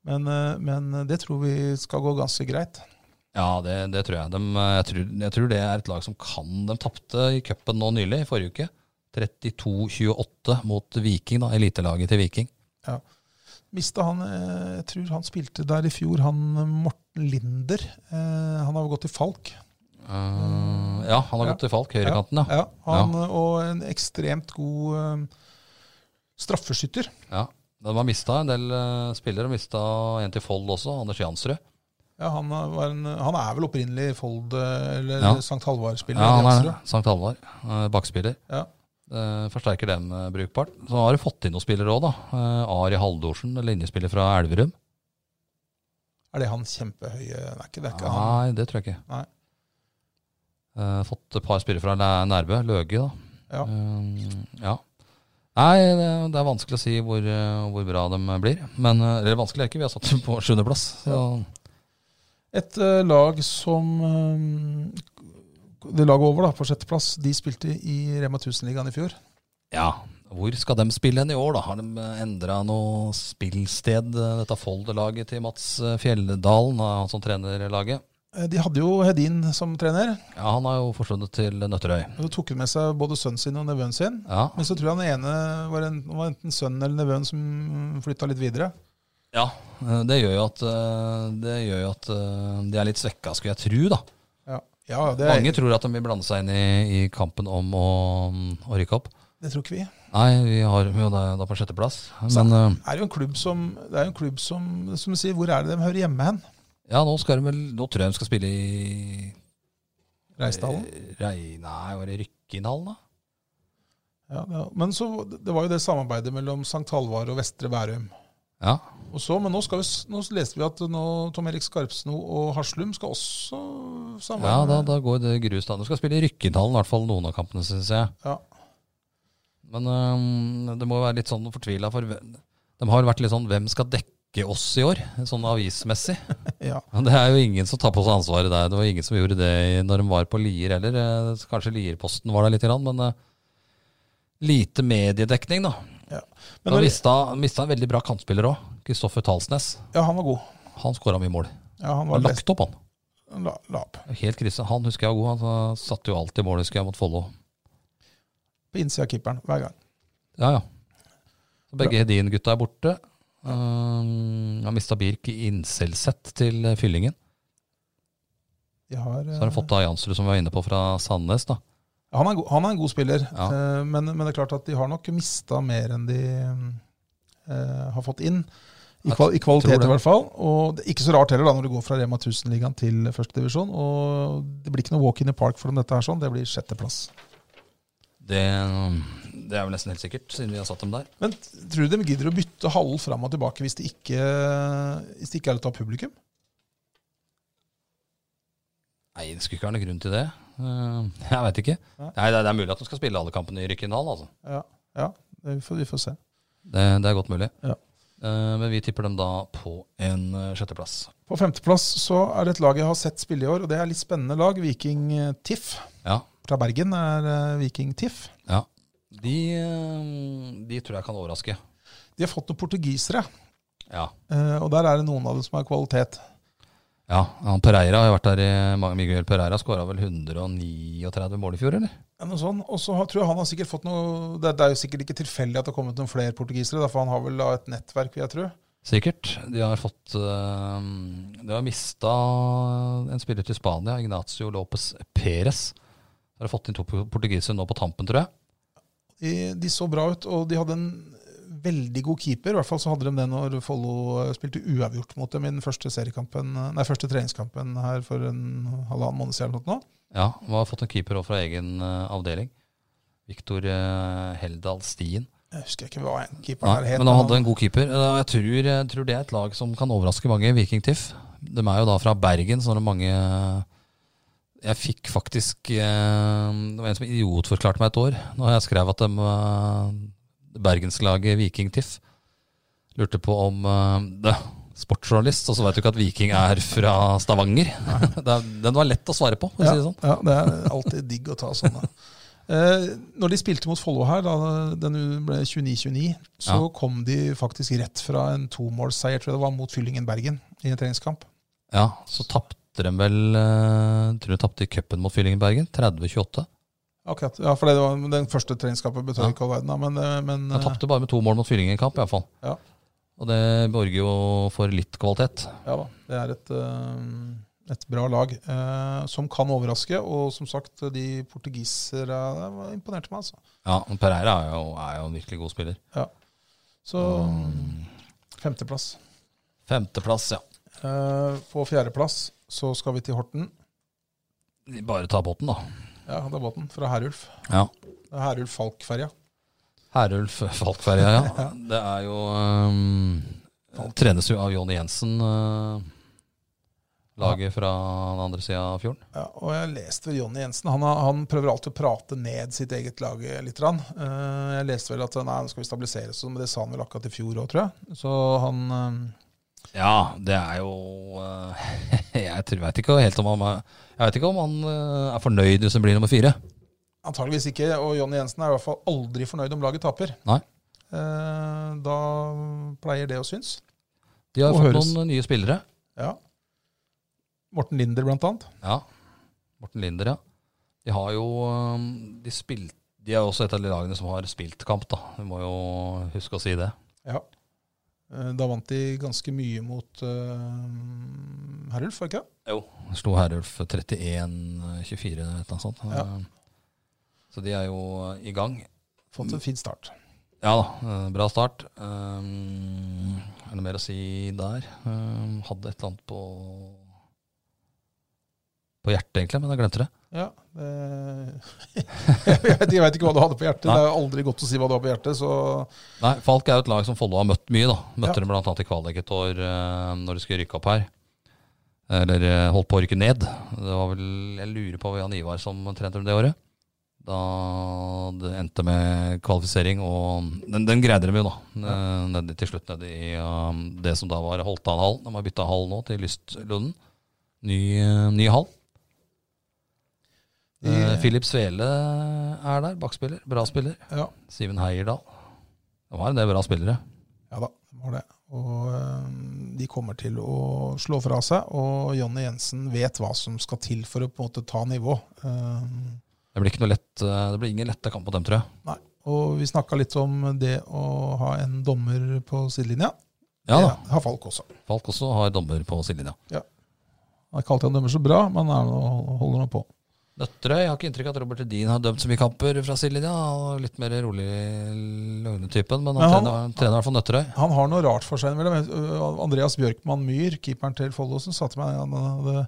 Men, eh, men det tror vi skal gå ganske greit. Ja, det, det tror jeg. De, eh, jeg, tror, jeg tror det er et lag som kan De tapte i cupen nå nylig, i forrige uke. 32-28 mot Viking, da, elitelaget til Viking. Mista han eh, Jeg tror han spilte der i fjor, han eh, Morten Linder. Eh, Han har jo gått til Falk. Eh, ja, han har Ja. gått til Falk, høyrekanten, Ah. ja. Ja, han, eh, Og en ekstremt god eh, straffeskytter. ja. De har mista en del eh, spillere, og mista en til Fold også, Anders Jansrud. Ja, han, eh, var en, han er vel opprinnelig Fold eh, eller Ja. St. Halvard-spiller. Ja, han er Jansrud. Sankt Halvard, eh, bakspiller. Ja. Eh, forsterker den eh, brukbart. Så har du fått inn noen spillere òg, da. Eh, Ari Haldorsen, linjespiller fra Elverum. Er det han kjempehøye? Nei, ikke, det er ikke han. Nei, det tror jeg ikke. Nei. Eh, fått et par spillere fra Næ- Nærbø, Løge, da. Ja. Eh, ja. Nei, det, det er vanskelig å si hvor, eh, hvor bra de blir. Men eh, eller vanskelig er ikke, vi har satt dem på sjuendeplass. Ja. Et eh, lag som eh, Det laget over, da, på sjetteplass, de spilte i Rema 1000-ligaen i fjor. ja. Hvor skal de spille hen i år, da? Har de endra noe spillsted, eh, dette Fold-laget til Mats eh, Fjelldalen, eh, han som trener laget? Eh, De hadde jo Hedin som trener. Ja, han har jo forsvunnet til Nøtterøy. Og så tok han med seg både sønnen sin og nevøen sin. Ja, Men så tror jeg den ene var, en, var enten sønnen eller nevøen som flytta litt videre. ja eh, det gjør jo at, eh, det gjør jo at eh, de er litt svekka, skulle jeg tro, da. Ja, ja det, Mange tror at de vil blande seg inn i, i kampen om å, mm, å rykke opp. det tror ikke vi. Nei, vi har jo det da på sjetteplass. Så- Men eh, Det er jo en klubb som, det er jo en klubb som, som du sier, Hvor er det de hører hjemme hen? eh, ja, nå, skal de vel, nå tror jeg de skal spille i Reisdalen? Rei, nei, var det Rykkinhallen, da? Ja, det, men så, det var jo det samarbeidet mellom St. Halvard og Vestre Bærum. Ja. Og så, men nå, skal vi, s- nå leste vi at nå Tom Erik Skarpsno og Haslum skal også samme. Ja, da, da går det grus da. Du skal spille i Rykkindhallen, i hvert fall noen av kampene, syns jeg. Ja. Men øhm, det må jo være litt sånn fortvila, for hvem- de har jo vært litt sånn Hvem skal dekke oss i år, sånn avismessig? Ja. Men det er jo ingen som tar på seg ansvaret der. Det var ingen som gjorde det i- når de var på Lier heller. Eh, Kanskje Lierposten var der lite grann, men eh, lite mediedekning, da. Men da når, mista, mista en veldig bra kantspiller òg, Kristoffer Talsnes. ja, han var god. Han skåra mye mål. Ja, han var Han best. lagt opp, han. La, la opp. Helt krise. Han husker jeg var god. Han sa- satte jo alltid mål, husker jeg, mot Follo. På innsida av keeperen hver gang. Ja, ja. Så Begge Hedin-gutta er borte. Um, har mista Birk i Innselseth til eh, Fyllingen. De har, Så har han fått av Jansrud, som vi var inne på, fra Sandnes. da. han, er en god, han er en god spiller, Ja. eh, men, men det er klart at de har nok mista mer enn de eh, har fått inn. I, Jeg kval I tror kvalitet, det. i hvert fall. Og det er ikke så rart heller, da, når du går fra Rema 1000-ligaen til førstedivisjon. Og det blir ikke noe walk in the park for dem, dette her sånn. Det blir sjetteplass. Det, det er vel nesten helt sikkert, siden vi har satt dem der. Men tror du de gidder å bytte hallen fram og tilbake hvis det ikke, hvis det ikke er et av publikum? Nei, det skulle ikke være noen grunn til det. Um, jeg veit ikke. Nei, det, er- det er mulig at de skal spille alle kampene i Rykkindal, altså. Ja, ja vi, får, vi får se. Det, det er godt mulig. Ja. Eh, men vi tipper dem da på en eh, sjetteplass. På femteplass så er det et lag jeg har sett spille i år, og det er litt spennende lag. Viking eh, TIFF Ja. fra Bergen er eh, Viking TIFF. ja. De, eh, de tror jeg kan overraske. De har fått noen portugisere, Ja. eh, og der er det noen av dem som har kvalitet. Ja, han Pereira har jo vært der i Miguel Pereira skåra vel 139 mål i fjor, eller? Ja, Noe sånn. Og så har- tror jeg han har sikkert fått noe Det, det er jo sikkert ikke tilfeldig at det har kommet noen flere portugisere, da, for han har vel da et nettverk, vil jeg tro. Sikkert. De har fått øh, De har mista en spiller til Spania, Ignacio Lopez Perez. De har fått inn to portugisere nå på tampen, tror jeg. De, de så bra ut, og de hadde en veldig god keeper. I hvert fall så hadde de det når Follo eh, spilte uavgjort mot dem i den første, seriekampen, eh, nei, første treningskampen her for en halvannen måned siden. eller noe sånt nå. Ja, De har fått en keeper òg fra egen øh, avdeling. Victor øh, Heldal Stien. Jeg husker ikke hva en keeper her Nei, het. men han hadde en god keeper. Eh, Jeg tror, jeg tror det er et lag som kan overraske mange. Viking Tiff. De er jo da fra Bergen, så det er mange Jeg fikk faktisk eh, Det var en som idiotforklarte meg et år når jeg skrev at de, eh, bergenslaget Viking Tiff lurte på om eh, det, Sportsjournalist, og så veit du ikke at Viking er fra Stavanger. Det er- Den var lett å svare på, for å ja, si det sånn. ja, det er alltid digg å ta sånne. Eh, når de spilte mot Follo her, da den ble 29-29, så Ja. kom de faktisk rett fra en tomålsseier, tror jeg det var, mot Fyllingen Bergen i en treningskamp. Ja, så tapte de vel eh, Tror de tapte i cupen mot Fyllingen Bergen. 30-28. Akkurat, ja, for det var Den første treningskampen Ja. betød ikke all verden, da, men, eh, men Jeg eh, tapte bare med to mål mot Fyllingen i kamp, iallfall. Ja. Og det borger jo for litt kvalitet. Ja da, det er et, eh, et bra lag eh, som kan overraske. Og som sagt, de portugisere eh, imponerte meg, altså. Ja, men Pereira er jo, er jo en virkelig god spiller. Så Mm. femteplass. Femteplass, ja. Eh, på fjerdeplass så skal vi til Horten. De Bare ta båten, da. Ja, det er båten fra Herulf. Ja. Det er Herulf Falk-ferja. Herulf Falkferja, ja. Det er jo ehm, Trenes jo av Jonny Jensen. eh, laget fra den andre sida av fjorden. Ja, og jeg leste ved Jonny Jensen. Han, har- han prøver alltid å prate ned sitt eget lag eh, litt. grann. Eh, jeg leste vel at nei, nå skal vi stabilisere oss, men det sa han vel akkurat i fjor òg, tror jeg. Så han eh, Ja, det er jo eh, Jeg tror- vet ikke helt om han er, Jeg vet ikke om han eh, er fornøyd hvis han blir nummer fire. Antageligvis ikke, og Jonny Jensen er i hvert fall aldri fornøyd om laget taper. Nei. Eh, da pleier det å synes. De har Og fått høres. noen nye spillere. Ja. Morten Linder, blant annet. Ja. Morten Linder, ja. De har jo øhm, De, spilt, de er jo også et av de lagene som har spilt kamp, da. Vi må jo huske å si det. Ja. Eh, Da vant de ganske mye mot eh, Herulf, var det ikke det? Slo Herulf 31-24 eller noe sånt. Um, Ja. Så de er jo i gang. Fått en fin start. Ja da, eh, bra start. Ehm, er det mer å si der? Ehm, hadde et eller annet på på hjertet, egentlig, men jeg glemte det. Ja, det- jeg, vet, jeg vet ikke hva du hadde på hjertet. Nei. Det er jo aldri godt å si hva du har på hjertet. Så Nei, Falk er jo et lag som Follo har møtt mye. da Møtte Ja. dem blant annet i kvalik et år eh, når de skulle rykke opp her. Eller eh, holdt på å rykke ned. Det var vel, Jeg lurer på Jan Ivar som trente det året. Da det endte med kvalifisering, og den, den greide de jo, da. Eh, Nedi, til slutt nede i um, det som da var Holtanhallen. De har bytta hall nå til Lystlunden. Ny, eh, ny hall. De- Eh, Philip Svele er der, bakspiller. Bra spiller. Ja. Siven Heierdal. Det var en del bra spillere. Ja da, de har det. Og øhm, de kommer til å slå fra seg, og Jonny Jensen vet hva som skal til for å på en måte ta nivå. Øhm, Det blir, ikke noe lett, eh, det blir ingen lette kamp mot dem, tror jeg. nei. Og vi snakka litt om det å ha en dommer på sidelinja. Ja da. Det har Falk også. Falk også har dommer på sidelinja. Han er ikke alltid han dømmer så bra, men han er nå- holder nå på. Nøtterøy jeg har ikke inntrykk av at Robert Edin har dømt så mye kamper fra sidelinja. Han er Litt mer rolig løgnetypen, men han, Men han- trener, han trener i hvert fall Nøtterøy. Han har noe rart for seg innimellom. Øh, Andreas Bjørkman Myhr, keeperen til Follosen, sa til meg han hadde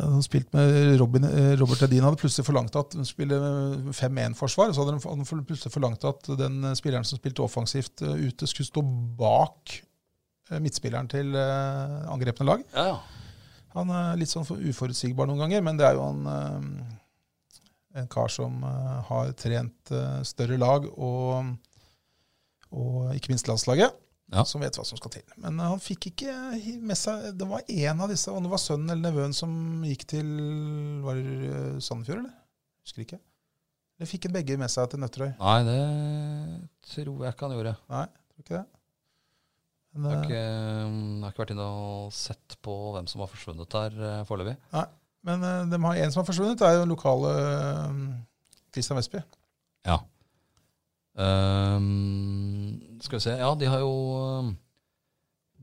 han spilte med Robin, eh, Robert Edin hadde plutselig forlangt at hun spille øh, 5-1-forsvar. Så hadde han- han for- plutselig forlangt at den eh, spilleren som spilte offensivt eh, ute, skulle stå bak eh, midtspilleren til eh, angrepne lag. Ja, ja. Han er litt sånn for- uforutsigbar noen ganger, men det er jo han eh, en kar som eh, har trent eh, større lag og, og ikke minst landslaget. Ja. Som vet hva som skal til. Men eh, han fikk ikke hi- med seg Det var én av disse, om det var sønnen eller nevøen som gikk til Var det eh, Sandefjord, eller? Husker ikke. Eller fikk han begge med seg til Nøtterøy? Nei, det tror jeg ikke han gjorde. Tror ikke det. Jeg Men, har eh, ikke, jeg har ikke vært inne og sett på hvem som har forsvunnet der eh, foreløpig. men eh, de har en som har forsvunnet, det er jo den lokale eh, Christian Vestby. Ja. Ehm, skal vi se. Ja, de har jo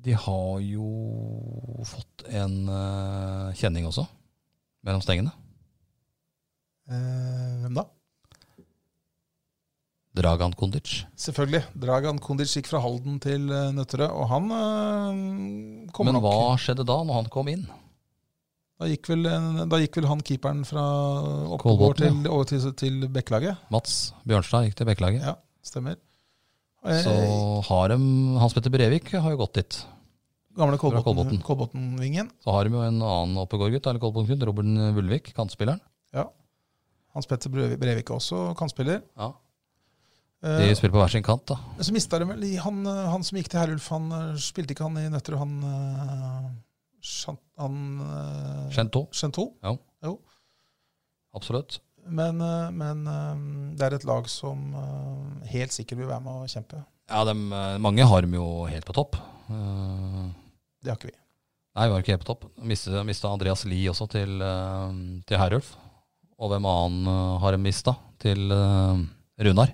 De har jo fått en eh, kjenning også, mellom stengene. Eh, hvem da? Dragan Kondic. Selvfølgelig. Dragan Kondic gikk fra Halden til eh, Nøtterøy, og han eh, kommer Men nok hva skjedde da, når han kom inn? da gikk, vel, eh, da gikk vel han keeperen fra Oppegård til, Kolbotn, over til, til Bekkelaget. Mats Bjørnstad gikk til Bekkelaget. Ja, stemmer. Eh, Så har de Hans Petter Brevik har jo gått dit. gamle fra Kolbotn. Kolbotn- Kolbotn-vingen. Så har de jo en annen Oppegård-gutt, eller Kolbotn-gutt, Robert Vulvik, kantspilleren. Hans Petter Brevi- Brevik er også kantspiller. Ja. Eh, De spiller på hver sin kant, da. men så mista de vel han, eh, han som gikk til Herulf, han eh, spilte ikke han i Nøtterøy, han eh, Chan- Han eh, Chento, Chantou? absolutt. Men, eh, men eh, det er et lag som eh, helt sikkert vil være med å kjempe. Ja, dem, eh, mange har dem jo helt på topp. Eh, Det har ikke vi. Nei, vi var ikke helt på topp. Mista, mista Andreas Lie også til, eh, til Herulf. Og hvem annen eh, har de mista? Til eh, Runar.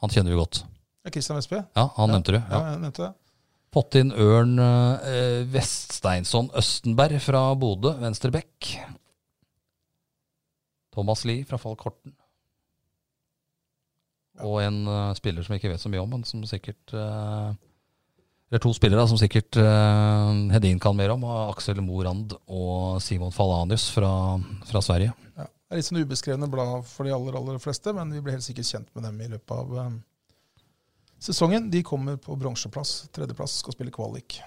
Han kjenner vi godt. Det er Christian Vestby. Ja, han Ja. nevnte du. Ja. Ja. jeg nevnte det. Fått inn Ørn eh, Veststeinsson Østenberg fra Bodø, Venstrebekk. Thomas Lie fra Falk Horten. Og en eh, spiller som jeg ikke vet så mye om, men som sikkert eh, Eller to spillere da, som sikkert eh, Hedin kan mer om. og Aksel Morand og Simon Falanius fra, fra Sverige. Ja. Det er litt sånn ubeskrevne blad for de aller aller fleste, men vi blir helt sikkert kjent med dem i løpet av eh, sesongen. De kommer på bronseplass. Tredjeplass skal spille kvalik.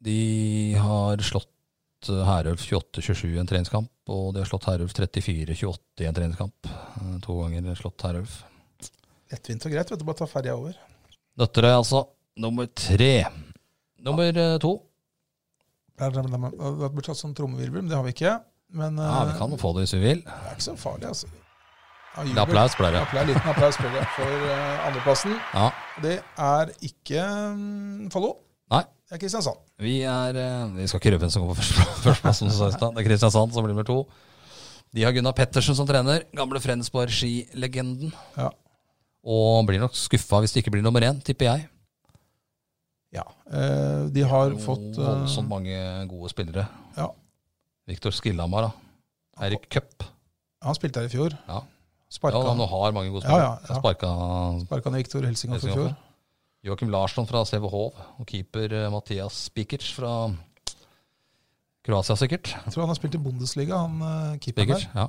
De har slått eh, Herulf 28-27 i en treningskamp, og de har slått Herulf 34-28 i en treningskamp. Eh, To ganger slått Herulf. Lettvint og greit, vet du, bare ta ferja over. Nøtterøy, altså. Nummer tre. Nummer eh, to. Det hadde blitt tatt sånn trommevirvel, men det har vi ikke. Men eh, Ja, vi kan få det hvis vi vil. det er ikke så farlig, altså. Ja, En jubel. applaus blir det. Applaus, Liten applaus blir det for eh, andreplassen. Ja. Det er ikke mm, Follo. Nei. Det er Kristiansand. Vi er eh, Vi skal ikke røpe hvem som går på førsteplass, førsteplass som du sa i stad. Det er Kristiansand som blir nummer to. De har Gunnar Pettersen som trener. Gamle Frensborg-skilegenden. Ja. Og blir nok skuffa hvis det ikke blir nummer én, tipper jeg. Ja. eh, de har fått eh, Voldsomt mange gode spillere. ja, Viktor Skillhamar, da. Eirik Cup. Han spilte her i fjor. Ja. Ja, Sparka, han har mange gode ja, spillere. ja, ja. Sparka Sparka ned Viktor Helsinga for i fjor. Joakim Larsson fra CV Hov og keeper eh, Mathias Spikic fra Kroatia, sikkert. Jeg tror han har spilt i Bundesliga, han eh, keeperen Spikic, der. ja.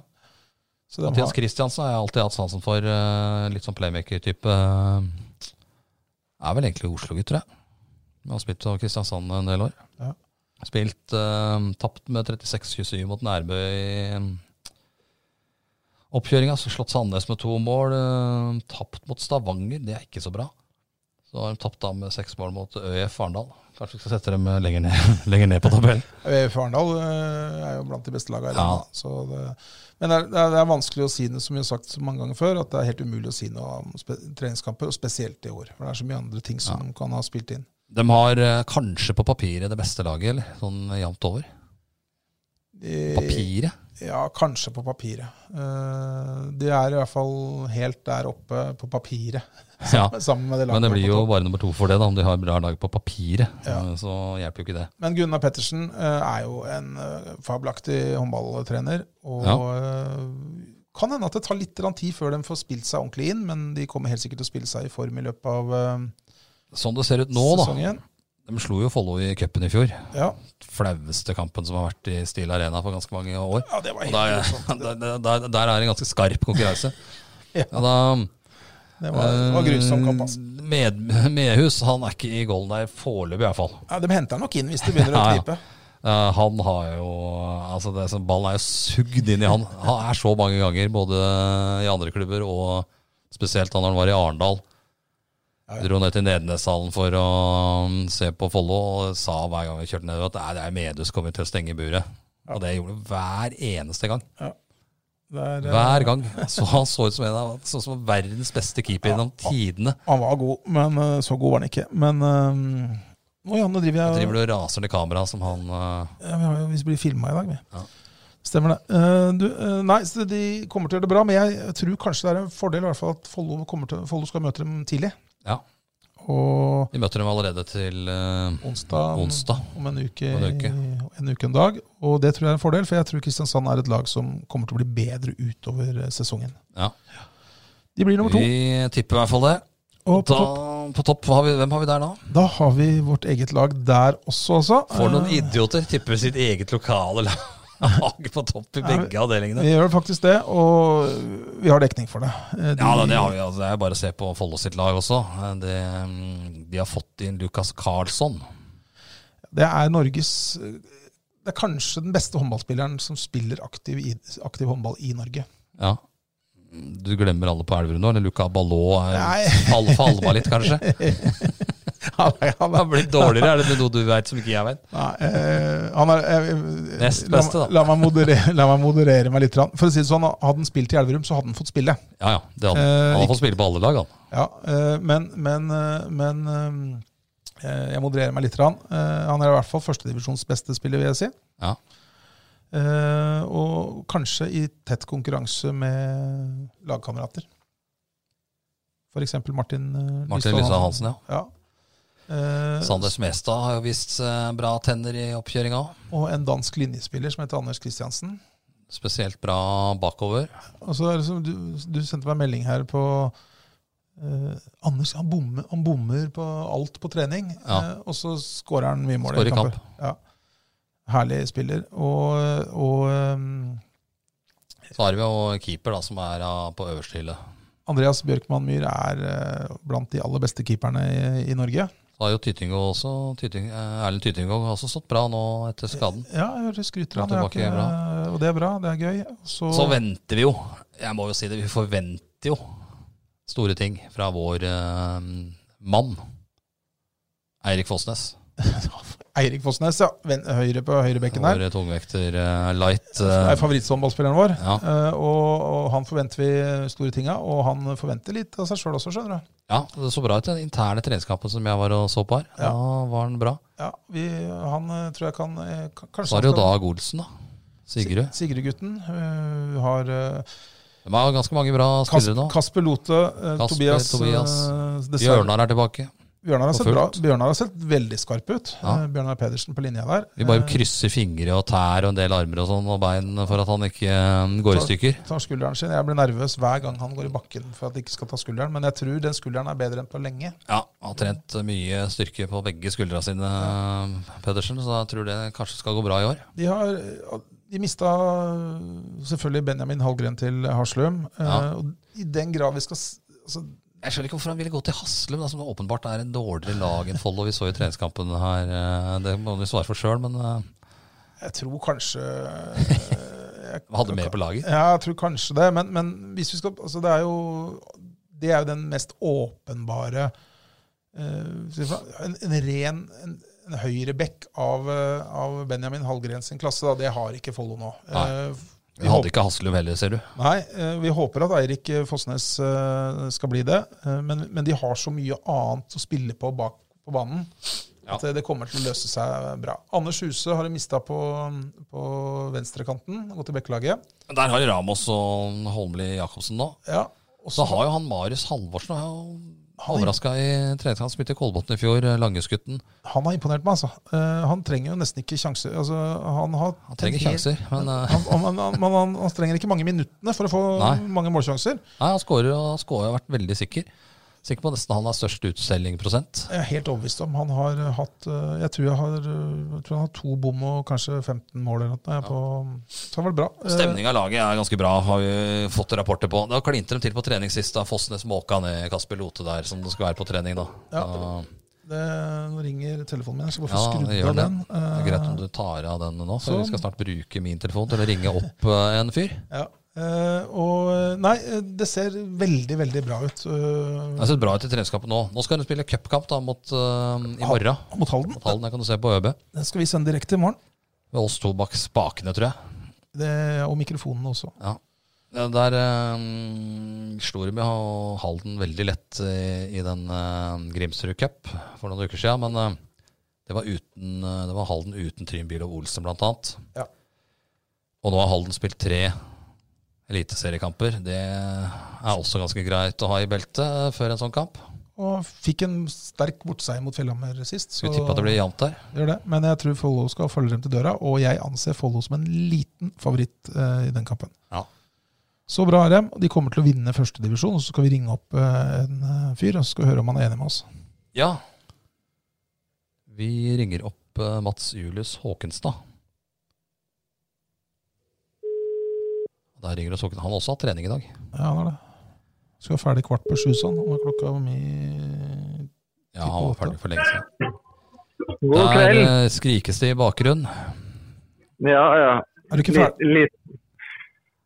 Så de Mathias har, Kristiansen har jeg alltid hatt sansen for. eh, Litt sånn playmaker-type. eh, Er vel egentlig Oslo-gutt, tror jeg. Men har spilt for Kristiansand en del år. Ja. Spilt eh, tapt med 36-27 mot Nærbø i oppkjøringa. Så slått Sandnes med to mål. eh, tapt mot Stavanger, det er ikke så bra. Så har de tapt da med seks mål mot ØIF Arendal. Kanskje vi skal sette dem eh, lenger ned, lenger ned på tabellen. VF Arendal eh, er jo blant de beste lagene i Ja. landet. så det- Men det er, det er- det er vanskelig å si noe, som vi har sagt så mange ganger før, at det er helt umulig å si noe om spe treningskamper, og spesielt i år. For det er så mye andre ting som kan ha spilt inn. De har eh, kanskje på papiret det beste laget, eller? Sånn jevnt over. De- Papiret? Ja, kanskje på papiret. Eh, De er i hvert fall helt der oppe på papiret, Ja. sammen med det laget. Men det på blir jo topp. bare nummer to for det, da, om de har bra lag på papiret. Ja. Eh, Så hjelper jo ikke det. Men Gunnar Pettersen eh, er jo en eh, fabelaktig håndballtrener. Og eh, kan hende at det tar litt grann tid før de får spilt seg ordentlig inn, men de kommer helt sikkert til å spille seg i form i løpet av eh, Sånn det ser ut nå, da. sesongen. De slo jo Follo i cupen i fjor. Ja. Flaueste kampen som har vært i Steel Arena for ganske mange år. ja, det var Og helt der, grusomt. Det, der, der, der er det en ganske skarp konkurranse. Ja. Ja, da, det var, det var grusom kamp, altså. eh, Med, Medhus han er ikke i golden der foreløpig, i hvert fall. Ja, de henter han nok inn hvis det begynner å Ja, ja. knipe. Eh, han har jo altså det, som Ballen er jo sugd inn i han. Han er så mange ganger, både i andre klubber og spesielt da han var i Arendal. Ja, ja. Dro ned til Nedeneshallen for å mm, se på Follo og sa hver gang vi kjørte nedover at "Nei, det er Medus som kommer til å stenge buret. Og det gjorde han hver eneste gang. Det er, eh, Hver gang. Så han så ut som en av sånn som verdens beste keeper gjennom tidene. Han var god, men eh, så god var han ikke. Men eh, Å ja, nå driver jeg Driver du og raser ned kameraet som han eh, Ja, vi, har, jo- vi blir filma i dag, vi. Ja. Stemmer det. Eh, du, eh, nei, så de kommer til å gjøre det bra, men jeg tror kanskje det er en fordel i hvert fall at Follo kommer til- Follo skal møte dem tidlig. Ja. Og Vi møter dem allerede til eh, onsdag, onsdag. om en uke, Om en uke. en uke en dag. Og det tror jeg er en fordel, for jeg tror Kristiansand er et lag som kommer til å bli bedre utover eh, sesongen. Ja. De blir nummer to. Vi tipper i hvert fall det. Og på da, topp, på topp hva har vi, hvem har vi der da? da har vi vårt eget lag der også, altså. For noen Eh, idioter tipper sitt eget lokale lag på topp i Ja, begge vi- avdelingene. Vi gjør faktisk det, og vi har dekning for det. Eh, de- Ja, da, det har vi. Altså, det er bare å se på Follo sitt lag også. Eh, Det, mm, de har fått inn Lukas Karlsson. Det er Norges eh, Det er kanskje den beste håndballspilleren som spiller aktiv, i, aktiv håndball i Norge. Ja. Du glemmer alle på Elverum nå? Eller Luca Ballot Nei. er fall, falma litt, kanskje? Han er, han Han er, blir dårligere, er det noe du veit som ikke jeg veit? nei, eh, han er eh, Nest beste, da. La, la, meg moderere, la meg moderere meg litt. grann. For å si det sånn, Hadde han spilt i Elverum, så hadde han fått spille. Ja ja, det hadde Eh, han. Han får spille på alle lag, han. Ja, eh, men, men, eh, men eh, jeg modererer meg litt. grann. Eh, Han er i hvert fall førstedivisjons beste spiller, vil jeg si. Ja. Eh, Og kanskje i tett konkurranse med lagkamerater. F.eks. Martin eh, Martin Lystad Hansen, ja. Ja. Eh, Sander Smestad har jo vist eh, bra tenner i oppkjøringa. og en dansk linjespiller som heter Anders Kristiansen. Spesielt bra bakover. Og så er det som du, du sendte meg en melding her på eh, Anders han bommer, han bommer på alt på trening, Ja. eh, og så skårer han mye mål Skårer i kamper. Ja. Herlig spiller. Og, og eh, Så har vi jo keeper da, som er ja, på øverste hylle. Andreas Bjørkman Myhr er eh, blant de aller beste keeperne i, i Norge. Så har jo Tytingo også, Tyting, eh, Erlend Tytingo har også stått bra nå etter skaden. Ja, jeg hørte skryter Ja, av ham. tilbake er Og det er bra, det er gøy. Så, Så venter vi jo, jeg må jo si det, vi forventer jo store ting fra vår eh, mann. Eirik Fossnes, Eirik Fossnes, ja. Ven, høyre på høyrebekken der. vår tungvekter eh, light. Det eh, er favoritthåndballspilleren vår. Ja. Eh, og, og han forventer vi store tinga, og han forventer litt av seg sjøl også, skjønner du. ja, det så bra ut i den interne treningskampen som jeg var og så på her. Ja. Da var han bra. Ja, vi, han eh, tror jeg kan eh, k- Så Kanskje har det jo han Dag Olsen, da. Sigrud. Si- Sigrid-gutten. eh, har eh, De har ganske mange bra Kas spillere nå. Kasper Lote, eh, Kasper, Tobias, Tobias, eh, dessverre- Bjørnar er tilbake. Bjørnar har, og sett bra, fullt. Bjørnar har sett veldig skarp ut. Ja. Eh, Bjørnar Pedersen på linja der. Vi bare Eh, krysser fingre og tær og en del armer og sånn og bein for at han ikke eh, går i Takk. stykker. tar skulderen sin. Jeg blir nervøs hver gang han går i bakken for at de ikke skal ta skulderen, men jeg tror den skulderen er bedre enn på lenge. Ja, har trent mye styrke på begge skuldra sine, eh, Pedersen, så jeg tror det kanskje skal gå bra i år. De har de øh, mista selvfølgelig Benjamin Hallgren til øh, Haslum. Ja. Eh, og I den grad vi skal s- altså, Jeg skjønner ikke hvorfor han ville gå til Haslum, da, som åpenbart er en dårligere lag enn Follo. Vi så jo treningskampen her. eh, Det må du svare for sjøl, men eh, Jeg tror kanskje øh, jeg, hadde mer på laget. Ja, jeg tror kanskje det. Men, men hvis vi skal altså det, er jo, det er jo den mest åpenbare eh, En, en ren en, en høyrebekk av, eh, av Benjamin Hallgren sin klasse, da, det har ikke Follo nå. Nei. Eh, Vi hadde ikke Haslum heller, ser du. Nei, eh, vi håper at Eirik eh, Fossnes eh, skal bli det. eh, Men, men de har så mye annet å spille på bak på banen at eh, det kommer til å løse seg eh, bra. Anders Huse har de mista på, på venstrekanten, gått til Bekkelaget. Der har Ramos og Holmli Jacobsen nå. Ja, og Så har jo han Marius Halvorsen har jo Han- overraska i treningskamp. Spilte i Kolbotn i fjor, eh, Langesgutten. han har imponert meg, altså. Eh, Han trenger jo nesten ikke sjanser. Altså, han har Han trenger sjanser, men eh, Han, han, han, men han, han trenger ikke mange minuttene for å få Nei. mange målsjanser. nei, han skårer og han scorer, har vært veldig sikker. Sikker på nesten han har størst utselgingprosent. Jeg er helt overbevist om han har hatt eh, Jeg tror, jeg har, eh, jeg tror han har to bom og kanskje 15 mål eller noe. jeg, På, så det har vært bra. Eh, Stemninga i laget er ganske bra, har vi fått rapporter på. Da klinte de til på trening sist, da Fossnes måka ned Kasper Lote der, som det skal være på trening da. Ja. Da- Det, nå ringer telefonen min. Jeg skal bare Ja, få skrudd det gjør av det. den. Det Eh, er greit om du tar av den nå, for Sånn. vi skal snart bruke min telefon til å ringe opp eh, en fyr. ja. Eh, og eh, Nei, eh, det ser veldig, veldig bra ut. Det eh, har sett bra ut i treningskampen nå. Nå skal hun spille cupkamp da mot eh, i morgen. mot Halden. Mot Halden, det kan du se på ØB. Den skal vi sende direkte i morgen. Med oss to bak spakene, tror jeg. Det, og mikrofonene også. Ja. Ja, Der um, slo de med ha- Halden veldig lett eh, i den eh, Grimsrud Cup for noen uker siden. Men eh, det, var uten, eh, det var Halden uten Trym Bylov Olsen, blant annet. Ja. Og nå har Halden spilt tre eliteseriekamper. Det er også ganske greit å ha i beltet før en sånn kamp. Og fikk en sterk bortseier mot Fjellhammer sist. Så Skulle tippe at det blir jevnt der. gjør det. Men jeg tror Follo skal følge dem til døra, og jeg anser Follo som en liten favoritt eh, i den kampen. Ja. Så bra er de. og De kommer til å vinne førstedivisjon. Så skal vi ringe opp eh, en eh, fyr og så skal vi høre om han er enig med oss. ja. Vi ringer opp eh, Mats Julius Håkenstad. Der ringer oss Håkenstad. Han har også hatt trening i dag. Ja, han er det. Skal være ferdig kvart på sju sånn. Og klokka mi Ja, han var ferdig for lenge siden. God Der kveld. eh, skrikes det i bakgrunnen. Ja, ja. Er du ikke Litt, ferdig? litt.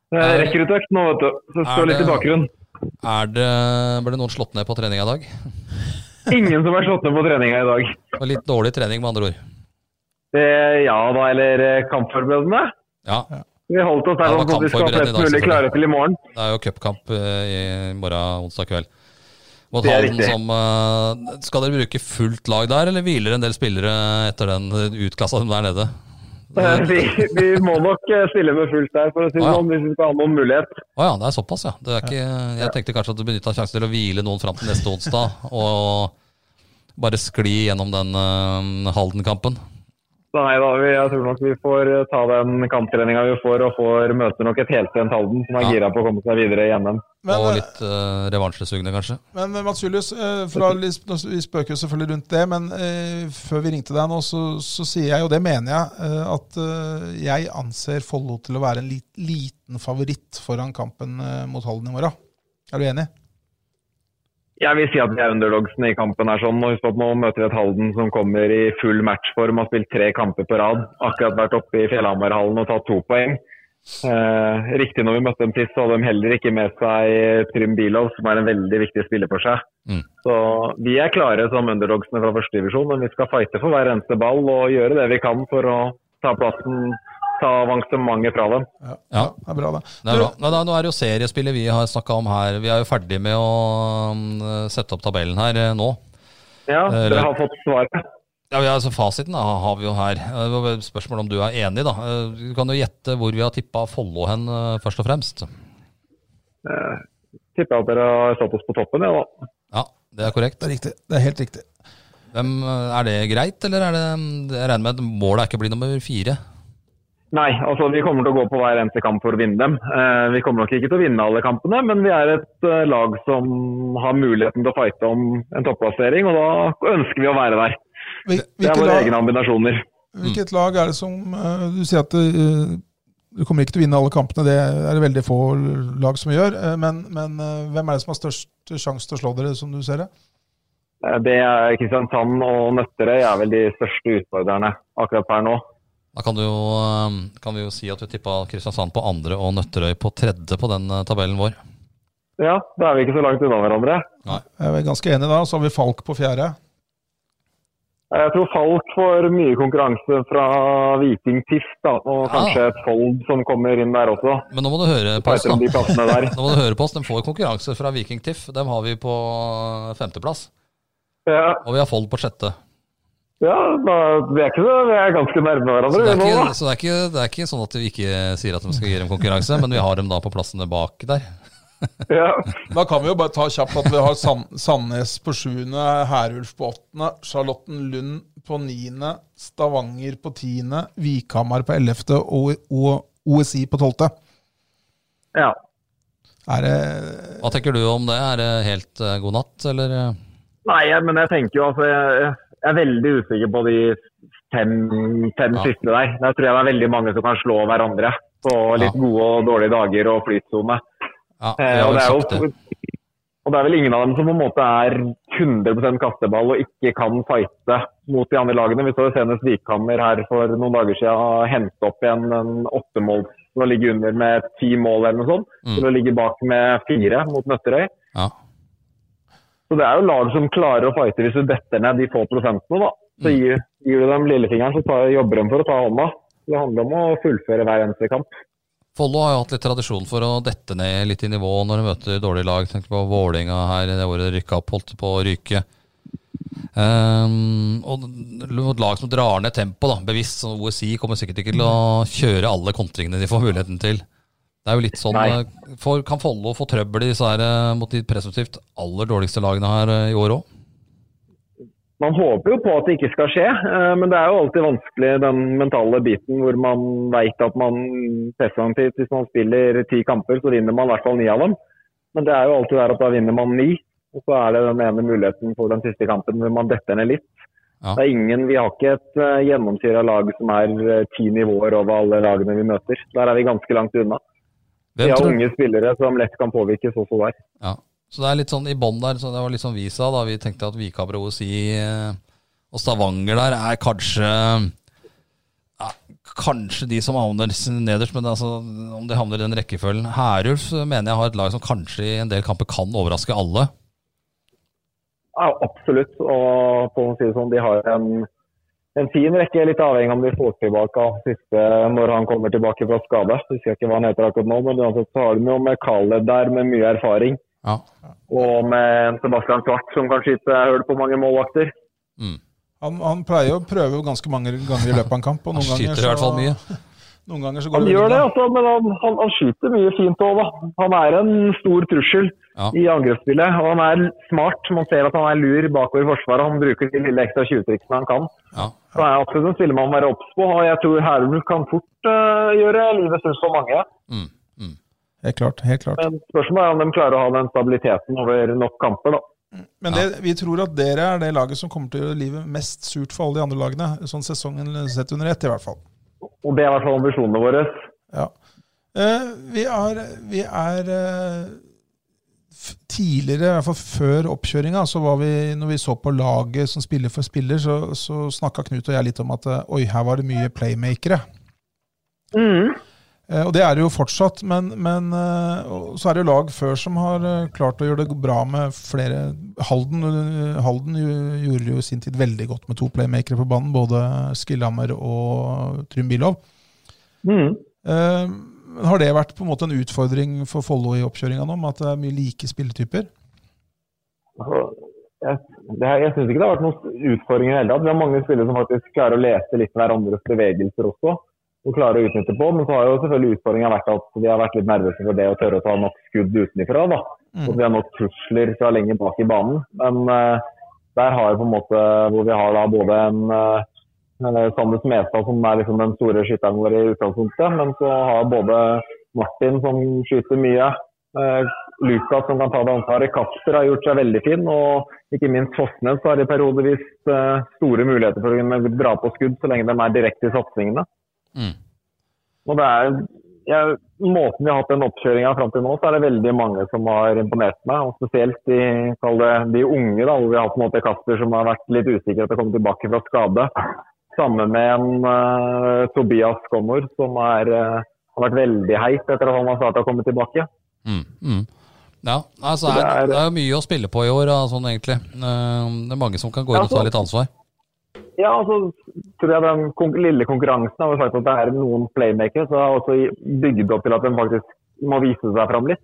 Det er Er- rekruttøkt nå, vet du. Så det Er står litt det- i bakgrunnen. Er det, ble noen slått ned på treninga i dag? Ingen som er slått ned på treninga i dag. Det var litt dårlig trening, med andre ord. Eh, ja da, eller eh, kampforberedende. Ja, Vi holdt oss Ja, her det var sånn at vi skal kampforberedende ha i dag, flest mulig klare til i morgen. det er jo cupkamp eh, i morgen onsdag kveld. Mot Det er Halden riktig. som eh, Skal dere bruke fullt lag der, eller hviler en del spillere etter den utklassa som der nede? Eh, Vi, vi må nok eh, stille med fullt der, for å si det Ja. sånn, hvis vi skal ha noen mulighet. Å ja, det er såpass, ja. Det er ikke, jeg tenkte kanskje at du benytta sjansen til å hvile noen fram til neste onsdag, og bare skli gjennom den eh, Halden-kampen. Så nei da, vi, jeg tror nok vi får eh, ta den kamptreninga vi får, og får møter nok et heltrent Halden som er Ja. gira på å komme seg videre i NM. Men, Og eh, litt uh, revansjesugne, kanskje. men eh, Mats Julius, eh, fra, Lis- nå s- vi spøker jo selvfølgelig rundt det, men eh, før vi ringte deg nå, så, så sier jeg, og det mener jeg, eh, at eh, jeg anser Follo til å være en lit, liten favoritt foran kampen eh, mot Halden i morgen. Er du enig? Jeg vil si at vi er underdogsene i kampen her sånn. Og husk at nå møter vi et Halden som kommer i full matchform, har spilt tre kamper på rad. Akkurat vært oppe i Fjellhamarhallen og tatt to poeng. Eh, riktig når vi møtte dem sist, så hadde de heller ikke med seg Trym Bilov, som er en veldig viktig spiller for seg. Mm. Så vi er klare som underdogsene fra første divisjon, men vi skal fighte for hver eneste ball og gjøre det vi kan for å ta plassen, ta avansementet fra dem. Ja, Ja. Det er bra, det. Det er Du, bra. Nei, da, nå er det jo seriespillet vi har snakka om her. Vi er jo ferdig med å mm, sette opp tabellen her eh, nå. Ja, Eh, dere har fått svaret. Ja, vi har, altså Fasiten da, har vi jo her. Eh, Det var bare Spørsmålet om du er enig, da. Eh, Du kan jo gjette hvor vi har tippa Follo hen, eh, først og fremst. Tipper jeg at dere har satt oss på toppen, ja da. Ja, det er korrekt. Det er riktig. Det er helt riktig. Hvem, eh, er det greit, eller er det Jeg regner med at målet er ikke å bli nummer fire. Nei, altså vi kommer til å gå på hver eneste kamp for å vinne dem. Eh, vi kommer nok ikke til å vinne alle kampene, men vi er et eh, lag som har muligheten til å fighte om en topplassering, og da ønsker vi å være der. Hvil- Det hvilke er våre lag- Mm. egne ambinasjoner. Hvilket lag er det som eh, Du sier at eh, Du kommer ikke til å vinne alle kampene, det er det veldig få lag som gjør. eh, Men, men eh, hvem er det som har størst sjanse til å slå dere, som du ser det? Eh, Det er Kristiansand og Nøtterøy er vel de største utfordrerne akkurat per nå. Da kan, du jo, eh, kan vi jo si at du tippa Kristiansand på andre og Nøtterøy på tredje på den eh, tabellen vår. Ja, da er vi ikke så langt unna hverandre. Jeg er vel ganske enig da. Så har vi Falk på fjerde. Eh, Jeg tror Falk får mye konkurranse fra Viking Tiff, da, og Ja. kanskje et Fold som kommer inn der også. Men nå må du høre på oss, Fighter da. om de plassene der. Nå må du høre på oss. De får konkurranse fra Viking Tiff. Dem har vi på eh, femteplass. Ja, Og vi har Fold på sjette. ja da, vi, er ikke så, vi er ganske nærme Så det hverandre. er vi nå, ikke, da. så det er ikke, det er ikke sånn at vi ikke sier at de skal gi dem konkurranse, men vi har dem da på plassene bak der. Ja. Da kan vi jo bare ta kjapt at vi har San- Sandnes på sjuende, Herulf på åttende, Charlottenlund på niende, Stavanger på tiende, Vikhamar på ellevte og, og OSI på tolvte. ja. Er det Hva tenker du om det? Er det helt eh, god natt, eller? eh? Nei, jeg, men jeg tenker jo altså jeg, jeg er veldig usikker på de fem, fem Ja. siste der. Der tror jeg det er veldig mange som kan slå hverandre på litt Ja. gode og dårlige dager og flytsone. Ja, vi Eh, har og, vel det sagt er jo, og det er vel ingen av dem som på en måte er 100 kasteball og ikke kan fighte mot de andre lagene. Vi så jo senest Vikhammer her for noen dager siden hente opp igjen en åttemål til å ligge under med ti mål eller noe sånt, Mm. til å ligge bak med fire mot Nøtterøy. Ja. Så det er jo lag som klarer å fighte hvis du detter ned de få prosentene, da. Så Mm. gir, gir du dem lillefingeren, så tar, jobber de for å ta hånda. Det handler om å fullføre hver eneste kamp. Follo har jo hatt litt tradisjon for å dette ned litt i nivå når de møter dårlige lag. Tenk på Vålinga her det året de rykka opp, holdt på å ryke. Ehm, og et lag som drar ned tempo da, bevisst. Så OSI kommer sikkert ikke til å kjøre alle kontringene de får muligheten til. Det er jo litt sånn, Nei. eh, for, Kan Follo få trøbbel i disse her, eh, mot de presumptivt aller dårligste lagene her eh, i år òg? Man håper jo på at det ikke skal skje, eh, men det er jo alltid vanskelig den mentale biten hvor man veit at man presumptivt, hvis man spiller ti kamper, så vinner man i hvert fall ni av dem. Men det er jo alltid der at da vinner man ni, og så er det den ene muligheten for den siste kampen hvor man detter ned litt. Ja. Det er ingen, Vi har ikke et uh, gjennomsyra lag som er eh, ti nivåer over alle lagene vi møter. Der er vi ganske langt unna. Vi Hvem har tror- unge spillere som lett kan påvirkes også der. Ja. Så det er litt sånn i bånn der, så det var litt sånn vi sa da. Vi tenkte at Vikabro og Si eh, og Stavanger der er kanskje ja, Kanskje de som havner s- nederst, men altså, om de havner i den rekkefølgen Herulf eh, mener jeg har et lag som kanskje i en del kamper kan overraske alle. Ja, absolutt. Og på å si det sånn, de har en, en fin rekke, litt avhengig av om de får tilbake av siste når han kommer tilbake fra skade. Husker jeg ikke hva han heter akkurat nå, men uansett så har de jo med Khaled der med mye erfaring. Ja. Og med Sebastian Svart som kan skyte hull på mange målvakter. han, han pleier jo å prøve ganske mange ganger i løpet av en kamp. Og Han noen ganger, skyter i hvert fall mye. så, noen ganger så går Han det gjør det, bra. altså, men han, han, han skyter mye fint òg, da. Han er en stor trussel Ja. i angrepsspillet. Og han er smart. Man ser at han er lur bakover i forsvaret. Han bruker de lille ekstra tjuvtriksene han kan. Ja. Så er jeg absolutt en spiller man må være obs på, og jeg tror Herluf kan fort eh, gjøre livet sunt for mange. Mm, mm. Helt klart, helt klart. Men spørsmålet er om de klarer å ha den stabiliteten over nok kamper, da. Men det, vi tror at dere er det laget som kommer til å gjøre livet mest surt for alle de andre lagene. Sånn sesongen sett under ett, i hvert fall. Og det er i hvert fall ambisjonene våre. Ja. Eh, vi er, vi er eh, f- Tidligere, i hvert fall før oppkjøringa, så var vi, når vi så på laget som spiller for spiller, så, så snakka Knut og jeg litt om at eh, oi, her var det mye playmakere. Eh, Og det er det jo fortsatt, men, men eh, og så er det jo lag før som har eh, klart å gjøre det bra med flere. Halden, eh, Halden jo- gjorde jo i sin tid veldig godt med to playmakere på banen, både Skillhammer og Trym Bilov. Mhm. Eh, men Har det vært på en måte en utfordring for Follo i oppkjøringa nå, med at det er mye like spilletyper? Altså, Jeg, det her- jeg syns ikke det har vært noen utfordringer i det hele tatt. Vi har mange spillere som faktisk klarer å lese litt hverandres bevegelser også, og klarer å utnytte på. Men så har jo selvfølgelig utfordringa vært at vi har vært litt nervøse for det å tørre å ta nok skudd utenfra, da. Mm. Og vi har nok trusler fra lenge bak i banen. Men eh, der har vi på en måte hvor vi har da både en uh, Sander Smestad, som er liksom den store skytteren vår i utgangspunktet, men så har både Martin, som skyter mye, eh, Lukas, som kan ta det ansvaret, Kasper har gjort seg veldig fin, og ikke minst Fossnes har i periodevis eh, store muligheter for å kunne dra på skudd så lenge de er direkte i satsingene. Mm. Og det er, jeg, måten vi har hatt den oppkjøringa fram til nå, så er det veldig mange som har imponert meg. Og spesielt de, kall det, de unge, da, hvor vi har på en måte Kasper som har vært litt usikker etter å komme tilbake fra skade. Sammen med en eh, Tobias Skonnor som er, eh, har vært veldig heit etter at han har starta å komme tilbake. Mm, mm. Ja, altså er, Det er- det er jo mye å spille på i år, da, sånn egentlig. Eh, Det er mange som kan gå inn og ta litt ansvar. Ja, og så tror jeg den kon lille konkurransen har jo sagt at det er noen playmakere som har også bygd opp til at de faktisk må vise seg fram litt.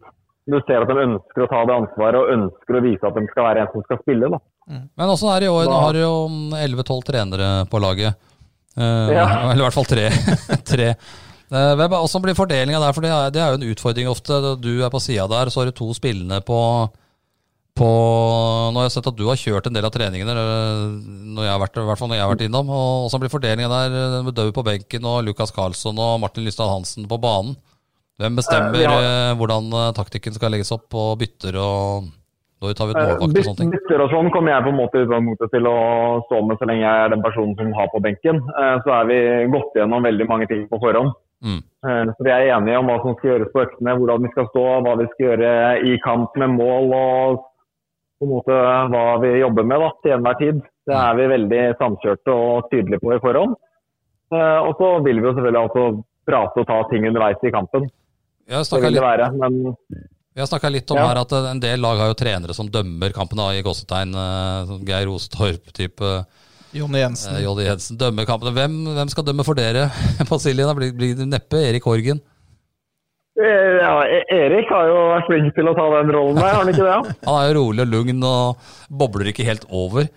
Du ser at de ønsker å ta det ansvaret og ønsker å vise at de skal være en som skal spille. Da. Men åssen er det i år? Nå Hva- har du jo 11-12 trenere på laget. Eh, Ja. Eller i hvert fall tre. tre. Eh, hvem er- Åssen blir fordelinga der? For det er, det er jo en utfordring ofte. Du er på sida der, så har du to spillende på på, nå har jeg sett at du har kjørt en del av treningene, eh, når jeg har vært, i hvert fall når jeg har vært innom. og Åssen blir fordelinga der? eh, Med Døv på benken og Lukas Karlsson og Martin Lystad Hansen på banen. Hvem bestemmer Eh, vi har- eh, hvordan eh, taktikken skal legges opp, og bytter og Når tar vi ut Eh, målvakt og sånne ting? Bytter og sånn kommer jeg på en måte i utgangspunktet til å stå med så lenge jeg er den personen som har på benken. Eh, Så er vi gått gjennom veldig mange ting på forhånd. Mm. Eh, Så vi er enige om hva som skal gjøres på øktene, hvordan vi skal stå, hva vi skal gjøre i kamp med mål og på en måte hva vi jobber med da, til enhver tid. Det er vi veldig samkjørte og tydelige på i forhånd. Eh, Og så vil vi jo selvfølgelig også prate og ta ting underveis i kampen. Jeg har Det snakket vil litt det være. Men Vi har snakka litt om Ja. her at eh, en del lag har jo trenere som dømmer kampene da, i gåsetegn. eh, sånn Geir Ostorp-type. Jonny Jensen. Eh, Joddy Jensen dømmer kampene. Hvem, hvem skal dømme for dere på Silje? Da blir, blir det neppe Erik Horgen. eh, ja, E- Erik har jo vært flink til å ta den rollen der, har han ikke det? ja? Han er jo rolig og lugn og bobler ikke helt over.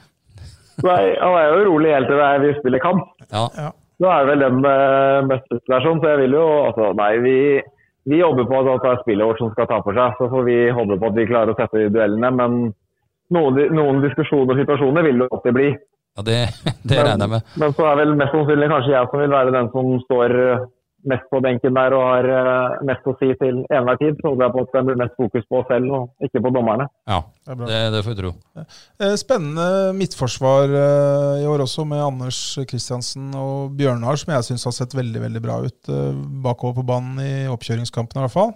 Nei, han er jo rolig helt til det er vi spiller kamp. Ja, Da er det vel den med mest situasjon, så jeg vil jo altså Nei, vi, vi jobber på at det er spillet vårt som skal ta for seg. Så får vi håpe på at vi klarer å sette de duellene. Men noen, noen diskusjoner og situasjoner vil det alltid bli. ja det, det regner jeg med. Men så er vel mest sannsynlig kanskje jeg som vil være den som står eh, mest på benken der og har eh, mest å si til enhver tid. Så håper jeg på at det blir mest fokus på oss selv og ikke på dommerne. Ja, Det er bra. det, det får vi tro. Eh, Spennende midtforsvar eh, i år også, med Anders Kristiansen og Bjørnar, som jeg syns har sett veldig veldig bra ut eh, bakover på banen i oppkjøringskampene, i hvert fall.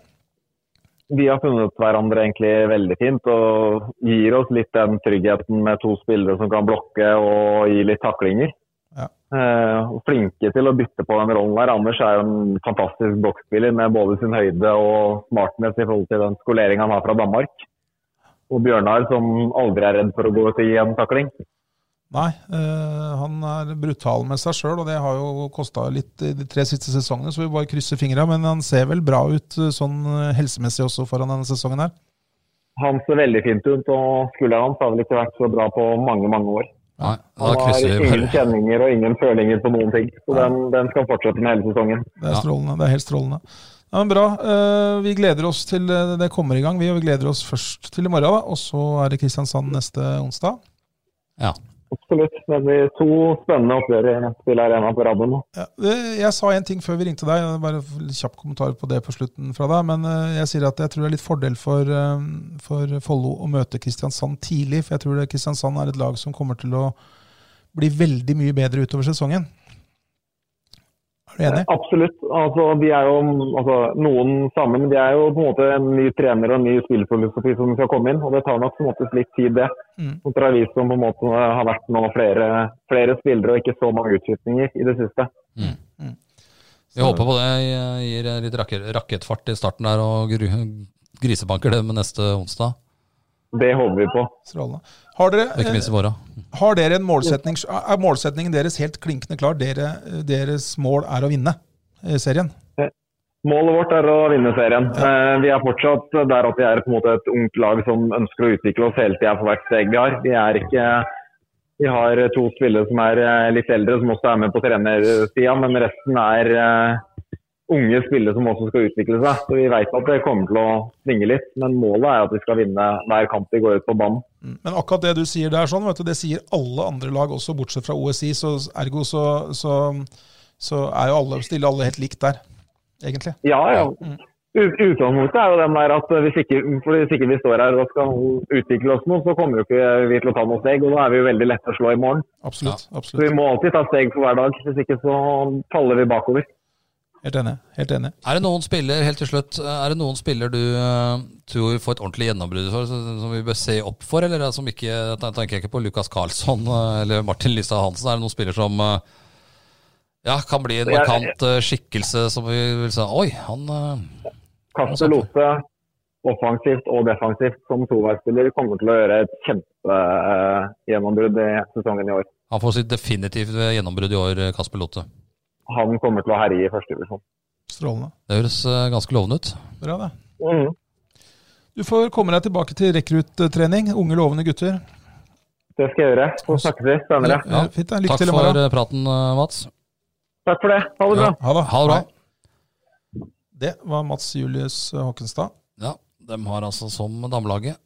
Vi har funnet hverandre egentlig veldig fint og gir oss litt den tryggheten med to spillere som kan blokke og gi litt taklinger. Ja. Eh, og flinke til å bytte på den rollen der. Anders er jo en fantastisk boksspiller med både sin høyde og smartness i forhold til den skoleringen han har fra Danmark. Og Bjørnar som aldri er redd for å gå ut i en takling. Nei, eh, han er brutal med seg sjøl, og det har jo kosta litt i de tre siste sesongene, så vi bare krysser fingra. Men han ser vel bra ut eh, sånn eh, helsemessig også foran denne sesongen her. Han ser veldig fint ut, og skulderen hans har vel ikke vært så bra på mange, mange år. Nei, da Han har krysser vi ingen bare. kjenninger og ingen følinger på noen ting. Så den, den skal fortsette med hele sesongen. Det er Ja. strålende. Det er helt strålende. Ja, men bra. Eh, Vi gleder oss til eh, det kommer i gang. Vi, og vi gleder oss først til i morgen, da, og så er det Kristiansand neste onsdag. Ja. Absolutt. Det blir to spennende oppgjør i Spill Arena på radioen. nå. Ja, eh, jeg sa en ting før vi ringte deg, og det er bare en kjapp kommentar på det på slutten fra deg. Men eh, jeg sier at jeg tror det er litt fordel for, eh, for Follo å møte Kristiansand tidlig. For jeg tror det Kristiansand er et lag som kommer til å bli veldig mye bedre utover sesongen. Er du enig? Absolutt. Altså, de er jo altså, noen sammen. De er jo på en måte en ny trener og en ny spillfilosofi som skal komme inn. Og det tar nok på en måte litt tid, det. Mm. Kontra vi som på en måte har vært nå flere, flere spillere og ikke så mange utskiftninger i det siste. Vi håper på det. Jeg Gir eh, litt rakke- rakettfart i starten der og gru- grisebanker dem neste onsdag. Det håper vi på. Strålende. Har dere, Og ikke minst i morgen. eh, har dere en målsetning? Er målsetningen deres helt klinkende klar? Dere, deres mål er å vinne eh, serien? Målet vårt er å vinne serien. Eh, Vi er fortsatt der at vi er på en måte et ungt lag som ønsker å utvikle oss hele tida for hvert steg vi har. Vi, er ikke, vi har to spillere som er eh, litt eldre, som også er med på trenersida, men resten er eh, unge spillere som også skal utvikle seg. Så vi veit at det kommer til å svinge litt, men målet er at vi skal vinne hver kamp vi går ut på banen. Mm. Men akkurat det du sier der, sånn, vet du, det sier alle andre lag også, bortsett fra OSI. Så ergo så, så, så er jo alle, stiller alle helt likt der, egentlig. Ja, ja. Ut- Utgangspunktet er jo den der at hvis ikke, for hvis ikke vi står her og skal utvikle oss noe, så kommer jo ikke vi til å ta noe steg. Og da er vi jo veldig lette å slå i morgen. Absolutt. Så vi absolutt. må alltid ta steg for hver dag, hvis ikke så faller vi bakover. Helt enig. Helt enig. Er det noen spiller helt til slutt, eh, er det noen spiller du eh, tror får et ordentlig gjennombrudd for, som som vi bør se opp for? Eller er det som ikke, da tenker jeg ikke på Lukas Karlsson eh, eller Martin Lystad Hansen. Er det noen spiller som eh, ja, kan bli en Jeg- markant eh, skikkelse som vi vil si Oi, han eh, Castellote offensivt og defensivt som toveisspiller kommer til å gjøre et kjempegjennombrudd i sesongen i år. han får sitt definitive gjennombrudd i år, eh, Kasper Lotte. Han kommer til å herje i første divisjon. Strålende. Det høres eh, ganske lovende ut. Bra, det. Mm. Du får komme deg tilbake til rekruttrening. Unge, lovende gutter. Det skal jeg gjøre. Så snakkes vi senere. Ja, fint, da. Lykke Takk til i for morgen. eh, praten, eh, Mats. Takk for det. Ha det bra. Ha det. Ha det bra. Det var Mats Julius Håkenstad. Ja, de har altså som damelaget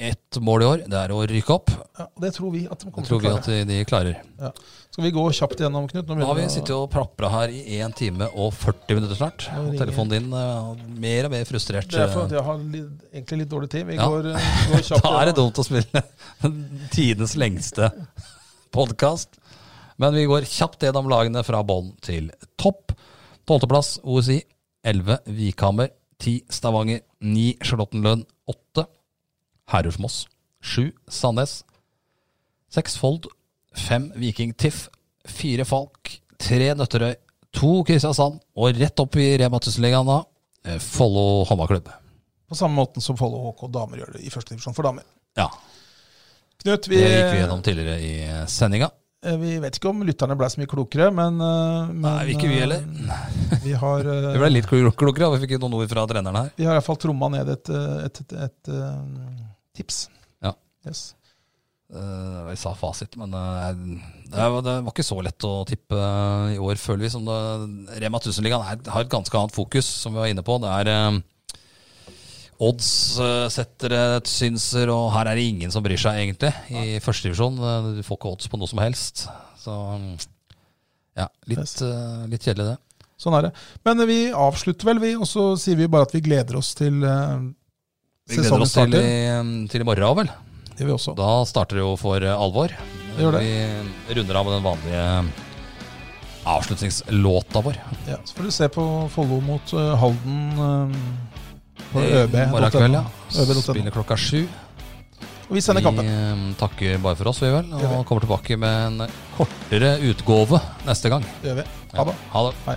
ett mål i år. Det er å rykke opp. Ja, det tror vi at de Det kommer til tror å vi klare. at de, de klarer. Skal vi gå kjapt gjennom, Knut? Nå Nå har vi begynner å- sittet og prapra her i 1 time og 40 minutter snart. Nå Og ringer- telefonen din er mer og mer frustrert. Det er for at jeg har litt, egentlig litt dårlig tid. Vi Ja. går, går kjapt Da er det gjennom. dumt å spille tidenes lengste podkast. Men vi går kjapt gjennom lagene fra bånn til topp. Tolvteplass OSI. 11 Vikhammer. 10 Stavanger. 9 Charlottenlønn. 8 Herulfmoss. 7 Sandnes. 6 Fold. 5 Viking Tiff. 4 Falk. 3 Nøtterøy. 2 Kristiansand. Og rett opp i Rema 1000-ligaen da, eh, Follo håndballklubb. På samme måten som Follo HK damer gjør det i første divisjon for damer. Ja, Knut, vi, det gikk vi gjennom tidligere i eh, sendinga. eh, vi vet ikke om lytterne ble så mye klokere, men, eh, men Nei, vi ikke vi eh, heller. Vi har, eh, Vi ble litt klo- klokere, og vi fikk noen ord fra treneren her. vi har i hvert fall tromma ned et, eh, et, et, et eh, tips. Ja. Yes. Eh, Vi sa fasit, men eh, det var, det var ikke så lett å tippe eh, i år, føler vi. Som det, Rema 1000-ligaen er- har et ganske annet fokus, som vi var inne på. Det er eh, odds eh, settere, synser, og her er det ingen som bryr seg, egentlig, i førstedivisjon. Du får ikke odds på noe som helst. Så ja, litt, Yes. eh, litt kjedelig, det. Sånn er det. Men eh, vi avslutter vel, vi, og så sier vi bare at vi gleder oss til eh, Vi gleder sesongen oss til i, eh, starter. til i morgen òg, vel? Det gjør vi også. Da starter det jo for eh, alvor. Det gjør det. Vi runder av med den vanlige avslutningslåta vår. Ja, så får du se på Follo mot eh, Halden eh, på I øb.no. Morgen kveld, ja. ØB.no. Spiller klokka sju. Og vi Vi sender kampen. eh, takker bare for oss, vi vel. Gjør Og vi. kommer tilbake med en kortere utgave neste gang. Det gjør vi. Ha det. Ha det. Hei.